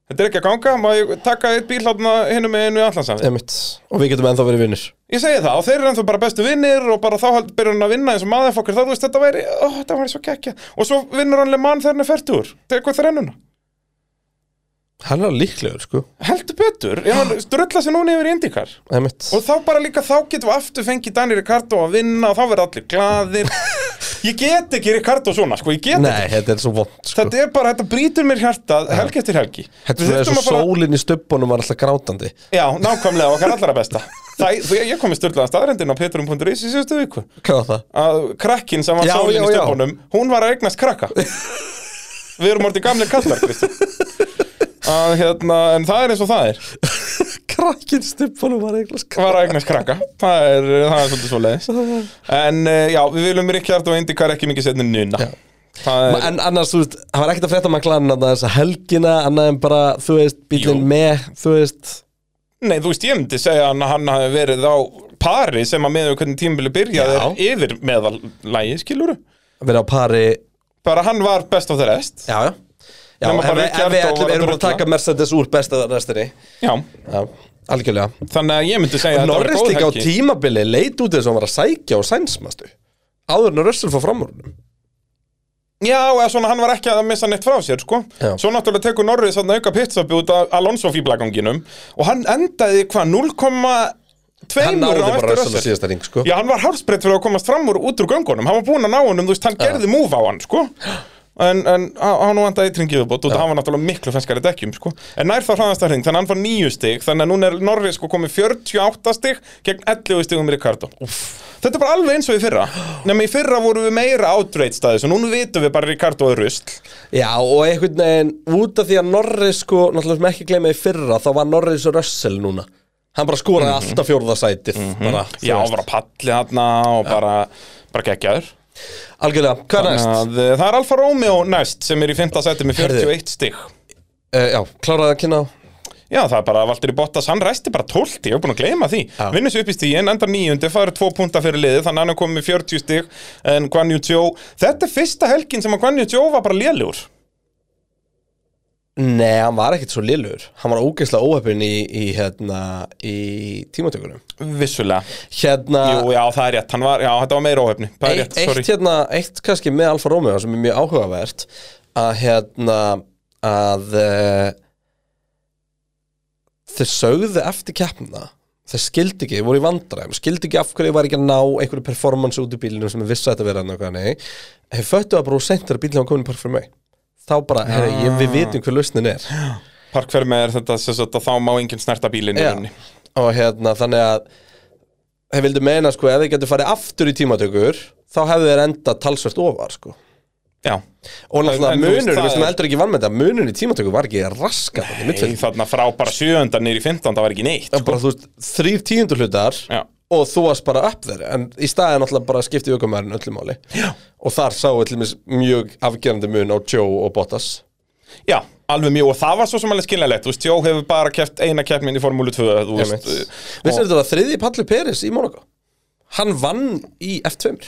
[SPEAKER 2] Þetta er ekki að ganga, má ég taka eitt bíl hérna hinum með einu í allansafi
[SPEAKER 3] emitt, og við getum ennþá verið vinnir
[SPEAKER 2] Ég segi það, og þeir eru ennþá bara bestu vinnir og bara þá held- byrjar hann að vinna eins og maður fokkar þá, þú veist, þetta væri, ó, þetta væri svo gekkja og svo vinnur hann leið mann þegar hann er færtur þegar hvað þrennuna,
[SPEAKER 3] Hann er líklegur, sko,
[SPEAKER 2] heldur betur ef hann strulla sér núna yfir í indikar
[SPEAKER 3] emitt
[SPEAKER 2] og þá bara líka, þá getum við aftur fengið Dani Ricardo að vinna og þá verður allir glaðir ég get ekki Ricardo svona, sko, ég get ekki
[SPEAKER 3] Nei, þetta er svo vond, sko
[SPEAKER 2] Þetta er bara, þetta brýtur mér hjartað helgi eftir helgi
[SPEAKER 3] Þetta
[SPEAKER 2] Við
[SPEAKER 3] er
[SPEAKER 2] þurftum
[SPEAKER 3] svo
[SPEAKER 2] að fara-
[SPEAKER 3] sólinn í stöppunum var alltaf grátandi
[SPEAKER 2] Já, nákvæmlega okkar allra besta Það, þú- ég kom með störlaðan staðrendin á petrum.is í síðustu viku
[SPEAKER 3] Hvað var það?
[SPEAKER 2] að krakkin sem var
[SPEAKER 3] Já,
[SPEAKER 2] sólinn í
[SPEAKER 3] já, já.
[SPEAKER 2] stöpunum hún var að eignast krakka við erum orðið gamlega kallar Kristján að hérna, en það er eins og það er
[SPEAKER 3] Krakkin stöppunum var eitthvað skr...
[SPEAKER 2] var að eignast krakka, það er, það er svolítið svo leiðis en eh, já, við viljum Ríkjart og Indikar ekki mikið setni núna
[SPEAKER 3] Já.
[SPEAKER 2] það er,
[SPEAKER 3] En annars, þú veist, það var ekkert að frétta maklan annað þess að helgina, annað en bara, þú veist, bílinn
[SPEAKER 2] Jú.
[SPEAKER 3] með, þú veist
[SPEAKER 2] nei, þú veist, ég myndi segja hann að hann hafi verið á pari sem að meðu hvernig tímabili byrjaði er yfir meðalægi, skiluru
[SPEAKER 3] að vera á pari
[SPEAKER 2] bara hann var best of the rest
[SPEAKER 3] Já, já Já,
[SPEAKER 2] Nema
[SPEAKER 3] ef,
[SPEAKER 2] bara
[SPEAKER 3] við- ef
[SPEAKER 2] Ricciardo
[SPEAKER 3] við ætlum,
[SPEAKER 2] var að
[SPEAKER 3] erum bara að
[SPEAKER 2] drulla.
[SPEAKER 3] taka Mercedes úr besta restinni
[SPEAKER 2] já,
[SPEAKER 3] Já, algjörlega
[SPEAKER 2] þannig að ég myndi segja að þetta var
[SPEAKER 3] Norris
[SPEAKER 2] góð
[SPEAKER 3] líka á
[SPEAKER 2] helgi.
[SPEAKER 3] tímabili leit út þess að hann var að sækja og sænsmastu Áður en að Russell fór fram úr honum.
[SPEAKER 2] Já, eða svona hann var ekki að missa neitt frá sér, sko
[SPEAKER 3] Já.
[SPEAKER 2] Svo náttúrulega tekur Norris að auka pitstopi út af Alonso fíblaganginum Og hann endaði hvað, 0,2
[SPEAKER 3] Hann náði
[SPEAKER 2] á
[SPEAKER 3] bara
[SPEAKER 2] eftir
[SPEAKER 3] Russell á
[SPEAKER 2] Russell
[SPEAKER 3] síðasta ring, sko
[SPEAKER 2] Já, hann var hálsbreytt fyrir að komast fram úr út úr göngunum Hann var búinn að ná honum, þú veist, hann gerði múf á hann, sko En, en á- hann vandaði ytringið upp og þetta hann var náttúrulega miklu fenskari dekkjum sko. En nær þá hraðast að hring, þannig að hann fór nýju stig Þannig að núna er Norris sko komið 48 stig gegn 11 stigum Ricardo Þetta er bara alveg eins og í fyrra Nefnum í fyrra vorum við meira outrage staðis og núna vitum við bara Ricardo er rusl
[SPEAKER 3] Já, og einhvern veginn, út af því að Norris sko, náttúrulega sem ekki gleyma í fyrra þá var Norris og Russell núna Hann bara skoraði alltaf fjórðasætið mm bara, þú
[SPEAKER 2] Mhm. Já,
[SPEAKER 3] veist.
[SPEAKER 2] bara palli þarna og bara, bara geggjaður
[SPEAKER 3] Algjörlega, hvað er næst?
[SPEAKER 2] Að, eh, Það er Alfa Romeo næst sem er í 5. seti með
[SPEAKER 3] Herðu.
[SPEAKER 2] 41 stig
[SPEAKER 3] Uh, já, kláraði að kynna á
[SPEAKER 2] Já, það er bara Valdur í Bottas, hann ræsti bara 12 ég er búin að gleyma því,
[SPEAKER 3] Já.
[SPEAKER 2] vinnur svo upp í stíin endar nýjundi, það eru tvo punta fyrir liðið þannig að hann er komið með 40 stig en Guan Yu Zhou, þetta er fyrsta helgin sem að Guan Yu Zhou var bara lélugur
[SPEAKER 3] Nei, hann var ekkert svo lillur Hann var ógeðslega óheppin í, í, hérna, í tímatökunum
[SPEAKER 2] vissulega,
[SPEAKER 3] Hérna,
[SPEAKER 2] jú já það er rétt hann var, já þetta var meira óhefni, það er
[SPEAKER 3] eitt,
[SPEAKER 2] rétt, sorry
[SPEAKER 3] eitt, hérna, eitt kannski með Alfa Romeo sem er mjög áhugavert að hérna að uh, þeir sögðu eftir keppna þeir skildi ekki, þeir voru í vandræðum skildi ekki af hverju var ekki að ná einhverju performance út í bílinu sem er vissi að þetta vera nákvæða nei þeir föttu að bara úr seint þegar bílinu var komin parfum mig þá bara, herri, ég,
[SPEAKER 2] Ah.
[SPEAKER 3] við vitum hver lausnin er
[SPEAKER 2] parkfermi er þetta sem sagt að þá má enginn snerta bílinn í
[SPEAKER 3] Já.
[SPEAKER 2] rauninni
[SPEAKER 3] og hérna þannig að þeir vildi meina sko ef þeir getur farið aftur í tímatökur þá þá hefðu þeir enda talsvert ofar sko.
[SPEAKER 2] Já,
[SPEAKER 3] og náttúrulega
[SPEAKER 2] En- en þú veist,
[SPEAKER 3] munur,
[SPEAKER 2] það
[SPEAKER 3] við sem
[SPEAKER 2] er-
[SPEAKER 3] eldur ekki vann með þetta munur í tímatöku var ekki raskat í
[SPEAKER 2] Nei,
[SPEAKER 3] mittfeld
[SPEAKER 2] þarna frá bara sjööndan niður í 15 það var ekki neitt
[SPEAKER 3] sko. bara þú veist, þrýr tíundur hlutar
[SPEAKER 2] Já.
[SPEAKER 3] og þú varst bara upp þeir en í staðið náttúrulega bara skipti aukumærin öllum máli Já. og þar sá allumis mjög afgerandi mun á Joe og Bottas
[SPEAKER 2] Já, alveg mjög, og það var svo sem alveg skiljanlegt Þú veist, Jó hefur bara keft eina keppnin í Formúlu 2 Þú
[SPEAKER 3] Vist,
[SPEAKER 2] veist,
[SPEAKER 3] veist,
[SPEAKER 2] og-
[SPEAKER 3] þetta var þriði Palli Peris í Monaco hann vann í F2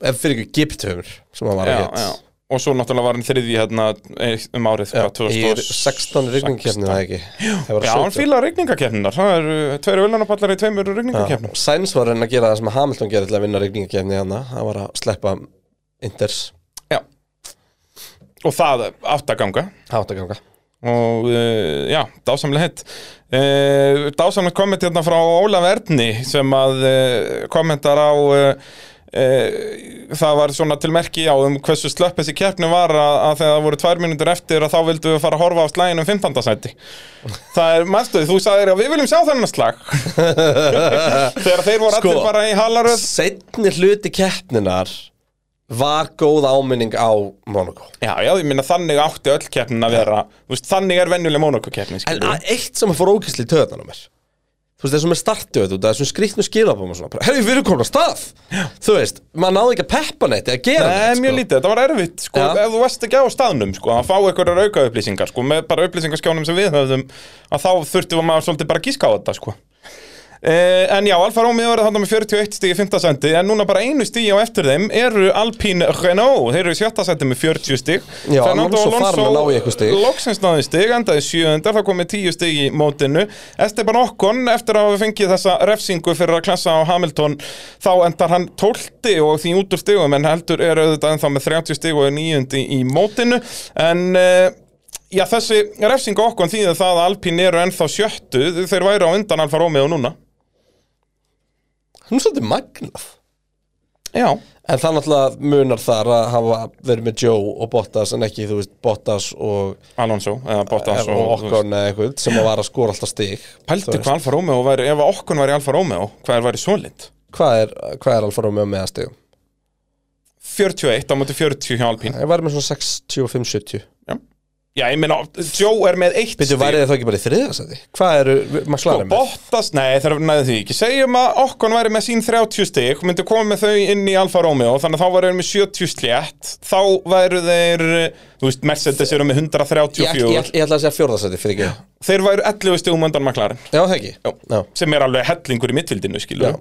[SPEAKER 3] ef fyrir ekki GP2 sem hann var að
[SPEAKER 2] já,
[SPEAKER 3] hétt
[SPEAKER 2] já. Og svo náttúrulega var hann þriði hérna eh, um árið
[SPEAKER 3] Já,
[SPEAKER 2] hvað,
[SPEAKER 3] í 16
[SPEAKER 2] 2016.
[SPEAKER 3] rigningkeppni það ekki Það var
[SPEAKER 2] Já, hann
[SPEAKER 3] 17.
[SPEAKER 2] fílar rigningakeppninar Það eru eh, tveir viljanapallar í tveimur rigningakeppnum
[SPEAKER 3] Sainz var að reyna að gera það sem Hamilton gerði til að vinna rigningkeppni hann hann var að sleppa Inders
[SPEAKER 2] Já Og það átt að ganga
[SPEAKER 3] hátaganga
[SPEAKER 2] og uh, já, dásamlega hitt uh, dásamlega komment hérna frá Ólaf Erni sem að uh, kommentar á uh, uh, það var svona til merki á um hversu slöpp þessi keppni var að, að þegar það voru tvær mínútur eftir að þá vildum við fara að horfa á slægin um 15. sæti það er, mæstuði, þú sagðir að við viljum sjá þennan slag þegar þeir voru
[SPEAKER 3] Sko.
[SPEAKER 2] allir bara í halaröð
[SPEAKER 3] setni hluti keppninar var góð áminning á Monaco
[SPEAKER 2] já, já, ég minna þannig átti öll keppnin að vera þú veist, þannig er venjuleg mónokukeppni
[SPEAKER 3] En að- eitt sem fór ógæsli í töðan á mér Þú veist, þessum er startjöð út, þessum skrýtnu skilabum og svona bara, Herri, við erum komin á stað Þú veist, maður náði ekki að peppa neitt eða gera
[SPEAKER 2] Nei,
[SPEAKER 3] neitt sko.
[SPEAKER 2] mjög lítið, þetta var erfitt sko,
[SPEAKER 3] Já.
[SPEAKER 2] ef þú varst ekki á staðnum sko, að fá einhverjar auka upplýsingar sko, með bara upplýsingaskjánum sem við höfðum að þá þurftum maður svolítið bara að gíska á þetta sko. eh, En já, Alfa Romeo er þannig með 41 stíg í 5. sendi en núna bara einu stígi á eftir þeim eru Alpine Renault, þeir eru í 7. sendi með 40 stíg
[SPEAKER 3] Já, Alonso farinn að ná í eitthvað stig.
[SPEAKER 2] loksins náði stig, endaði sjöundar, þá komið tíu stig í mótinu. Esteban Okkon, eftir að hafa fengið þessa refsingu fyrir að klassa á Hamilton, þá endar hann tólti og því út úr stigum, en heldur er auðvitað ennþá með 30 stig og er níundi í mótinu, en... Uh, Já, þessi refsingu okkon þýðir það að Alpín eru ennþá sjöttu, þeir væru á undan Alfa Romeo núna.
[SPEAKER 3] Hún er svolítið magnað
[SPEAKER 2] Já,
[SPEAKER 3] En það náttúrulega munar þar að hafa verið með Joe og Bottas en ekki, þú veist, Bottas og,
[SPEAKER 2] Alonso, eða Bottas
[SPEAKER 3] og
[SPEAKER 2] og, og
[SPEAKER 3] Okkon eða eitthvað sem að var að skora alltaf stig Þú
[SPEAKER 2] Pældu
[SPEAKER 3] veist,
[SPEAKER 2] hvað Alfa Romeo væri, ef okkon væri Alfa Romeo, hvað er væri svolít?
[SPEAKER 3] Hvað er, hvað er Alfa Romeo með að stigum?
[SPEAKER 2] 41 á móti 40 hjá Alpín.
[SPEAKER 3] Ég væri með svona 65-70
[SPEAKER 2] Já, ég meina, Joe er með eitt
[SPEAKER 3] Býttu, værið þið þá ekki bara í Sko, þriðasæti? Hvað eru, maður
[SPEAKER 2] og
[SPEAKER 3] slæðir með?
[SPEAKER 2] Bottas, nei þeir næði því ekki Segjum að Okkon væri með sín 30 stig myndi koma með þau inn í Alfa Romeo þannig að þá væri þeir með 70 slétt þá væru þeir, þú veist, Mercedes eru með
[SPEAKER 3] Ég, ég,
[SPEAKER 2] 134
[SPEAKER 3] ég, ég ætla að segja fjórðasæti fyrir ekki
[SPEAKER 2] þeir væru 11 stigum undan maklarinn
[SPEAKER 3] Já, það ekki Já.
[SPEAKER 2] sem er alveg hellingur í mittfildinu, skilu
[SPEAKER 3] Já.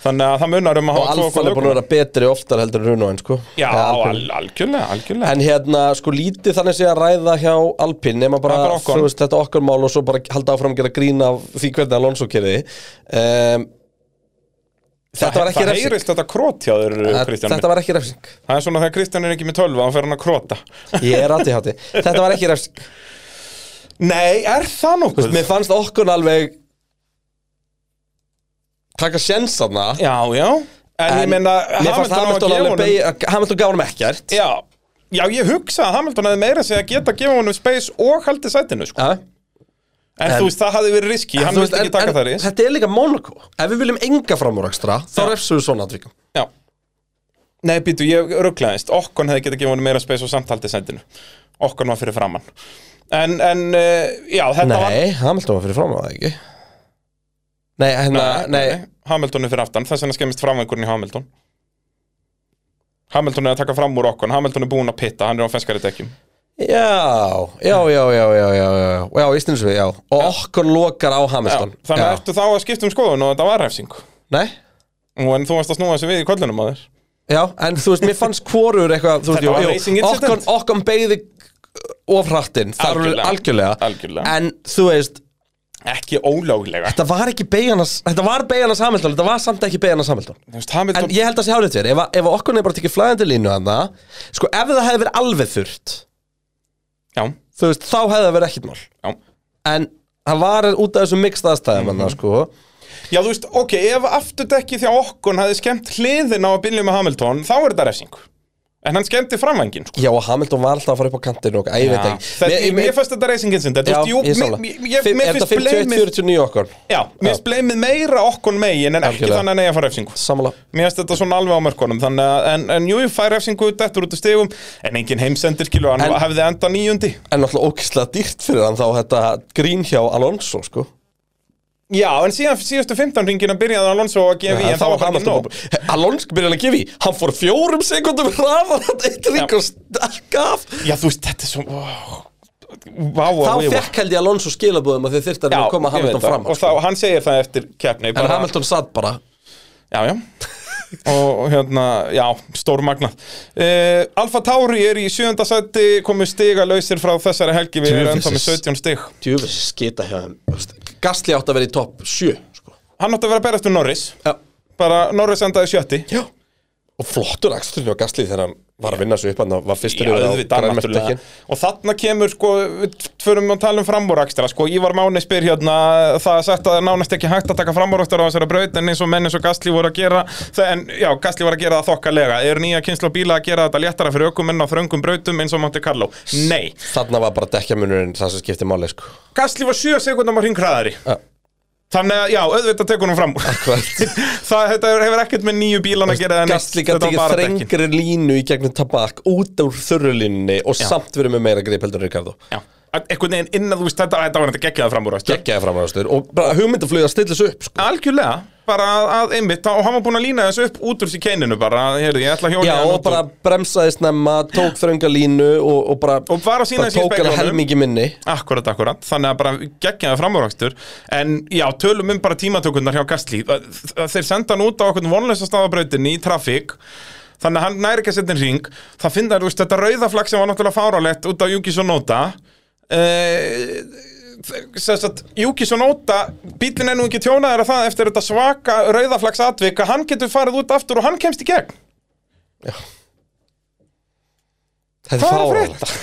[SPEAKER 2] þannig að það munar um að
[SPEAKER 3] Og
[SPEAKER 2] hafa
[SPEAKER 3] Alfa
[SPEAKER 2] tvo
[SPEAKER 3] er
[SPEAKER 2] okkur
[SPEAKER 3] búin að vera betri oftar heldur en Runo en sko
[SPEAKER 2] Já,
[SPEAKER 3] Eða Alpine.
[SPEAKER 2] al algjörlega, algjörlega
[SPEAKER 3] En hérna, sko, lítið þannig sé að ræða hjá Alpin nema bara,
[SPEAKER 2] Það er bara Ocon.
[SPEAKER 3] þú veist, þetta okkar mál og svo bara halda áfram að gera grín af því hvernig Alonso kerði um, Þetta var ekki
[SPEAKER 2] Það
[SPEAKER 3] refsing
[SPEAKER 2] heyrist þetta krót hjá þér, Kristján
[SPEAKER 3] Þetta
[SPEAKER 2] minn.
[SPEAKER 3] var ekki refsing
[SPEAKER 2] Það er svona þegar Kristján er ekki með 12 hann fer hann að króta
[SPEAKER 3] Ég er aðti hátti Þetta var ekki refsing Þú
[SPEAKER 2] Nei, er það
[SPEAKER 3] veist,
[SPEAKER 2] nokkuð?
[SPEAKER 3] Mér fannst okkur alveg taka sjens þarna
[SPEAKER 2] Já, já En, ég meina,
[SPEAKER 3] Mér fannst
[SPEAKER 2] á að
[SPEAKER 3] Hamilton
[SPEAKER 2] gefa
[SPEAKER 3] alveg
[SPEAKER 2] honum-
[SPEAKER 3] beig- að- Hamilton gaf hann ekkert
[SPEAKER 2] Já, já ég hugsa að Hamilton hefði meira sig að geta að gefa honum space og haldið sætinu sko.
[SPEAKER 3] Já
[SPEAKER 2] en, þú veist, það hefði verið riski, hann
[SPEAKER 3] Þú veist,
[SPEAKER 2] vildi ekki taka
[SPEAKER 3] en,
[SPEAKER 2] það
[SPEAKER 3] en,
[SPEAKER 2] risk
[SPEAKER 3] þetta er líka Monaco Ef við viljum enga framúrækstra Þá
[SPEAKER 2] Já.
[SPEAKER 3] refsum við svona atvikum
[SPEAKER 2] Já Nei, býtu, ég rugglaðist, okkon hefði getað gefa honum meira space og samt haldið sætinu Okkon var fyrir framann En, en, uh, já, þetta var
[SPEAKER 3] Nei, Hamilton var fyrir fram á það ekki Nei, hérna, nei,
[SPEAKER 2] Hamilton er fyrir aftan, þess vegna skemmist framvengurinn í Hamilton Hamilton er að taka fram úr okkon, Hamilton er búinn að pitta, hann er á fenskari dekkjum
[SPEAKER 3] Já, já, já, já, já, já, já Já, ég stundum svo, já Og okkur lokar á
[SPEAKER 2] Já,
[SPEAKER 3] Hamilton
[SPEAKER 2] Þannig
[SPEAKER 3] Já.
[SPEAKER 2] ertu þá að skipta um skoðun og þetta var refsing
[SPEAKER 3] Nei,
[SPEAKER 2] Nú, En þú varst að snúa þessu við í kollinum á þér
[SPEAKER 3] já, en þú veist, mér fannst hvorur eitthvað Þú
[SPEAKER 2] Þetta var
[SPEAKER 3] veist,
[SPEAKER 2] racing
[SPEAKER 3] okkur,
[SPEAKER 2] incident.
[SPEAKER 3] okkur beigði ofrattinn Þar eru algjörlega
[SPEAKER 2] Algjörlega. Algjörlega.
[SPEAKER 3] En þú veist,
[SPEAKER 2] ekki ólöglega
[SPEAKER 3] þetta var ekki beiganas Þetta var beiganas Hamilton, þetta var samt ekki beiganas Hamilton
[SPEAKER 2] Þú veist, Hamilton,
[SPEAKER 3] En ég held að sé hárið þér, ef, að- ef okkur nefnir bara tekið flæðandi línu hann Sko, ef það hefði verið alveg þurft
[SPEAKER 2] já,
[SPEAKER 3] Þú veist, þá hefði það verið ekkert mál
[SPEAKER 2] já
[SPEAKER 3] en það var út af þessum mikst aðstæðum
[SPEAKER 2] Mhm.
[SPEAKER 3] mm sko.
[SPEAKER 2] Já, þú veist, ok, ef afturdekki þjá okkon hefði skemmt hliðin á að byrja með Hamilton, þá er þetta refsing en hann skemmti framvængin sko.
[SPEAKER 3] Já, og Hamilton var alltaf að fara upp á kantinu og ég veit
[SPEAKER 2] Já.
[SPEAKER 3] ekki
[SPEAKER 2] Þetta- Mér mér finnst þetta racing incident
[SPEAKER 3] Já,
[SPEAKER 2] þú veist, jú,
[SPEAKER 3] ég samla
[SPEAKER 2] mér- mér- mér
[SPEAKER 3] Er þetta
[SPEAKER 2] finnst bleimið
[SPEAKER 3] 51-49 okkur?
[SPEAKER 2] Já, mér finnst bleimið meira okkon megin en ekki
[SPEAKER 3] Algjörlega.
[SPEAKER 2] þannig að neyja fara refsingu
[SPEAKER 3] Samla
[SPEAKER 2] Mér finnst þetta svona alveg á mörkunum Þannig að, en, en jú, ég fær refsingu Dettur út af stigum, en engin heimsendir skilur Hann
[SPEAKER 3] En-
[SPEAKER 2] hefði enda nýjundi
[SPEAKER 3] En náttúrulega ókislega dýrt fyrir hann þá þetta grín hjá Alonso, sko
[SPEAKER 2] Já, en síðan síðustu 15 ringina byrjaði Alonso að gefa í En það var bara ekki nóg
[SPEAKER 3] nóg Alonso byrjaði að gefa í Hann fór fjórum sekundum hraðar hann eitt ring og stakk af
[SPEAKER 2] Já, þú veist, þetta er svo ó, Vá,
[SPEAKER 3] Þá
[SPEAKER 2] vá, vá.
[SPEAKER 3] fekk held ég Alonso skilabóðum að þið þyrfti að
[SPEAKER 2] Já,
[SPEAKER 3] reyna að koma
[SPEAKER 2] ég veit
[SPEAKER 3] Hamilton
[SPEAKER 2] það.
[SPEAKER 3] fram sko.
[SPEAKER 2] Og þá, hann segir sko. það eftir keppni
[SPEAKER 3] En Hamilton satt bara
[SPEAKER 2] Já, já og og hérna, já, stór magna uh, Alfa Tauri er í sjönda sæti komið stiga lausir frá þessari helgi við erum enda með
[SPEAKER 3] Djöfisins.
[SPEAKER 2] 17 stig
[SPEAKER 3] Djúfis skita hjá hann Gastli átt að vera í topp 7 sko.
[SPEAKER 2] Hann átti að vera að berast um Norris
[SPEAKER 3] Já.
[SPEAKER 2] bara Norris endaði sjötti
[SPEAKER 3] Já Og flottur aksturinn á Gastli þegar hann var að vinna svo upp hann var fyrstur
[SPEAKER 2] Já, auðvitað, náttúrulega. og þarna kemur sko, við förum að tala um framúrakstra sko, Ívar Máni spyr hérna það er sagt að það er nánast ekki hægt að taka framúrakstra á þessari braut en eins og menn eins og Gastli voru að gera það, en já, Gastli voru að gera það þokkalega eru nýja kynslu bíla að gera þetta léttara fyrir ökumenn á þröngum brautum eins og Monte Carlo Nei,
[SPEAKER 3] Þarna var bara dekkjamunurinn það sem skipti máli sko.
[SPEAKER 2] Gastli var 7 sekundum á hringræðari
[SPEAKER 3] Já.
[SPEAKER 2] Þannig að, já, auðvitað tekur hún fram úr Það þetta hefur ekkert með nýju bílan að gera eða neitt.
[SPEAKER 3] Gastli gæti
[SPEAKER 2] Þetta
[SPEAKER 3] ekki
[SPEAKER 2] var bara dekkin.
[SPEAKER 3] þrengri línu í gegnum tabak út úr þurrulínni og samt verið með meira grip heldur en Ricardo
[SPEAKER 2] Já. Að- Einhvern veginn innan þú veist þetta Þetta var þetta geggjaða fram úr
[SPEAKER 3] geggjaði framræðastur og bara hugmyndaflug að stilla þessu upp sko.
[SPEAKER 2] Algjörlega, bara að, að einmitt og hann var búin að lína þessu upp út úr sér keininu bara, heyrðu, ég ætla að hjóla
[SPEAKER 3] Já,
[SPEAKER 2] hérna
[SPEAKER 3] og
[SPEAKER 2] út
[SPEAKER 3] bara bremsaði snemma, tók þrönga línu og, og bara,
[SPEAKER 2] Og var að sýna
[SPEAKER 3] bara
[SPEAKER 2] þessi í
[SPEAKER 3] tók hana
[SPEAKER 2] speglinum.
[SPEAKER 3] helmingi minni
[SPEAKER 2] Akkurat, akkurat, þannig að bara geggjaði framúrakstur En já, tölum um bara tímatökurnar hjá Gastli Þeir senda hann út á okkur vonlösa staðabrautinni í trafík Þannig að hann næri ekki að setja hring Það finna, þú veist, þetta rauðaflag sem var náttúrulega fárálegt út á e, Júkis og Nóta Júkis og Nóta, bílinn er nú ekki tjónaður að það eftir þetta svaka rauðaflags atvik að hann getur farið út aftur og hann kemst í gegn
[SPEAKER 3] Þetta er
[SPEAKER 2] Hvað er að
[SPEAKER 3] fáránlegt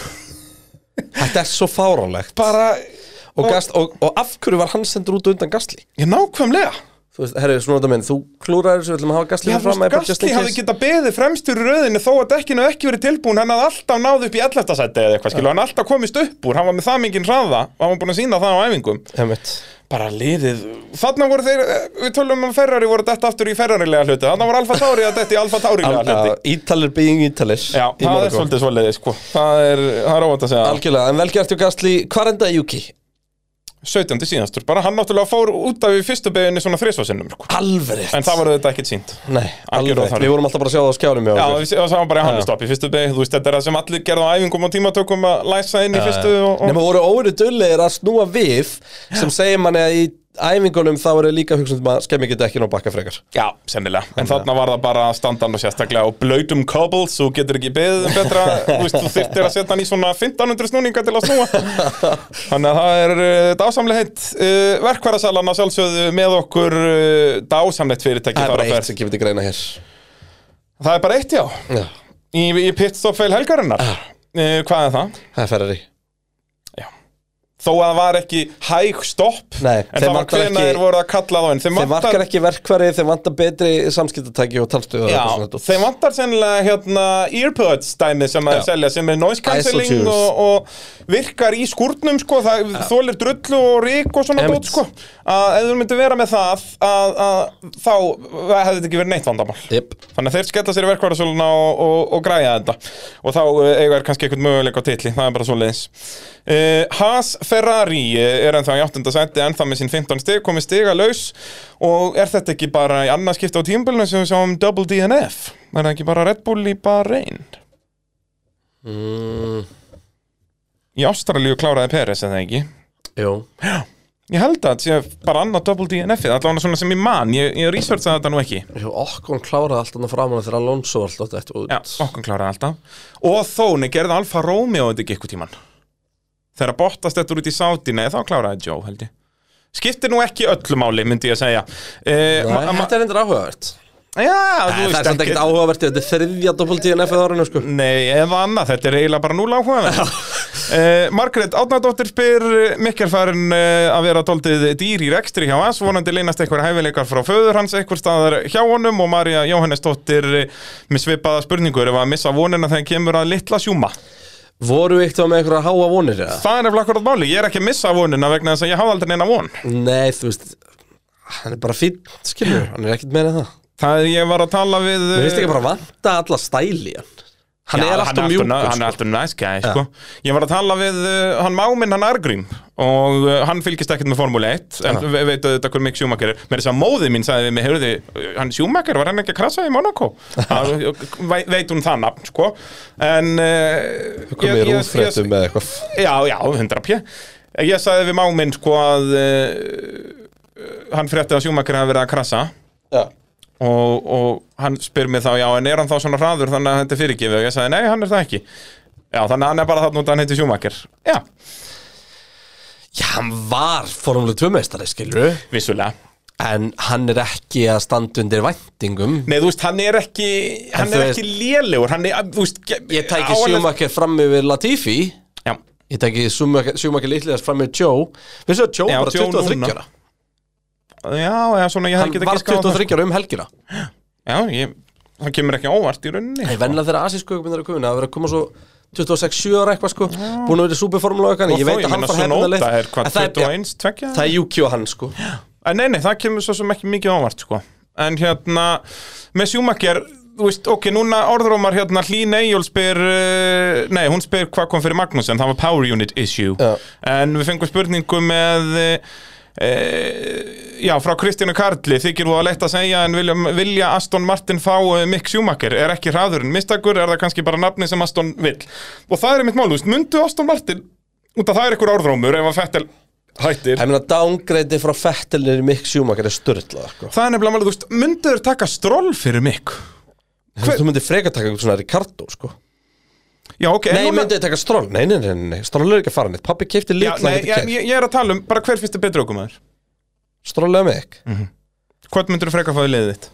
[SPEAKER 3] Þetta er svo fáránlegt
[SPEAKER 2] Bara,
[SPEAKER 3] og, gast, og, og af hverju var hann sendur út undan Gastli?
[SPEAKER 2] ég nákvæmlega
[SPEAKER 3] Þú veist, herri, svona þetta minn, þú klúrar þessu, við ætlum að hafa Gastli
[SPEAKER 2] Já, þú veist, Gastli hafði geta beðið fremstur í rauðinni þó að dekkinu hafi ekki verið tilbúin hann hafði alltaf náð upp í 11. sæti eða eitthvað skilu, hann alltaf komist upp úr, hann var með það mingin hraða og hann var búin að sína það á æfingum
[SPEAKER 3] Hemmett
[SPEAKER 2] bara liðið, þarna voru þeir eh, við tölum um að Ferrari voru detta aftur í Ferrari-lega hluti, þarna voru Alfa Tauri að detta í Alfa Tauri-lega hluti
[SPEAKER 3] Ítalir being Ítalir
[SPEAKER 2] Já,
[SPEAKER 3] í
[SPEAKER 2] það er
[SPEAKER 3] Monaco.
[SPEAKER 2] svolítið svolítið, sko það er, það er óvænt að segja
[SPEAKER 3] Algjörlega, en velgertu Gastli, hvað endaði Juki?
[SPEAKER 2] 17. síðastur, bara hann náttúrulega fór út af í fyrstu beginni svona þrisvarsinnum, sko
[SPEAKER 3] Alveg rétt
[SPEAKER 2] en það voru þetta ekkit sínt
[SPEAKER 3] Nei, alveg
[SPEAKER 2] Algjör
[SPEAKER 3] rétt,
[SPEAKER 2] óþarfi.
[SPEAKER 3] við vorum alltaf bara að sjá það á skjánum hjá
[SPEAKER 2] Já,
[SPEAKER 3] okkur.
[SPEAKER 2] við séum það var bara í hannustopp í fyrstu beig Þú veist, þetta er það sem allir gerðu á æfingum og tímatökum að læsa inn í fyrstu og, og...
[SPEAKER 3] Nefnum voru óinu dullegir að snúa við sem segir manni að í æfingunum þá eru líka hugsunum að skemmi geta ekki ná bakka frekar
[SPEAKER 2] Já, sennilega, en þarna var það bara standan og sérstaklega og blöytum cobbles þú getur ekki beðið um betra þú veist, þú þyrftir að setja hann í svona 1500 snúninga til að snúa þannig að það er uh, dásamlega heitt uh, verkværasalan að sjálfsögðu með okkur uh, dásamlegt fyrirtæki
[SPEAKER 3] Það er
[SPEAKER 2] þar
[SPEAKER 3] bara
[SPEAKER 2] á
[SPEAKER 3] eitt
[SPEAKER 2] ferð.
[SPEAKER 3] sem kemur til greina hér
[SPEAKER 2] það er bara eitt, já,
[SPEAKER 3] Já,
[SPEAKER 2] í, í pitstopfeil helgarinnar
[SPEAKER 3] Ah.
[SPEAKER 2] uh, hvað er það?
[SPEAKER 3] það er ferri
[SPEAKER 2] Já. þó að það var ekki hæg stopp
[SPEAKER 3] Nei,
[SPEAKER 2] en
[SPEAKER 3] þeim
[SPEAKER 2] það var
[SPEAKER 3] vantar
[SPEAKER 2] hvena
[SPEAKER 3] ekki-
[SPEAKER 2] þeir voru að kalla þá en þeim,
[SPEAKER 3] Þeim vantar ekki verkvarið, þeim vantar betri samskiptatæki og talstöðu og
[SPEAKER 2] Já,
[SPEAKER 3] eitthvað svona dót.
[SPEAKER 2] þeim vantar sennilega hérna, earpods dæmi sem að
[SPEAKER 3] Já.
[SPEAKER 2] selja sem er noise
[SPEAKER 3] Isolate
[SPEAKER 2] cancelling
[SPEAKER 3] tubes.
[SPEAKER 2] og, og virkar í skúrnum sko, það þólir drullu og rík og svona
[SPEAKER 3] Einmitt.
[SPEAKER 2] dót sko að ef þú myndir vera með það að, að, þá hefði þetta ekki verið neitt vandamál
[SPEAKER 3] Jep.
[SPEAKER 2] Þannig að þeir skella sér í verkvarðarsöluna og, og, og græja þetta og þá eh, eiga er kannski eitthvað möguleik á titli, það er bara svo leiðis Haas Ferrari eh, er ennþá í 8. seti, ennþá með sín 15 stig komið stiga laus og er þetta ekki bara í annað skipta á tímabilinu sem við sjáum Double DNF, er það ekki bara Red Bull í Bahrein?
[SPEAKER 3] Mm,
[SPEAKER 2] Í Ástralíu kláraði Peres eða ekki
[SPEAKER 3] Jú
[SPEAKER 2] Ég held að þetta sé bara annað Double DNF-ið, allavega svona sem ég man, ég, ég researchaði þetta nú ekki
[SPEAKER 3] Jú, Okkon kláraði allt annað framan þegar Alonso var alltaf þetta út
[SPEAKER 2] Já, okkur kláraði alltaf Og þóni gerði Alfa Romeo þetta ekki eitthvað tíman Þegar Bottas þetta út í sáti Nei, þá kláraði Joe, held ég Skiptir nú ekki öllu máli, myndi ég að segja uh,
[SPEAKER 3] Nei, Þetta er endur áhugavert
[SPEAKER 2] Já,
[SPEAKER 3] Nei,
[SPEAKER 2] þú
[SPEAKER 3] Það er
[SPEAKER 2] veist
[SPEAKER 3] samt ekkert áhugavert í Þetta er þriðja doppeltíðin eftir árinu sko
[SPEAKER 2] Nei, eða annað, þetta er eiginlega bara núl áhugaverð Eh, Margrét Átnardóttir spyr eh, Mikki er farin eh, að vera tóltið dýr í rekstri hjá hans, vonandi leynast einhver hæfileikar frá föður hans, einhver staðar hjá honum og Marja Jóhannesdóttir eh, með svipaða spurningur ef að missa vonina þegar kemur að litla sjúma
[SPEAKER 3] Voru eitthvað með einhverja háa vonir eða?
[SPEAKER 2] Það er nefnilega akkurat máli, ég er ekki að missa vonina vegna þess að ég hafa aldrei neina von
[SPEAKER 3] Nei, þú veist Hann er bara fín, skilur, hann er ekkert meira en það
[SPEAKER 2] Það er ég var að tala við eh,
[SPEAKER 3] Mér finnst ekki bara vanta alla stæli í hann Hann
[SPEAKER 2] Já,
[SPEAKER 3] er alltaf mjúkur
[SPEAKER 2] na- Hann er
[SPEAKER 3] sko.
[SPEAKER 2] alltaf næs gæði, sko Ég var að tala við uh, hann máminn, hann Argrím Og uh, hann fylgist ekkert með Formule 1 En ja. veit auðvitað hver mikið sjúmakar er Mér þess að móði mín sagði við mig, heyrðu þið Hann sjúmakar, var hann ekki að krasa í Monaco? Það- eh, vei- veit hún það nafn, sko En uh,
[SPEAKER 3] Komið í rúðfréttum með eitthvað
[SPEAKER 2] Já, já, 100 pjö Ég sagði við máminn sko að uh, hann frétti að sjúmakar hafi verið að krasa
[SPEAKER 3] Já,
[SPEAKER 2] og, og hann spyr mér þá já, en er hann þá svona hraður þannig að þetta er fyrirgefið og ég sagði nei, hann er það ekki Já, þannig að hann er bara þarna út að hann heiti sjúmakar Já,
[SPEAKER 3] Já, hann var formule 2 meistari, skilur
[SPEAKER 2] vissulega
[SPEAKER 3] En hann er ekki að standa undir væntingum
[SPEAKER 2] Nei, þú veist, hann er ekki hann
[SPEAKER 3] þú
[SPEAKER 2] er
[SPEAKER 3] veist-
[SPEAKER 2] ekki lélegur, hann er, þú veist ge-
[SPEAKER 3] Ég tæki
[SPEAKER 2] á hann-
[SPEAKER 3] sjúmakir fram yfir Latifi
[SPEAKER 2] Já,
[SPEAKER 3] Ég tæki sjúmakir litliðast fram yfir Joe Við séum að Joe
[SPEAKER 2] Já,
[SPEAKER 3] bara
[SPEAKER 2] Joe
[SPEAKER 3] 23
[SPEAKER 2] núna.
[SPEAKER 3] ára
[SPEAKER 2] já, já, svona ég
[SPEAKER 3] Hann
[SPEAKER 2] hefði getað
[SPEAKER 3] var
[SPEAKER 2] giskað á það. sko.
[SPEAKER 3] 23 ára um helgina
[SPEAKER 2] Já, ég, hann kemur ekki á óvart í rauninni
[SPEAKER 3] Ég vennilega þegar asísku ökumindar er komin að vera að koma svo 26-7 ára eitthvað sko Búin að vera í superformula og eitthvað
[SPEAKER 2] Og
[SPEAKER 3] Ég
[SPEAKER 2] þó,
[SPEAKER 3] veit
[SPEAKER 2] ég
[SPEAKER 3] að hann
[SPEAKER 2] meina,
[SPEAKER 3] fara
[SPEAKER 2] svona
[SPEAKER 3] hefnda leið
[SPEAKER 2] óta er hvað,
[SPEAKER 3] En það er-
[SPEAKER 2] 21, tveggja?
[SPEAKER 3] Það er Juki og hann sko
[SPEAKER 2] En nei, nei, það kemur svo sem ekki mikið ávart sko. En hérna, með sjúmakjar Þú veist, ok, núna orðrómar hérna Hlín Eyjól spyr uh, Nei, hún spyr hvað kom fyrir Magnús En það var power unit issue
[SPEAKER 3] Já.
[SPEAKER 2] En við fengum spurningu með uh, Já, frá Kristjánu Karli Þykir þú að leitt að segja En vilja, vilja Aston Martin fá uh, Mick Schumacher Er ekki hraðurinn mistakur Er það kannski bara nafni sem Aston vill Og það er mitt mál, þú veist, mundu Aston Martin Út að það er ykkur orðrómur Ef að Fettel hættir
[SPEAKER 3] Ég meina downgreidi frá Fettelinir Mick Schumacher er störtlað sko.
[SPEAKER 2] Það er nefnilega málið, þú veist, myndu þér taka stról fyrir mikk? Hver-
[SPEAKER 3] Þú myndir frekar taka eitthvað svona Ricardo sko.
[SPEAKER 2] Já, ok, en
[SPEAKER 3] Nei,
[SPEAKER 2] núna-
[SPEAKER 3] myndið taka stról Nei, nei, nei, nei, stról er ekki að fara neitt Pappi keipti
[SPEAKER 2] Já,
[SPEAKER 3] litla
[SPEAKER 2] nei,
[SPEAKER 3] ekki
[SPEAKER 2] ég,
[SPEAKER 3] kæft
[SPEAKER 2] ég ég er að tala um bara hver fyrst er betri aukumæður
[SPEAKER 3] Stról eða Mick
[SPEAKER 2] Mm. Hvort myndur þú freka að fá í liðið þitt?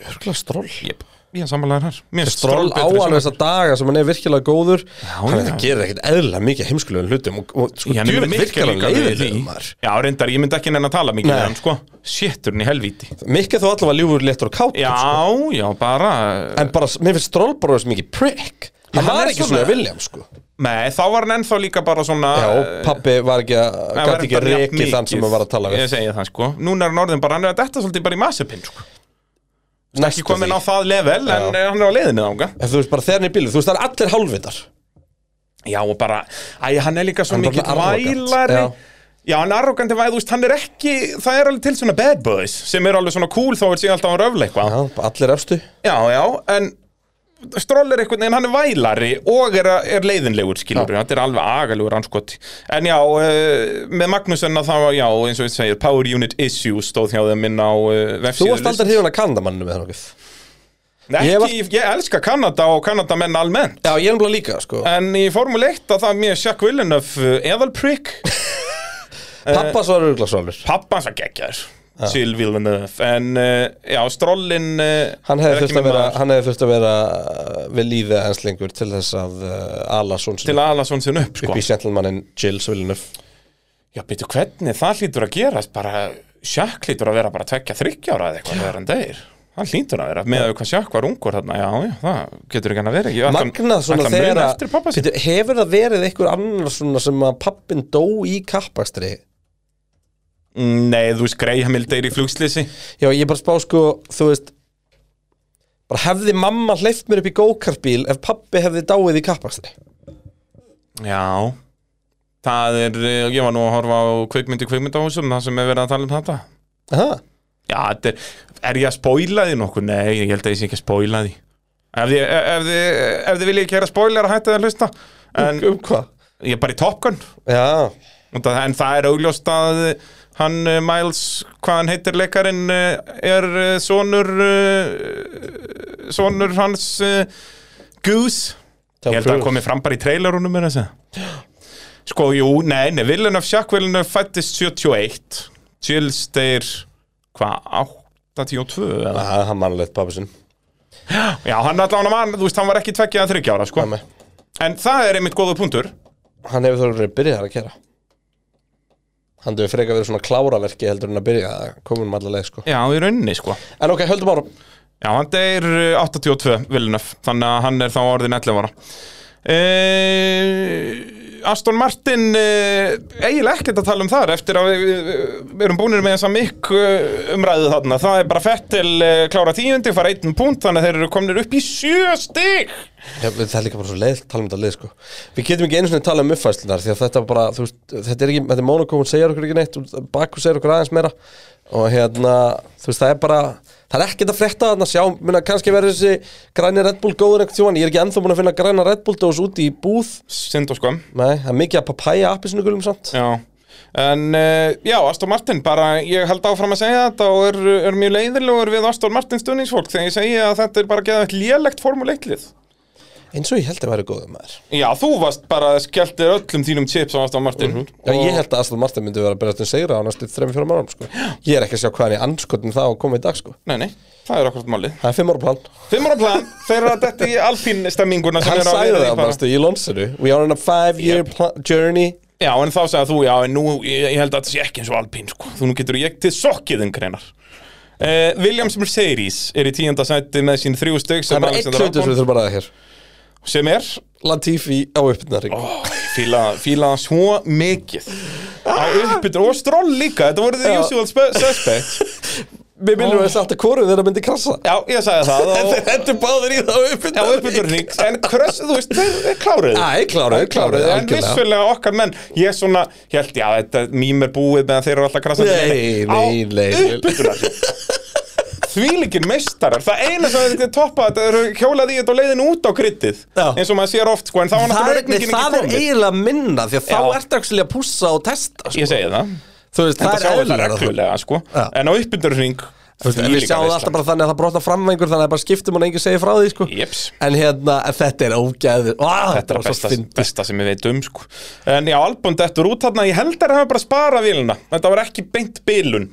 [SPEAKER 3] Örgulega stról
[SPEAKER 2] Jep. Ég samanlega þar Mér finnst
[SPEAKER 3] Stról á
[SPEAKER 2] betri
[SPEAKER 3] alveg
[SPEAKER 2] sem-
[SPEAKER 3] þessa daga sem hann er virkilega góður Hann
[SPEAKER 2] já.
[SPEAKER 3] þetta gerir ekkert eðlilega mikið heimskulegum hlutum og, og sko,
[SPEAKER 2] Já, en ég
[SPEAKER 3] djúvill
[SPEAKER 2] myndi Mikk er
[SPEAKER 3] virkilega
[SPEAKER 2] líka við
[SPEAKER 3] leiðilegum maður
[SPEAKER 2] því. Já, reyndar, ég myndi ekki neina að tala mikið
[SPEAKER 3] Nei.
[SPEAKER 2] við hann, sko Sétturinn í helvíti
[SPEAKER 3] Mikið þó allavega ljúfur léttur og kátur
[SPEAKER 2] Já,
[SPEAKER 3] sko.
[SPEAKER 2] já, bara
[SPEAKER 3] En bara, mér finnst Stroll bara þessu mikið prick Hann,
[SPEAKER 2] hann
[SPEAKER 3] var
[SPEAKER 2] er
[SPEAKER 3] ekki
[SPEAKER 2] svona-
[SPEAKER 3] svona William sko
[SPEAKER 2] Nei, þá var hann ennþá líka bara svona
[SPEAKER 3] Já, og pappi var ekki að,
[SPEAKER 2] Það eh, var
[SPEAKER 3] gæti ekki að
[SPEAKER 2] reyndar jafn
[SPEAKER 3] reki þann sem
[SPEAKER 2] mikið.
[SPEAKER 3] hann var að tala við
[SPEAKER 2] Ég segi það, sko Núna er hann orðin bara, hann er að detta svolítið bara í massipinn, sko Ekki komin á það level, en eh, hann er á leiðinni þánga
[SPEAKER 3] En þú veist bara þegar hann er í bílu, þú veist það er allir hálfvitar
[SPEAKER 2] Já og bara, æ, hann er líka svo
[SPEAKER 3] Hann er
[SPEAKER 2] mikill
[SPEAKER 3] bara arrogant,
[SPEAKER 2] vælari
[SPEAKER 3] já.
[SPEAKER 2] Já, hann arrogant er væð, þú veist, hann er ekki, það er alveg til svona bad boys sem er alveg svona cool þó er síðan alltaf að röfla eitthvað
[SPEAKER 3] Já, allir efstu
[SPEAKER 2] Já, já, en Stroll er einhvern veginn, hann er vælari og er, að- er leiðinlegur skilur, þetta er alveg agalugur anskoti En já, uh, með Magnúsen að það var, já, eins og við segir, Power Unit Issue stóð hjá þeim inn á uh,
[SPEAKER 3] Þú
[SPEAKER 2] vefsíðu
[SPEAKER 3] varst aldrei hrifun að kandamannu með það nokkuð Já,
[SPEAKER 2] Ekki,
[SPEAKER 3] ég
[SPEAKER 2] ég,
[SPEAKER 3] var-
[SPEAKER 2] elska Kanada og Kanadamenn almennt
[SPEAKER 3] ég er umlega líka sko
[SPEAKER 2] En í Formule 1 að það er mér Jack Villeneuve, uh, Eðalprick eh.
[SPEAKER 3] Pappa svo er örgla svalur
[SPEAKER 2] pappa hans var geggjar Jill Villeneuve en uh, já, strollin uh,
[SPEAKER 3] Hann
[SPEAKER 2] er
[SPEAKER 3] hefði
[SPEAKER 2] ekki
[SPEAKER 3] þurft að
[SPEAKER 2] minn
[SPEAKER 3] vera,
[SPEAKER 2] maður.
[SPEAKER 3] hann hefði þurft að vera uh, við lífið hans lengur til þess að uh, ala svona
[SPEAKER 2] til að ala svona sinn upp
[SPEAKER 3] upp
[SPEAKER 2] sko.
[SPEAKER 3] í gentlemaninn Jill Svillenuf
[SPEAKER 2] já, betur hvernig það hlýtur að gerast bara, Jack hlýtur að vera bara tvekja þryggja ára eða eitthvað þegar hann deyr hann hlýtur að vera, með að hvað Jack var ungur þarna, já, já, það getur ekki hann að vera ekki
[SPEAKER 3] Magnað svona þegar að-
[SPEAKER 2] eftir pappa sér
[SPEAKER 3] Bíddu, Hefur það verið einhver annar svona sem að pappin dó í kappakstri
[SPEAKER 2] nei, þú veist, Greyhamil deyr í flugslýsi
[SPEAKER 3] Já, ég bara spá sko, þú veist bara hefði mamma hleyft mér upp í go-kartbíl ef pappi hefði dáið í kappakstri
[SPEAKER 2] já það er, eh, ég var nú að horfa á kveikmynd í kveikmyndahúsum, það sem er verið að tala um þetta
[SPEAKER 3] Aha.
[SPEAKER 2] Já, þetta er, er ég að spóila því nokkuð? Nei, ég held að ég sé ekki að spóila því Ef þið, e, ef þið, ef þið viljið ekki gera spóilar að hætta það að hlusta En
[SPEAKER 3] Um hvað?
[SPEAKER 2] ég er bara í Top Gun
[SPEAKER 3] Já,
[SPEAKER 2] Og það- En það er augljóst að hann eh, Miles, hvað hann heitir leikarinn eh, Er eh, sonur eh, Sonur hans eh, Goose
[SPEAKER 3] Tom
[SPEAKER 2] Ég held að
[SPEAKER 3] Cruise.
[SPEAKER 2] það komi fram bara í trailerunum er að segja. Sko, jú, nei, nei Villeneuve, Jacques Villeneuve fættist 71 Chills deyr Hvað, 82 eða?
[SPEAKER 3] Það er hann mannlegt pappi sinn
[SPEAKER 2] Já, hann allan að mann, þú veist, hann var ekki tveggja að þryggja ára, sko
[SPEAKER 3] Nei.
[SPEAKER 2] En það er einmitt góða punktur
[SPEAKER 3] Hann hefur þurfið að byrja það að gera Hann hefur frekar verið svona kláraverki heldur en að byrja að koma um alla leið sko
[SPEAKER 2] Já, í rauninni sko
[SPEAKER 3] En ok, höldum ára
[SPEAKER 2] Já, hann deyr eh, 82, Villeneuve Þannig að hann er þá orðin 11 ára eh, Aston Martin eh, eiginlega ekkert að tala um þar eftir að við, við, við erum búinir með þessa mikk eh, umræðu þarna það er bara fett til eh, klára tíundi fara einn punkt þannig að þeir eru komnir upp í sjö stig
[SPEAKER 3] Já, við- það er líka bara svo leið, tala um þetta leið sko Við getum ekki einu svona tala um uppfæslunar Því að þetta bara, þú veist, þetta er ekki Þetta er Monaco, hún segir okkur ekki neitt og Baku segir okkur aðeins meira Og hérna, þú veist, það er bara Það er ekkert að frétta þarna, sjá Minna kannski verður þessi græni Red Bull góður einhvern tjóðan Ég er ekki ennþá búin að finna græna Red Bull dós úti í búð
[SPEAKER 2] sind og sko
[SPEAKER 3] Nei, það er mikið að papæja appi sinu gulum samt
[SPEAKER 2] Já, en uh, já, Aston Martin bara, ég held áfram að segja þetta og er, er mjög leiðilegur við Aston Martin stundingsfólk þegar ég segi að þetta er bara að geða eitt lélegt formuleiklið
[SPEAKER 3] Eins og ég held að væri góður maður
[SPEAKER 2] Já, þú varst bara skelltir öllum þínum chips á Aston Martin
[SPEAKER 3] Mhm. Já, ég held að Aslan Martin myndi vera að byrja að segra á næstu 3-4 márum, sko. Ég er ekki að sjá hvað hann í anskotin það og koma í dag, sko.
[SPEAKER 2] Nei, nei, það er okkur málið
[SPEAKER 3] Það er 5 ára plan.
[SPEAKER 2] Fimm ára plan, þeir eru að detti í alpín stemminguna sem
[SPEAKER 3] hann
[SPEAKER 2] eru að
[SPEAKER 3] sagði
[SPEAKER 2] vera í
[SPEAKER 3] það
[SPEAKER 2] bara.
[SPEAKER 3] bara í lonsinu We are on a five year pl- journey
[SPEAKER 2] Já, en þá sagði þú, já, en nú, ég, ég held að þetta sé ekki eins og alpín, sko Þú nú getur ég til sokkiðin greinar uh, Williams Mercedes er í tíunda sæti með sín þrjú stygg
[SPEAKER 3] Það
[SPEAKER 2] sem
[SPEAKER 3] er bara eitt
[SPEAKER 2] Alexander
[SPEAKER 3] hlutur sem
[SPEAKER 2] Albon
[SPEAKER 3] við þurfum bara að ræða hér
[SPEAKER 2] sem er
[SPEAKER 3] Latifi á uppnari oh.
[SPEAKER 2] Ó, ég Fíla, fíla það svo mikið Á uppbyttur og stról líka Þetta voru the
[SPEAKER 3] Já.
[SPEAKER 2] usual spe- suspects
[SPEAKER 3] Mér minnum við satt að hvorum þeirra myndi krassa
[SPEAKER 2] Já, ég sagði það og,
[SPEAKER 3] Þetta Oh. er báður í það á
[SPEAKER 2] Já,
[SPEAKER 3] uppnari
[SPEAKER 2] uppbyttur rík En kröss, þú veist, þeir, þeir kláruðu
[SPEAKER 3] Æ, kláruðu, kláruðu,
[SPEAKER 2] En
[SPEAKER 3] algjörlega
[SPEAKER 2] vissulega okkar menn Ég svona, ég held, já, þetta mím er búið meðan þeir eru alltaf krassa
[SPEAKER 3] Nei, nei, nei, nei.
[SPEAKER 2] Uppbyttur Þvílíkir meistarar, það eina sem þetta toppa Þetta eru hjólað í þetta og leiðin út á kryttið
[SPEAKER 3] Já.
[SPEAKER 2] Eins og maður sér oft, sko, en þá var
[SPEAKER 3] Það
[SPEAKER 2] náttúrulega
[SPEAKER 3] er, nei,
[SPEAKER 2] regningin
[SPEAKER 3] það er
[SPEAKER 2] ekki komið
[SPEAKER 3] eiginlega minna því að
[SPEAKER 2] Já.
[SPEAKER 3] þá ertu ekki að pússa og testa sko.
[SPEAKER 2] Ég segi það
[SPEAKER 3] Þú veist,
[SPEAKER 2] Þetta
[SPEAKER 3] það er
[SPEAKER 2] sjáum við það
[SPEAKER 3] eðlilega
[SPEAKER 2] reglulega, sko
[SPEAKER 3] Já.
[SPEAKER 2] En á uppbyndurhring
[SPEAKER 3] Þú veist, Við sjáum það alltaf bara þannig að það brotna framvengur þannig að bara skiptum og enginn segir frá því sko.
[SPEAKER 2] Jeps
[SPEAKER 3] En hérna, en þetta er ógæður
[SPEAKER 2] Þetta
[SPEAKER 3] Þetta
[SPEAKER 2] er að besta, besta sem ég veit um, sko En já, Albon dettur út þarna Ég held að það hafa bara sparað vélina Þetta var ekki beint bilun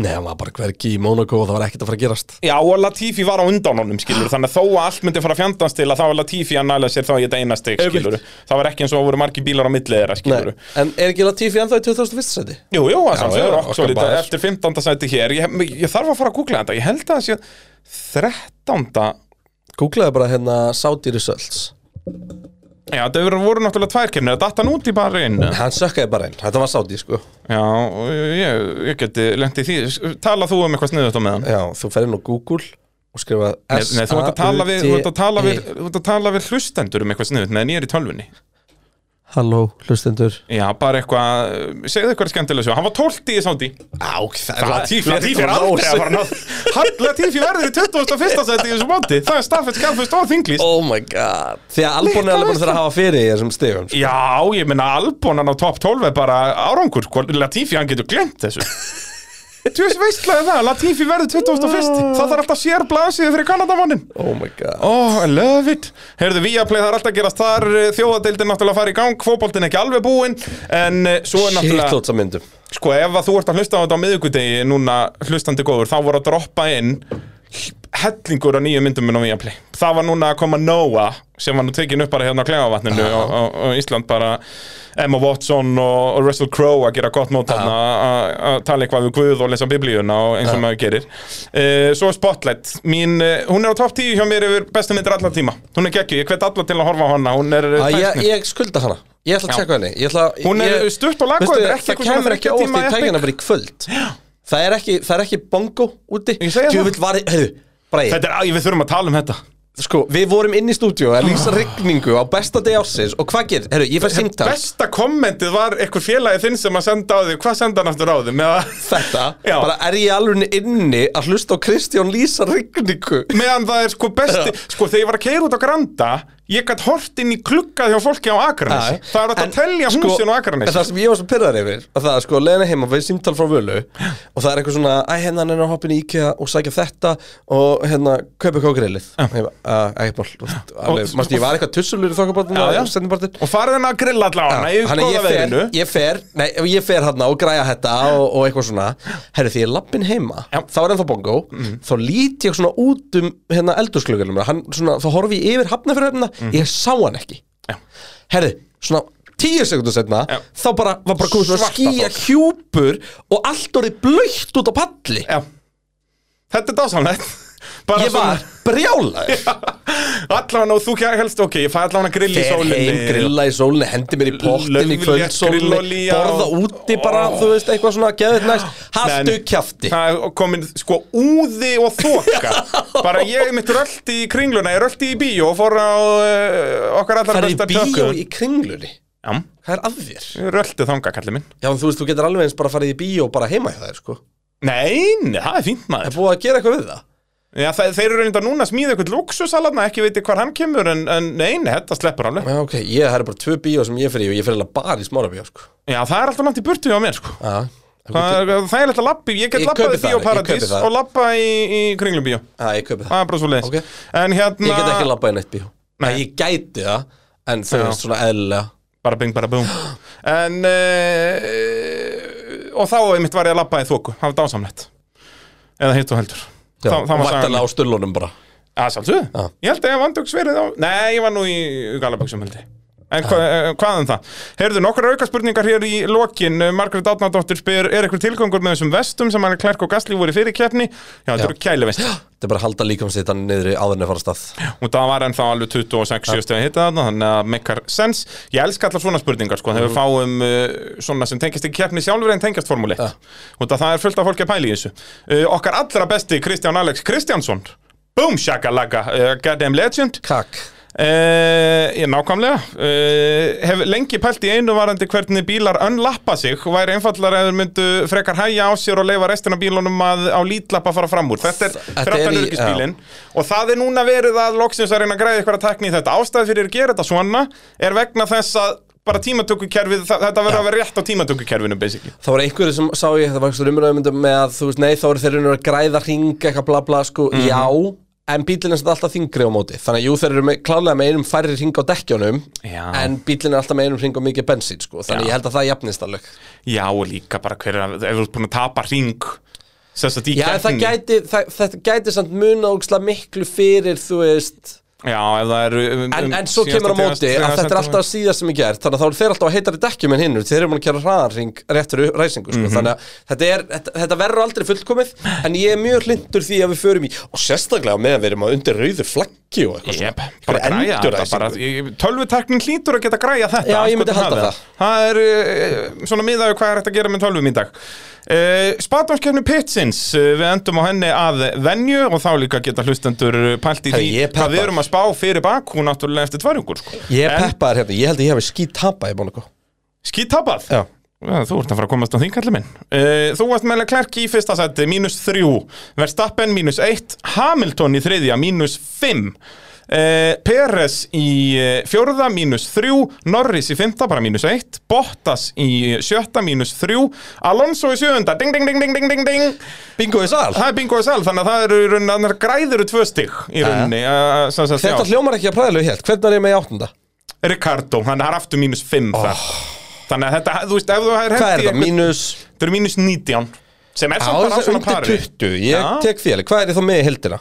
[SPEAKER 3] Nei, hann var bara hvergi í Monaco og það var ekkert að fara að gerast
[SPEAKER 2] Já, og Latifi var á undan honum, skilur Þannig að þó að allt myndi fara að fjandans til að þá var Latifi að næla sér þá í þetta eina steg,
[SPEAKER 3] Einmitt.
[SPEAKER 2] skilur Það var ekki eins og það voru margir bílar á milli þeirra, skilur
[SPEAKER 3] Nei, en er ekki Latifi ennþá í 2001. seti?
[SPEAKER 2] Jú, jú, það samt
[SPEAKER 3] já,
[SPEAKER 2] sögur
[SPEAKER 3] okkar
[SPEAKER 2] okkur svolítið
[SPEAKER 3] maður.
[SPEAKER 2] eftir 15. sæti hér ég, ég þarf að fara að googla þetta, ég held að það sé 13.
[SPEAKER 3] Googlaði bara hérna Saudi Results
[SPEAKER 2] Já, það voru náttúrulega tvær kemni, það datt hann út í bara einu
[SPEAKER 3] Hann sökkaði bara einn, þetta var Saudi sko
[SPEAKER 2] Já, og ég, ég geti lent í því Tala þú um eitthvað sniðut á meðan
[SPEAKER 3] Já, þú ferði nú Google og skrifa
[SPEAKER 2] Nei, nei, þú
[SPEAKER 3] uh,
[SPEAKER 2] ert að tala við, þú ert að tala við, þú ert að tala við hlustendur um eitthvað sniðut meðan ég er í tölvunni
[SPEAKER 3] Halló, hlustendur
[SPEAKER 2] Já, bara eitthvað, segðu eitthvað skemmtilega svo Hann var 12 í sándi
[SPEAKER 3] Á, það
[SPEAKER 2] Latifi Latifi er aldrei að fara að ná Hann- Latifi verður í 21. sæti í þessu móti Það er staðfett skallfust og þinglist
[SPEAKER 3] Oh my god Því að Albon er
[SPEAKER 2] Líka
[SPEAKER 3] alveg búin að þurfa að hafa fyrir í þessum stegum sko.
[SPEAKER 2] Já, ég meina Albon hann á top 12 er bara árangur sko. Latifi, hann getur glemt þessu Þú veist veistlega það, Latifi verður 21. Það þarf alltaf sér blaðsíðu fyrir Kanadamannin
[SPEAKER 3] Oh my god
[SPEAKER 2] Oh, I love it Herðu, Viaplay það er alltaf að gerast þar eh, Þjóðadeildin náttúrulega að fara í gang, fótboltin ekki alveg búinn En eh, svo er
[SPEAKER 3] Shit,
[SPEAKER 2] náttúrulega
[SPEAKER 3] þótt myndum
[SPEAKER 2] Sko, ef að þú ert að hlusta á þetta á miðvikudegi Núna hlustandi góður, þá voru að droppa inn Hellingur af nýju myndum minn á Viaplay Það var núna að koma Noah Sem var nú tekin upp bara hérna á Klefavatninu á, á, á Ísland bara Emma Watson og, og Russell Crowe að gera gott mót þarna að- Að tala eitthvað við Guð og lesa biblíuna og eins og maður gerir uh, Svo er Spotlight Mín, uh, Hún er á topp 10 hjá mér yfir bestu myndir allan tíma Hún er geggju, ég hvet alla til að horfa á hana Hún er e,
[SPEAKER 3] Æ,
[SPEAKER 2] tækni.
[SPEAKER 3] ég, ég skulda hana Ég ætla að
[SPEAKER 2] Já.
[SPEAKER 3] tjekka henni Ég ætla, að-
[SPEAKER 2] Hún er
[SPEAKER 3] ég,
[SPEAKER 2] stutt og laggóð,
[SPEAKER 3] Veistu,
[SPEAKER 2] þetta er ekki
[SPEAKER 3] Það
[SPEAKER 2] eitthvað svona
[SPEAKER 3] kemur ekki
[SPEAKER 2] þriggja
[SPEAKER 3] á óvart
[SPEAKER 2] tíma
[SPEAKER 3] í tækina
[SPEAKER 2] epic.
[SPEAKER 3] bara í kvöld það er, ekki, það er ekki bongo úti
[SPEAKER 2] Ég segi það.
[SPEAKER 3] Djöfull var, heyrðu, Bragi,
[SPEAKER 2] Þetta er, æ, við þurfum að tala um þetta
[SPEAKER 3] sko, við vorum inn í stúdíu að lýsa rigningu á besta deg ársins og hvað gerir, herru, ég fær símtal
[SPEAKER 2] Besta kommentið var einhver félagi þinn sem að senda á þig Hvað senda hann aftur á þig? Með að,
[SPEAKER 3] þetta,
[SPEAKER 2] Já.
[SPEAKER 3] bara er ég alveg inni að hlusta á Kristján lýsa rigningu
[SPEAKER 2] meðan það er sko besti Sko þegar ég var að keira út á Granda Ég gætt hort inn í klukkað hjá fólki á Akranesi
[SPEAKER 3] Já.
[SPEAKER 2] Það er hægt
[SPEAKER 3] En,
[SPEAKER 2] að telja
[SPEAKER 3] sko,
[SPEAKER 2] húsin á
[SPEAKER 3] en
[SPEAKER 2] Akranesi
[SPEAKER 3] Það sem ég var svo pyrrar yfir að það er sko leðina heima við símtal frá völu og það er eitthvað svona, æ hérna hann er að hoppa inn í IKEA og sækja þetta og hérna kaupa kókrelið Ekkert mál,
[SPEAKER 2] Og-
[SPEAKER 3] mástu ég var eitthvað tussulur í þokkabartin
[SPEAKER 2] Já, já.
[SPEAKER 3] og sendibartin
[SPEAKER 2] Og farið hann að grilla allavega í
[SPEAKER 3] Þannig að
[SPEAKER 2] góða
[SPEAKER 3] ég
[SPEAKER 2] veðinu
[SPEAKER 3] fer, ég fer, nei, ég fer hérna og græja þetta og, og eitthvað svona Herri, því ég er lappin heima,
[SPEAKER 2] Já. Mhm.
[SPEAKER 3] þá er ennþá bongo Þá lít ég svona út um hérna eldursklugunum Hann svona, þá horfi ég yfir hafnafyrirhöfna, ég sá hann ekki
[SPEAKER 2] Mhm. Já.
[SPEAKER 3] Herri, svona tíu sekundur setna
[SPEAKER 2] Já.
[SPEAKER 3] Þá bara, var bara komið svona
[SPEAKER 2] Svarta
[SPEAKER 3] skýja
[SPEAKER 2] fólk.
[SPEAKER 3] hjúpur Og allt orðið blöytt út á palli
[SPEAKER 2] Já. Þetta er dásamlegt Bara
[SPEAKER 3] Ég var brjálaður
[SPEAKER 2] Allan og þú kjær helst, ok, ég fæ allan að grill í
[SPEAKER 3] Fer
[SPEAKER 2] sólinni
[SPEAKER 3] heim, grilla í sólinni, hendi mér í pottin í
[SPEAKER 2] Lauflétt
[SPEAKER 3] kvöldsólinni
[SPEAKER 2] grillolía
[SPEAKER 3] Borða
[SPEAKER 2] og-
[SPEAKER 3] úti bara,
[SPEAKER 2] Ó.
[SPEAKER 3] þú veist, eitthvað svona Geðið næst, haltu
[SPEAKER 2] Nei,
[SPEAKER 3] kjafti
[SPEAKER 2] Það er komin sko úði og þoka Bara ég mitt rölti í kringluna Ég rölti í bíó og fór á uh, okkar allar
[SPEAKER 3] Það er í
[SPEAKER 2] besta
[SPEAKER 3] bíó
[SPEAKER 2] tökku
[SPEAKER 3] í kringlunni
[SPEAKER 2] Já,
[SPEAKER 3] Hvað er að þér?
[SPEAKER 2] ég rölti þanga kallið minn
[SPEAKER 3] Já, en þú veist, þú getur alveg eins bara farið í bíó og bara heima hjá þér, sko.
[SPEAKER 2] Nei, nei, það er fínt
[SPEAKER 3] Það er
[SPEAKER 2] maður
[SPEAKER 3] búið að gera eitthvað við það.
[SPEAKER 2] Já, það, Þeir eru reynda núna að smíða eitthvað luxusalatna Ekki veitir hvar hann kemur En, en nei, nei, þetta sleppur alveg
[SPEAKER 3] Já, ok, ég, það eru bara tvö bíó sem ég fer í og ég fer alveg bara í smára bíó, sko.
[SPEAKER 2] Já, það er alltaf langt í burtu hjá mér sko
[SPEAKER 3] Já.
[SPEAKER 2] Það er það er alltaf lappi, ég get
[SPEAKER 3] Ég
[SPEAKER 2] lappað
[SPEAKER 3] kaupi
[SPEAKER 2] í
[SPEAKER 3] það,
[SPEAKER 2] Bíó
[SPEAKER 3] ég kaupi
[SPEAKER 2] Paradís
[SPEAKER 3] það.
[SPEAKER 2] og lappað í, í kringlubíó
[SPEAKER 3] Já, ég kaupi það.
[SPEAKER 2] Það er bara svo leiðis
[SPEAKER 3] Ok.
[SPEAKER 2] En hérna,
[SPEAKER 3] Ég get ekki labbað í neitt bíó. Nei,
[SPEAKER 2] Nei.
[SPEAKER 3] ég gæti það, en þau
[SPEAKER 2] Já.
[SPEAKER 3] veist svona eðlilega.
[SPEAKER 2] bara bing, bara búm En uh, Og þá einmitt var ég að lappa í þóku Það var dásamlegt Eða hitt og heldur
[SPEAKER 3] Já,
[SPEAKER 2] Þá- þá var sagan-
[SPEAKER 3] Væntanlega á stullunum bara.
[SPEAKER 2] Að sjálfsög
[SPEAKER 3] Já.
[SPEAKER 2] Ég held að ég vandugs verið á Nei, ég var nú í Galaböksum held ég En hva, eh, hvað um það? Heyrðu, nokkur aukaspurningar hér í lokin Eh, Margrét Átnardóttir spyr Er eitthvað tilgangur með þessum vestum sem hann er klærk og gasli voru í fyrir keppni? Já, þetta
[SPEAKER 3] Já.
[SPEAKER 2] eru kæluvest
[SPEAKER 3] Þetta er bara að halda líkamsittan niður í áðurinn að fara af stað.
[SPEAKER 2] og það var ennþá alveg 26 ja. stegi hitta þarna, þannig að mekkar sens ég elska allar svona spurningar, sko, þegar við fáum uh, svona sem tengist ekki keppni sjálfur en tengist formuleitt, ja. og það er fullt af fólki að pæla í þessu. Uh, okkar allra besti Kristján Alex Kristjánsson Boom shakalaka, uh, goddamn legend
[SPEAKER 3] Kakk.
[SPEAKER 2] Uh, ég nákvæmlega uh, hef lengi pælt í einu varandi hvernig bílar önlappa sig og væri einfallar eða myndu frekar hæja á sér og leifa restina af bílunum að á lítlappa fara fram úr þetta er
[SPEAKER 3] Þetta er í-
[SPEAKER 2] þráttan örgisbílin og það er núna verið að loksins að reyna að græða eitthvað að tekni í þetta ástæð fyrir að gera þetta svona er vegna þess að bara tímatökukerfið, þa- þetta verður að vera rétt á tímatökukerfinu basically
[SPEAKER 3] Það var einhverju sem sá ég, það var einhverju umræðumyndum með að þú veist, nei, þá eru þeir eru að græða hring eitthvað bla bla, sko,
[SPEAKER 2] Mhm.
[SPEAKER 3] já en bílinn er samt alltaf þingri á móti þannig að jú, þeir eru með, klálega með einum færri hring á dekkjónum
[SPEAKER 2] Já.
[SPEAKER 3] en bílinn er alltaf með einum hring og mikið bensín, sko, þannig
[SPEAKER 2] Já.
[SPEAKER 3] ég held að það jafnist alveg
[SPEAKER 2] já og líka bara hver er að, ef þú ert búin að tapa ring sérst að í
[SPEAKER 3] Já, en það
[SPEAKER 2] keppni.
[SPEAKER 3] gæti, það, þetta gæti samt muna ógislega miklu fyrir, þú veist
[SPEAKER 2] já, ef það er um,
[SPEAKER 3] en,
[SPEAKER 2] um
[SPEAKER 3] en svo
[SPEAKER 2] síðasta
[SPEAKER 3] kemur á
[SPEAKER 2] tegund-
[SPEAKER 3] móti að
[SPEAKER 2] þriðja
[SPEAKER 3] þetta er
[SPEAKER 2] sentímetra.
[SPEAKER 3] alltaf síðast sem ég gert þannig að þá eru þeir alltaf að heitari dekkjum en hinnur þeir eru búin að gera hraðanring réttur upp- ræsingu
[SPEAKER 2] Mhm.
[SPEAKER 3] sko. þannig að þetta, er, þetta, þetta verður aldrei fullkomið en ég er mjög hlindur því að við förum í og sérstaklega með að við erum að undir rauðu flaggi og eitthvað svona.
[SPEAKER 2] Jep, bara
[SPEAKER 3] Einhverja
[SPEAKER 2] græja þetta
[SPEAKER 3] endurræsingu.
[SPEAKER 2] bara, ég- Tölvuteknin hlýtur að geta græja þetta
[SPEAKER 3] Já, ég myndi
[SPEAKER 2] andskotin
[SPEAKER 3] halda
[SPEAKER 2] hafi. Það er eh, svona miðaðu hvað er hægt að gera með tölvum í dag uh, Spatnámskefni Pitsins uh, Við endum á henni að venju og þá líka geta hlustendur pælt í
[SPEAKER 3] Herri,
[SPEAKER 2] því
[SPEAKER 3] ég er
[SPEAKER 2] hvað við
[SPEAKER 3] peppaður.
[SPEAKER 2] erum að spá fyrir bak hún náttúrulega eftir tværjungur sko.
[SPEAKER 3] Ég er
[SPEAKER 2] En
[SPEAKER 3] peppaður hérna, ég held að ég hefði skýt tapað í Monaco
[SPEAKER 2] skítapað
[SPEAKER 3] Já.
[SPEAKER 2] Já, þú ert að fara að komast á því, kallar minn. Uh, þú varst með Klerk í fyrsta seti, mínus þrjú. Verstappen, mínus eitt. Hamilton í þriðja, mínus fimm. Uh, Peres í eh, fjórða, mínus þrjú. Norris í fymta, bara mínus eitt. Bottas í eh, sjötta, mínus þrjú. Alonso í sjöfunda, ding, ding, ding, ding, ding, ding, ding.
[SPEAKER 3] Bingo í sal
[SPEAKER 2] Það er bingo og sal, þannig að það eru í rauninni, þannig að græður eru tvö stig í rauninni. Uh, sem sagt,
[SPEAKER 3] Þetta
[SPEAKER 2] já.
[SPEAKER 3] hljómar ekki að præðilega helt, hvernig er ég með í áttunda?
[SPEAKER 2] Ricardo, hann er aftur mínus fimm þar. Þannig að þetta, þú veist, ef þú er
[SPEAKER 3] Hvað er
[SPEAKER 2] hendi
[SPEAKER 3] það, mínus?
[SPEAKER 2] Þetta eru mínus 19 sem er
[SPEAKER 3] Já,
[SPEAKER 2] samt bara á
[SPEAKER 3] það er
[SPEAKER 2] svona
[SPEAKER 3] undir
[SPEAKER 2] pari
[SPEAKER 3] 20, ég
[SPEAKER 2] Já.
[SPEAKER 3] tek félag, hvað er ég þá með í heldina?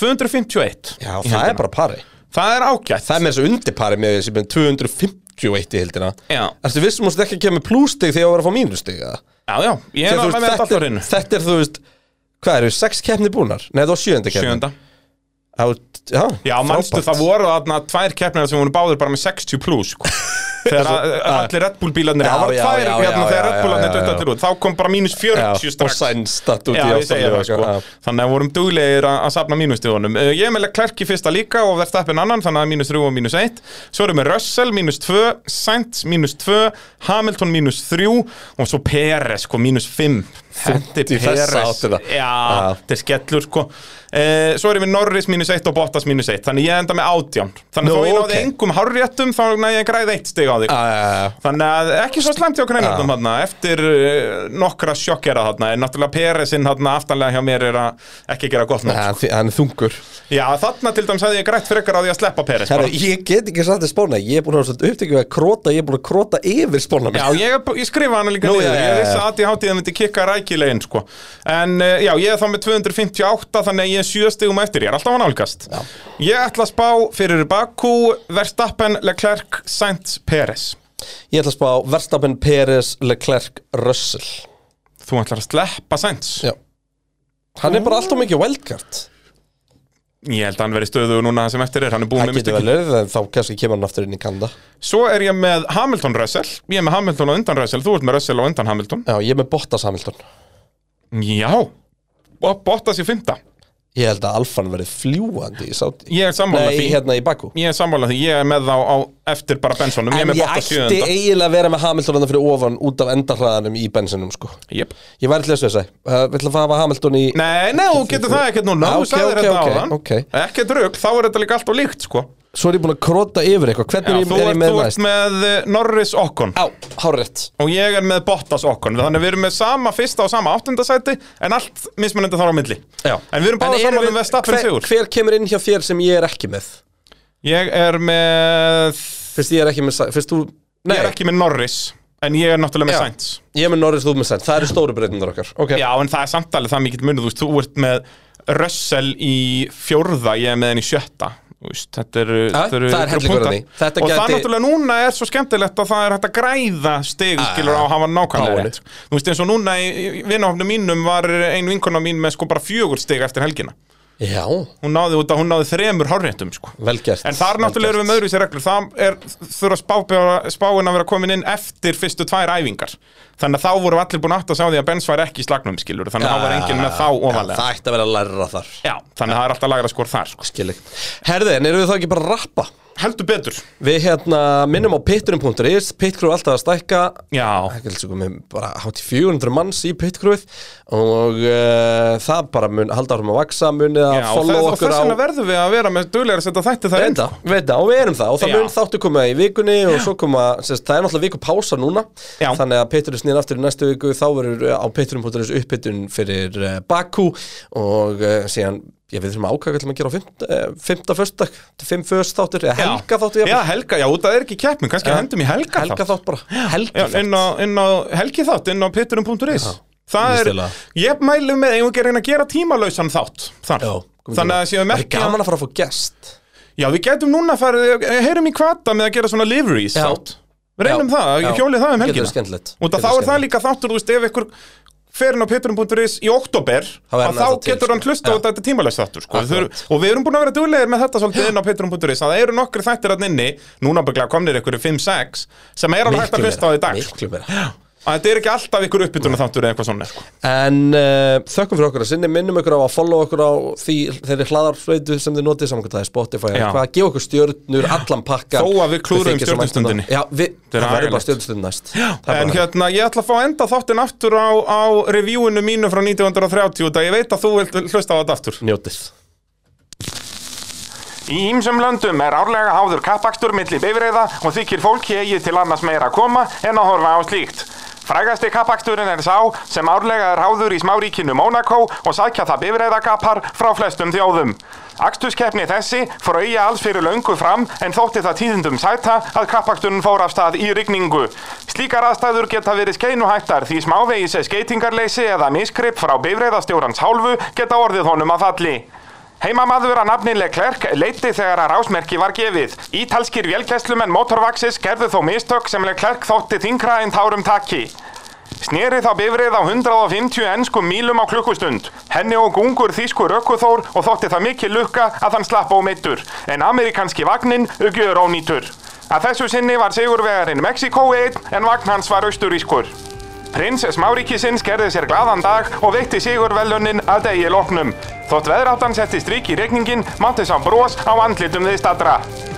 [SPEAKER 2] 251
[SPEAKER 3] Já,
[SPEAKER 2] í
[SPEAKER 3] það er
[SPEAKER 2] heildina.
[SPEAKER 3] bara pari
[SPEAKER 2] Það er ágætt
[SPEAKER 3] Það er með þessu undirpari með þessi með 251 í hildina
[SPEAKER 2] Já.
[SPEAKER 3] Ertu vissum að þetta ekki að kemur plústig þegar þú verður að fá mínustig eða?
[SPEAKER 2] Já, já, ég
[SPEAKER 3] Þegar
[SPEAKER 2] er
[SPEAKER 3] þú
[SPEAKER 2] alveg hérna.
[SPEAKER 3] veist,
[SPEAKER 2] með þetta alltaf
[SPEAKER 3] er-
[SPEAKER 2] reynu
[SPEAKER 3] þetta er þú veist Hvað eru, sex keppni búnar? Nei, það var sjöunda keppni
[SPEAKER 2] Sjönda
[SPEAKER 3] Á- Já,
[SPEAKER 2] Já, mannstu, það voru þarna tvær keppnir sem voru báður bara með 60 plus sko. Þegar að- allir Red Bull bílarnir
[SPEAKER 3] Já,
[SPEAKER 2] Það voru
[SPEAKER 3] já,
[SPEAKER 2] tvær
[SPEAKER 3] já,
[SPEAKER 2] hérna
[SPEAKER 3] já,
[SPEAKER 2] þegar
[SPEAKER 3] já,
[SPEAKER 2] Red
[SPEAKER 3] já,
[SPEAKER 2] Bullarnir
[SPEAKER 3] já.
[SPEAKER 2] döttar til út Þá kom bara mínus
[SPEAKER 3] Já,
[SPEAKER 2] 40
[SPEAKER 3] og
[SPEAKER 2] strax
[SPEAKER 3] sænst að út í
[SPEAKER 2] Já, ég segja það
[SPEAKER 3] ástæðu,
[SPEAKER 2] sko
[SPEAKER 3] já.
[SPEAKER 2] Þannig að vorum duglegir að að safna mínustiðunum Eh, Ég er með Klerk í fyrsta líka og Verstappen annan Þannig að mínus 3 og mínus 1 Svo erum við Russell mínus 2, Sainz mínus 2 Hamilton mínus 3 Og svo Peres sko mínus 5 Þetta
[SPEAKER 3] Í þessa áttina. Já.
[SPEAKER 2] Já, þetta er skellur sko eh, Svo erum við Norris mínus 1 og Bottas mínus 1 Þannig ég enda með 18 Þannig að
[SPEAKER 3] Nú,
[SPEAKER 2] þó ég náði
[SPEAKER 3] ok.
[SPEAKER 2] engum hárréttum Þá næði ég græði eitt stig á þig
[SPEAKER 3] Já, já, já, já.
[SPEAKER 2] Þannig að ekki svo slæmt hjá greinarnum þarna eftir uh, nokkra sjokkera þarna en náttúrulega Peresinn þarna aftanlega hjá mér er að ekki gera gott nóg.
[SPEAKER 3] Nei, hann- Hann er þungur
[SPEAKER 2] Já, þarna til dæmis hefði ég grætt frekar á því að sleppa Peres sko.
[SPEAKER 3] Herru,
[SPEAKER 2] bara.
[SPEAKER 3] ég get ekki satt að spána Ég er búin að vera svolítið upptekið við að króta Ég er búin að króta yfir spána
[SPEAKER 2] Já, ég, ég skrifa hana líka
[SPEAKER 3] Nú,
[SPEAKER 2] niður,
[SPEAKER 3] já, já,
[SPEAKER 2] ég vissi
[SPEAKER 3] já.
[SPEAKER 2] eh, að ADHD myndi kikka rækilegin sko. En uh, já, ég er þá með 258 þannig að ég aðeins sjö stigum eftir, ég er alltaf að nálgast
[SPEAKER 3] Já.
[SPEAKER 2] Ég ætla að spá fyrir Baku, Verstappen, Leclerc, Sainz, Peres
[SPEAKER 3] Ég ætla að spá Verstappen, Peres, Leclerc, Russell
[SPEAKER 2] Þú ætlar að sleppa Sainz
[SPEAKER 3] Já Hann er bara alltaf mikið wildcard
[SPEAKER 2] Ég held að hann verið stöðu núna sem eftir er, hann er búin
[SPEAKER 3] Það
[SPEAKER 2] með
[SPEAKER 3] getur
[SPEAKER 2] mistökin
[SPEAKER 3] vel verið en þá kannski kemur hann aftur inn í Kanda
[SPEAKER 2] Svo er ég með Hamilton Russell Ég er með Hamilton og undan Russell, þú ert með Russell og undan Hamilton
[SPEAKER 3] Já, ég er með Bottas Hamilton
[SPEAKER 2] Já, og Bottas í fymta
[SPEAKER 3] Ég held að Alfan verið fljúandi í Sáti
[SPEAKER 2] Ég er sammála
[SPEAKER 3] Nei,
[SPEAKER 2] því
[SPEAKER 3] hérna í Bakú
[SPEAKER 2] Ég er sammála því, ég er með þá á eftir bara Bensonum Ég er
[SPEAKER 3] En
[SPEAKER 2] með
[SPEAKER 3] ég
[SPEAKER 2] Bottas
[SPEAKER 3] ætti
[SPEAKER 2] sjöðunda
[SPEAKER 3] eiginlega að vera með Hamilton hann fyrir ofan út af endahraðanum í bensinum sko
[SPEAKER 2] yep.
[SPEAKER 3] Ég væri til þess að segja uh, Við ætlum að hafa Hamilton í
[SPEAKER 2] Nei, nei, þú getur það ekkert núna
[SPEAKER 3] Ah,
[SPEAKER 2] Þú
[SPEAKER 3] ok,
[SPEAKER 2] sagðir
[SPEAKER 3] ok,
[SPEAKER 2] þetta
[SPEAKER 3] ok,
[SPEAKER 2] áðan
[SPEAKER 3] ok.
[SPEAKER 2] Ekkert rugg, þá er þetta líka allt og líkt sko.
[SPEAKER 3] Svo er ég búin að krota yfir eitthvað
[SPEAKER 2] Já,
[SPEAKER 3] Hvernig
[SPEAKER 2] Þú
[SPEAKER 3] er ég
[SPEAKER 2] ert
[SPEAKER 3] með
[SPEAKER 2] þú ert
[SPEAKER 3] næst?
[SPEAKER 2] með eh, Norris Okkon
[SPEAKER 3] Á, hárrétt
[SPEAKER 2] Og ég er með Bottas Okkon Þannig við erum með sama fyrsta og sama áttundasæti En allt mismunandi þar á milli
[SPEAKER 3] Já.
[SPEAKER 2] En við
[SPEAKER 3] En
[SPEAKER 2] erum báða
[SPEAKER 3] erum
[SPEAKER 2] saman
[SPEAKER 3] við-
[SPEAKER 2] um Vestappen
[SPEAKER 3] hver-
[SPEAKER 2] sigur
[SPEAKER 3] Hver kemur inn hjá þér sem ég er ekki með?
[SPEAKER 2] Ég er með
[SPEAKER 3] Fyrst ég er ekki með Sainz- Fyrst þú Nei,
[SPEAKER 2] Ég er ekki með Norris En ég er náttúrulega með
[SPEAKER 3] Já.
[SPEAKER 2] Sainz
[SPEAKER 3] ég er með Norris, þú með Sainz Það eru stóru breytindar okkar okay.
[SPEAKER 2] Já, en það er samtalið það mikill munið, þú veist, þú ert með Russell í fjórða, ég er með henni í sjötta Þú veist, Þetta eru þetta
[SPEAKER 3] það
[SPEAKER 2] eru-
[SPEAKER 3] er
[SPEAKER 2] þetta eru
[SPEAKER 3] hellingur
[SPEAKER 2] punktar.
[SPEAKER 3] að því. Þetta
[SPEAKER 2] Og það
[SPEAKER 3] gæti-
[SPEAKER 2] náttúrulega núna er svo skemmtilegt að það er hægt að græða stig
[SPEAKER 3] Ah,
[SPEAKER 2] skilur á að hafa
[SPEAKER 3] Nákvæmlega.
[SPEAKER 2] nákvæmlega rétt. Þú veist, eins og núna í í vinahofnum mínum var ein vinkona mín með sko bara fjögur stig eftir helgina
[SPEAKER 3] Já,
[SPEAKER 2] Hún náði út að hún náði þremur hárréttum sko
[SPEAKER 3] vel gert
[SPEAKER 2] En þar náttúrulega erum við með öðru sér reglur Það er, þurfa spábjá- spáin að vera komin inn eftir fyrstu tvær æfingar Þannig að þá voru allir búin aft að sá því að Benz var ekki í slagnum skilur Þannig að það var enginn með þá ofanlega
[SPEAKER 3] Það ætti að vera að læra þar
[SPEAKER 2] Já, þannig að það er alltaf lagra skor þar sko.
[SPEAKER 3] Skilji Herði, en eru við þá ekki bara að rappa?
[SPEAKER 2] Heldur betur
[SPEAKER 3] Við hérna minnum á pitturum.is Pittcrew er alltaf að stækka
[SPEAKER 2] Já,
[SPEAKER 3] Það er sko með bara hátt í 400 manns í pitcrewið og uh, það bara mun halda árum að vaksa munið að
[SPEAKER 2] Já og,
[SPEAKER 3] follow
[SPEAKER 2] þess, og
[SPEAKER 3] okkur
[SPEAKER 2] þess
[SPEAKER 3] á
[SPEAKER 2] vegna verðum við að vera með duglegar að setja þætti þar inn
[SPEAKER 3] Reynda, reynda, og við erum það og það
[SPEAKER 2] Já.
[SPEAKER 3] mun þáttu koma í vikunni og svo koma, sérst, það er náttúrulega viku pása núna
[SPEAKER 2] Já.
[SPEAKER 3] þannig að Petrus snýr aftur í næstu viku þá verður eh, á Petrum.is uppbytun fyrir uh, Baku og uh, síðan, ég við þurfum að ákvæða hvað ætlum að gera á fimmta, uh, fimmta föstudag fimm föst þáttur, eða
[SPEAKER 2] Já.
[SPEAKER 3] helga þáttur
[SPEAKER 2] Já, helga, já, út að það er ekki keppnum, kannski hendum í helga,
[SPEAKER 3] helga þátt bara
[SPEAKER 2] Já,
[SPEAKER 3] helga
[SPEAKER 2] inn á, inn á helgiþátt, inn á pitturum.is Það er,
[SPEAKER 3] listilega.
[SPEAKER 2] ég mælu með eigum ekki að reyna að gera tímalausan þátt þar.
[SPEAKER 3] Já,
[SPEAKER 2] Þannig að séum
[SPEAKER 3] það er
[SPEAKER 2] ekki að,
[SPEAKER 3] gaman að fara að fá gest
[SPEAKER 2] já við getum núna farið, eh, heyrum í kvata með að gera svona liveries
[SPEAKER 3] Já.
[SPEAKER 2] þátt Reynum
[SPEAKER 3] Já,
[SPEAKER 2] það,
[SPEAKER 3] já.
[SPEAKER 2] hjólið það um
[SPEAKER 3] Getur verið
[SPEAKER 2] helgina
[SPEAKER 3] skemmtilegt.
[SPEAKER 2] Og
[SPEAKER 3] Getur
[SPEAKER 2] það, þá
[SPEAKER 3] verið
[SPEAKER 2] er það líka þáttur, þú veist, ef ykkur ferin á pitturum.is í oktober
[SPEAKER 3] Þá er hann
[SPEAKER 2] að þá
[SPEAKER 3] ennþá til,
[SPEAKER 2] getur hann
[SPEAKER 3] sko.
[SPEAKER 2] hlusta á
[SPEAKER 3] Já.
[SPEAKER 2] þetta tímalausa þáttur sko. Við
[SPEAKER 3] Akkurat.
[SPEAKER 2] þurfum- og við erum búin að vera duglegir með þetta svolítið inn á pitturum.is að það eru nokkri þættir hann inni, núna bygglega komnir ykkur 5-6 sem er alveg hægt að hlusta á í dag sko.
[SPEAKER 3] miklu meira
[SPEAKER 2] að þetta er ekki alltaf ykkur uppbytuna þáttur eða eitthvað svona sko.
[SPEAKER 3] En uh, þökkum fyrir okkur að sinni, minnum okkur á að follow okkur á því, þeirri hlaðarflötu sem þið notið samkvæmt það er Spotify,
[SPEAKER 2] Já.
[SPEAKER 3] hvað, gefa okkur stjörnur, allan pakkan
[SPEAKER 2] Þó að við klúðrum
[SPEAKER 3] Þið þykir svo vænt um
[SPEAKER 2] stjörnustundinni.
[SPEAKER 3] það. Já, við,
[SPEAKER 2] er
[SPEAKER 3] það verður
[SPEAKER 2] agalegt.
[SPEAKER 3] bara stjörnustund næst Það er
[SPEAKER 2] En
[SPEAKER 3] bara-
[SPEAKER 2] hérna, ég ætla að fá að enda þáttinn aftur á, á reviewinu mínu frá 1930 og það ég veit að þú vilt hlusta á þetta aftur
[SPEAKER 3] Njótið
[SPEAKER 2] Í ýmsum löndum er árlega háður kappakstur milli bifreiða og þykir fólki eigi til annars meira að koma en að horfa á slíkt. Frægasti kappaksturinn er sá sem árlega er háður í smáríkinu Mónakó og sækja það bifreiðagappar frá flestum þjóðum. Akstuskeppni þessi fór auðja alls fyrir löngu fram en þótti það tíðindum sæta að kappaksturinn fór af stað í rigningu. Slíkar aðstæður geta verið skeinuhættar því smávegis er skeitingarleysi eða miskripp frá bifreiðastjórans hálfu geta orðið honum að falli. Heimamaður að nafni Leclerc leiti þegar að rásmerki var gefið. Ítalskir vélgæslumenn Motorvaxis gerðu þó mistök sem Leclerc þótti þingra en þárum taki. Sneri þá bifrið á 150 ennskum mílum á klukkustund. Henni og gungur þýskur ökkuþór og þótti það mikil lukka að hann slapp ómeittur. En amerikanski vagnin ugjör ónýtur. Að þessu sinni var sigurvegarinn Mexiko einn en vagn hans var austurískur. Prins Smárikisins gerði sér glaðan dag og veitti sigurvelunin að degi loknum. Þótt veðráttan setti strik í regningin, mátti sá bros á andlitum þeir stadra.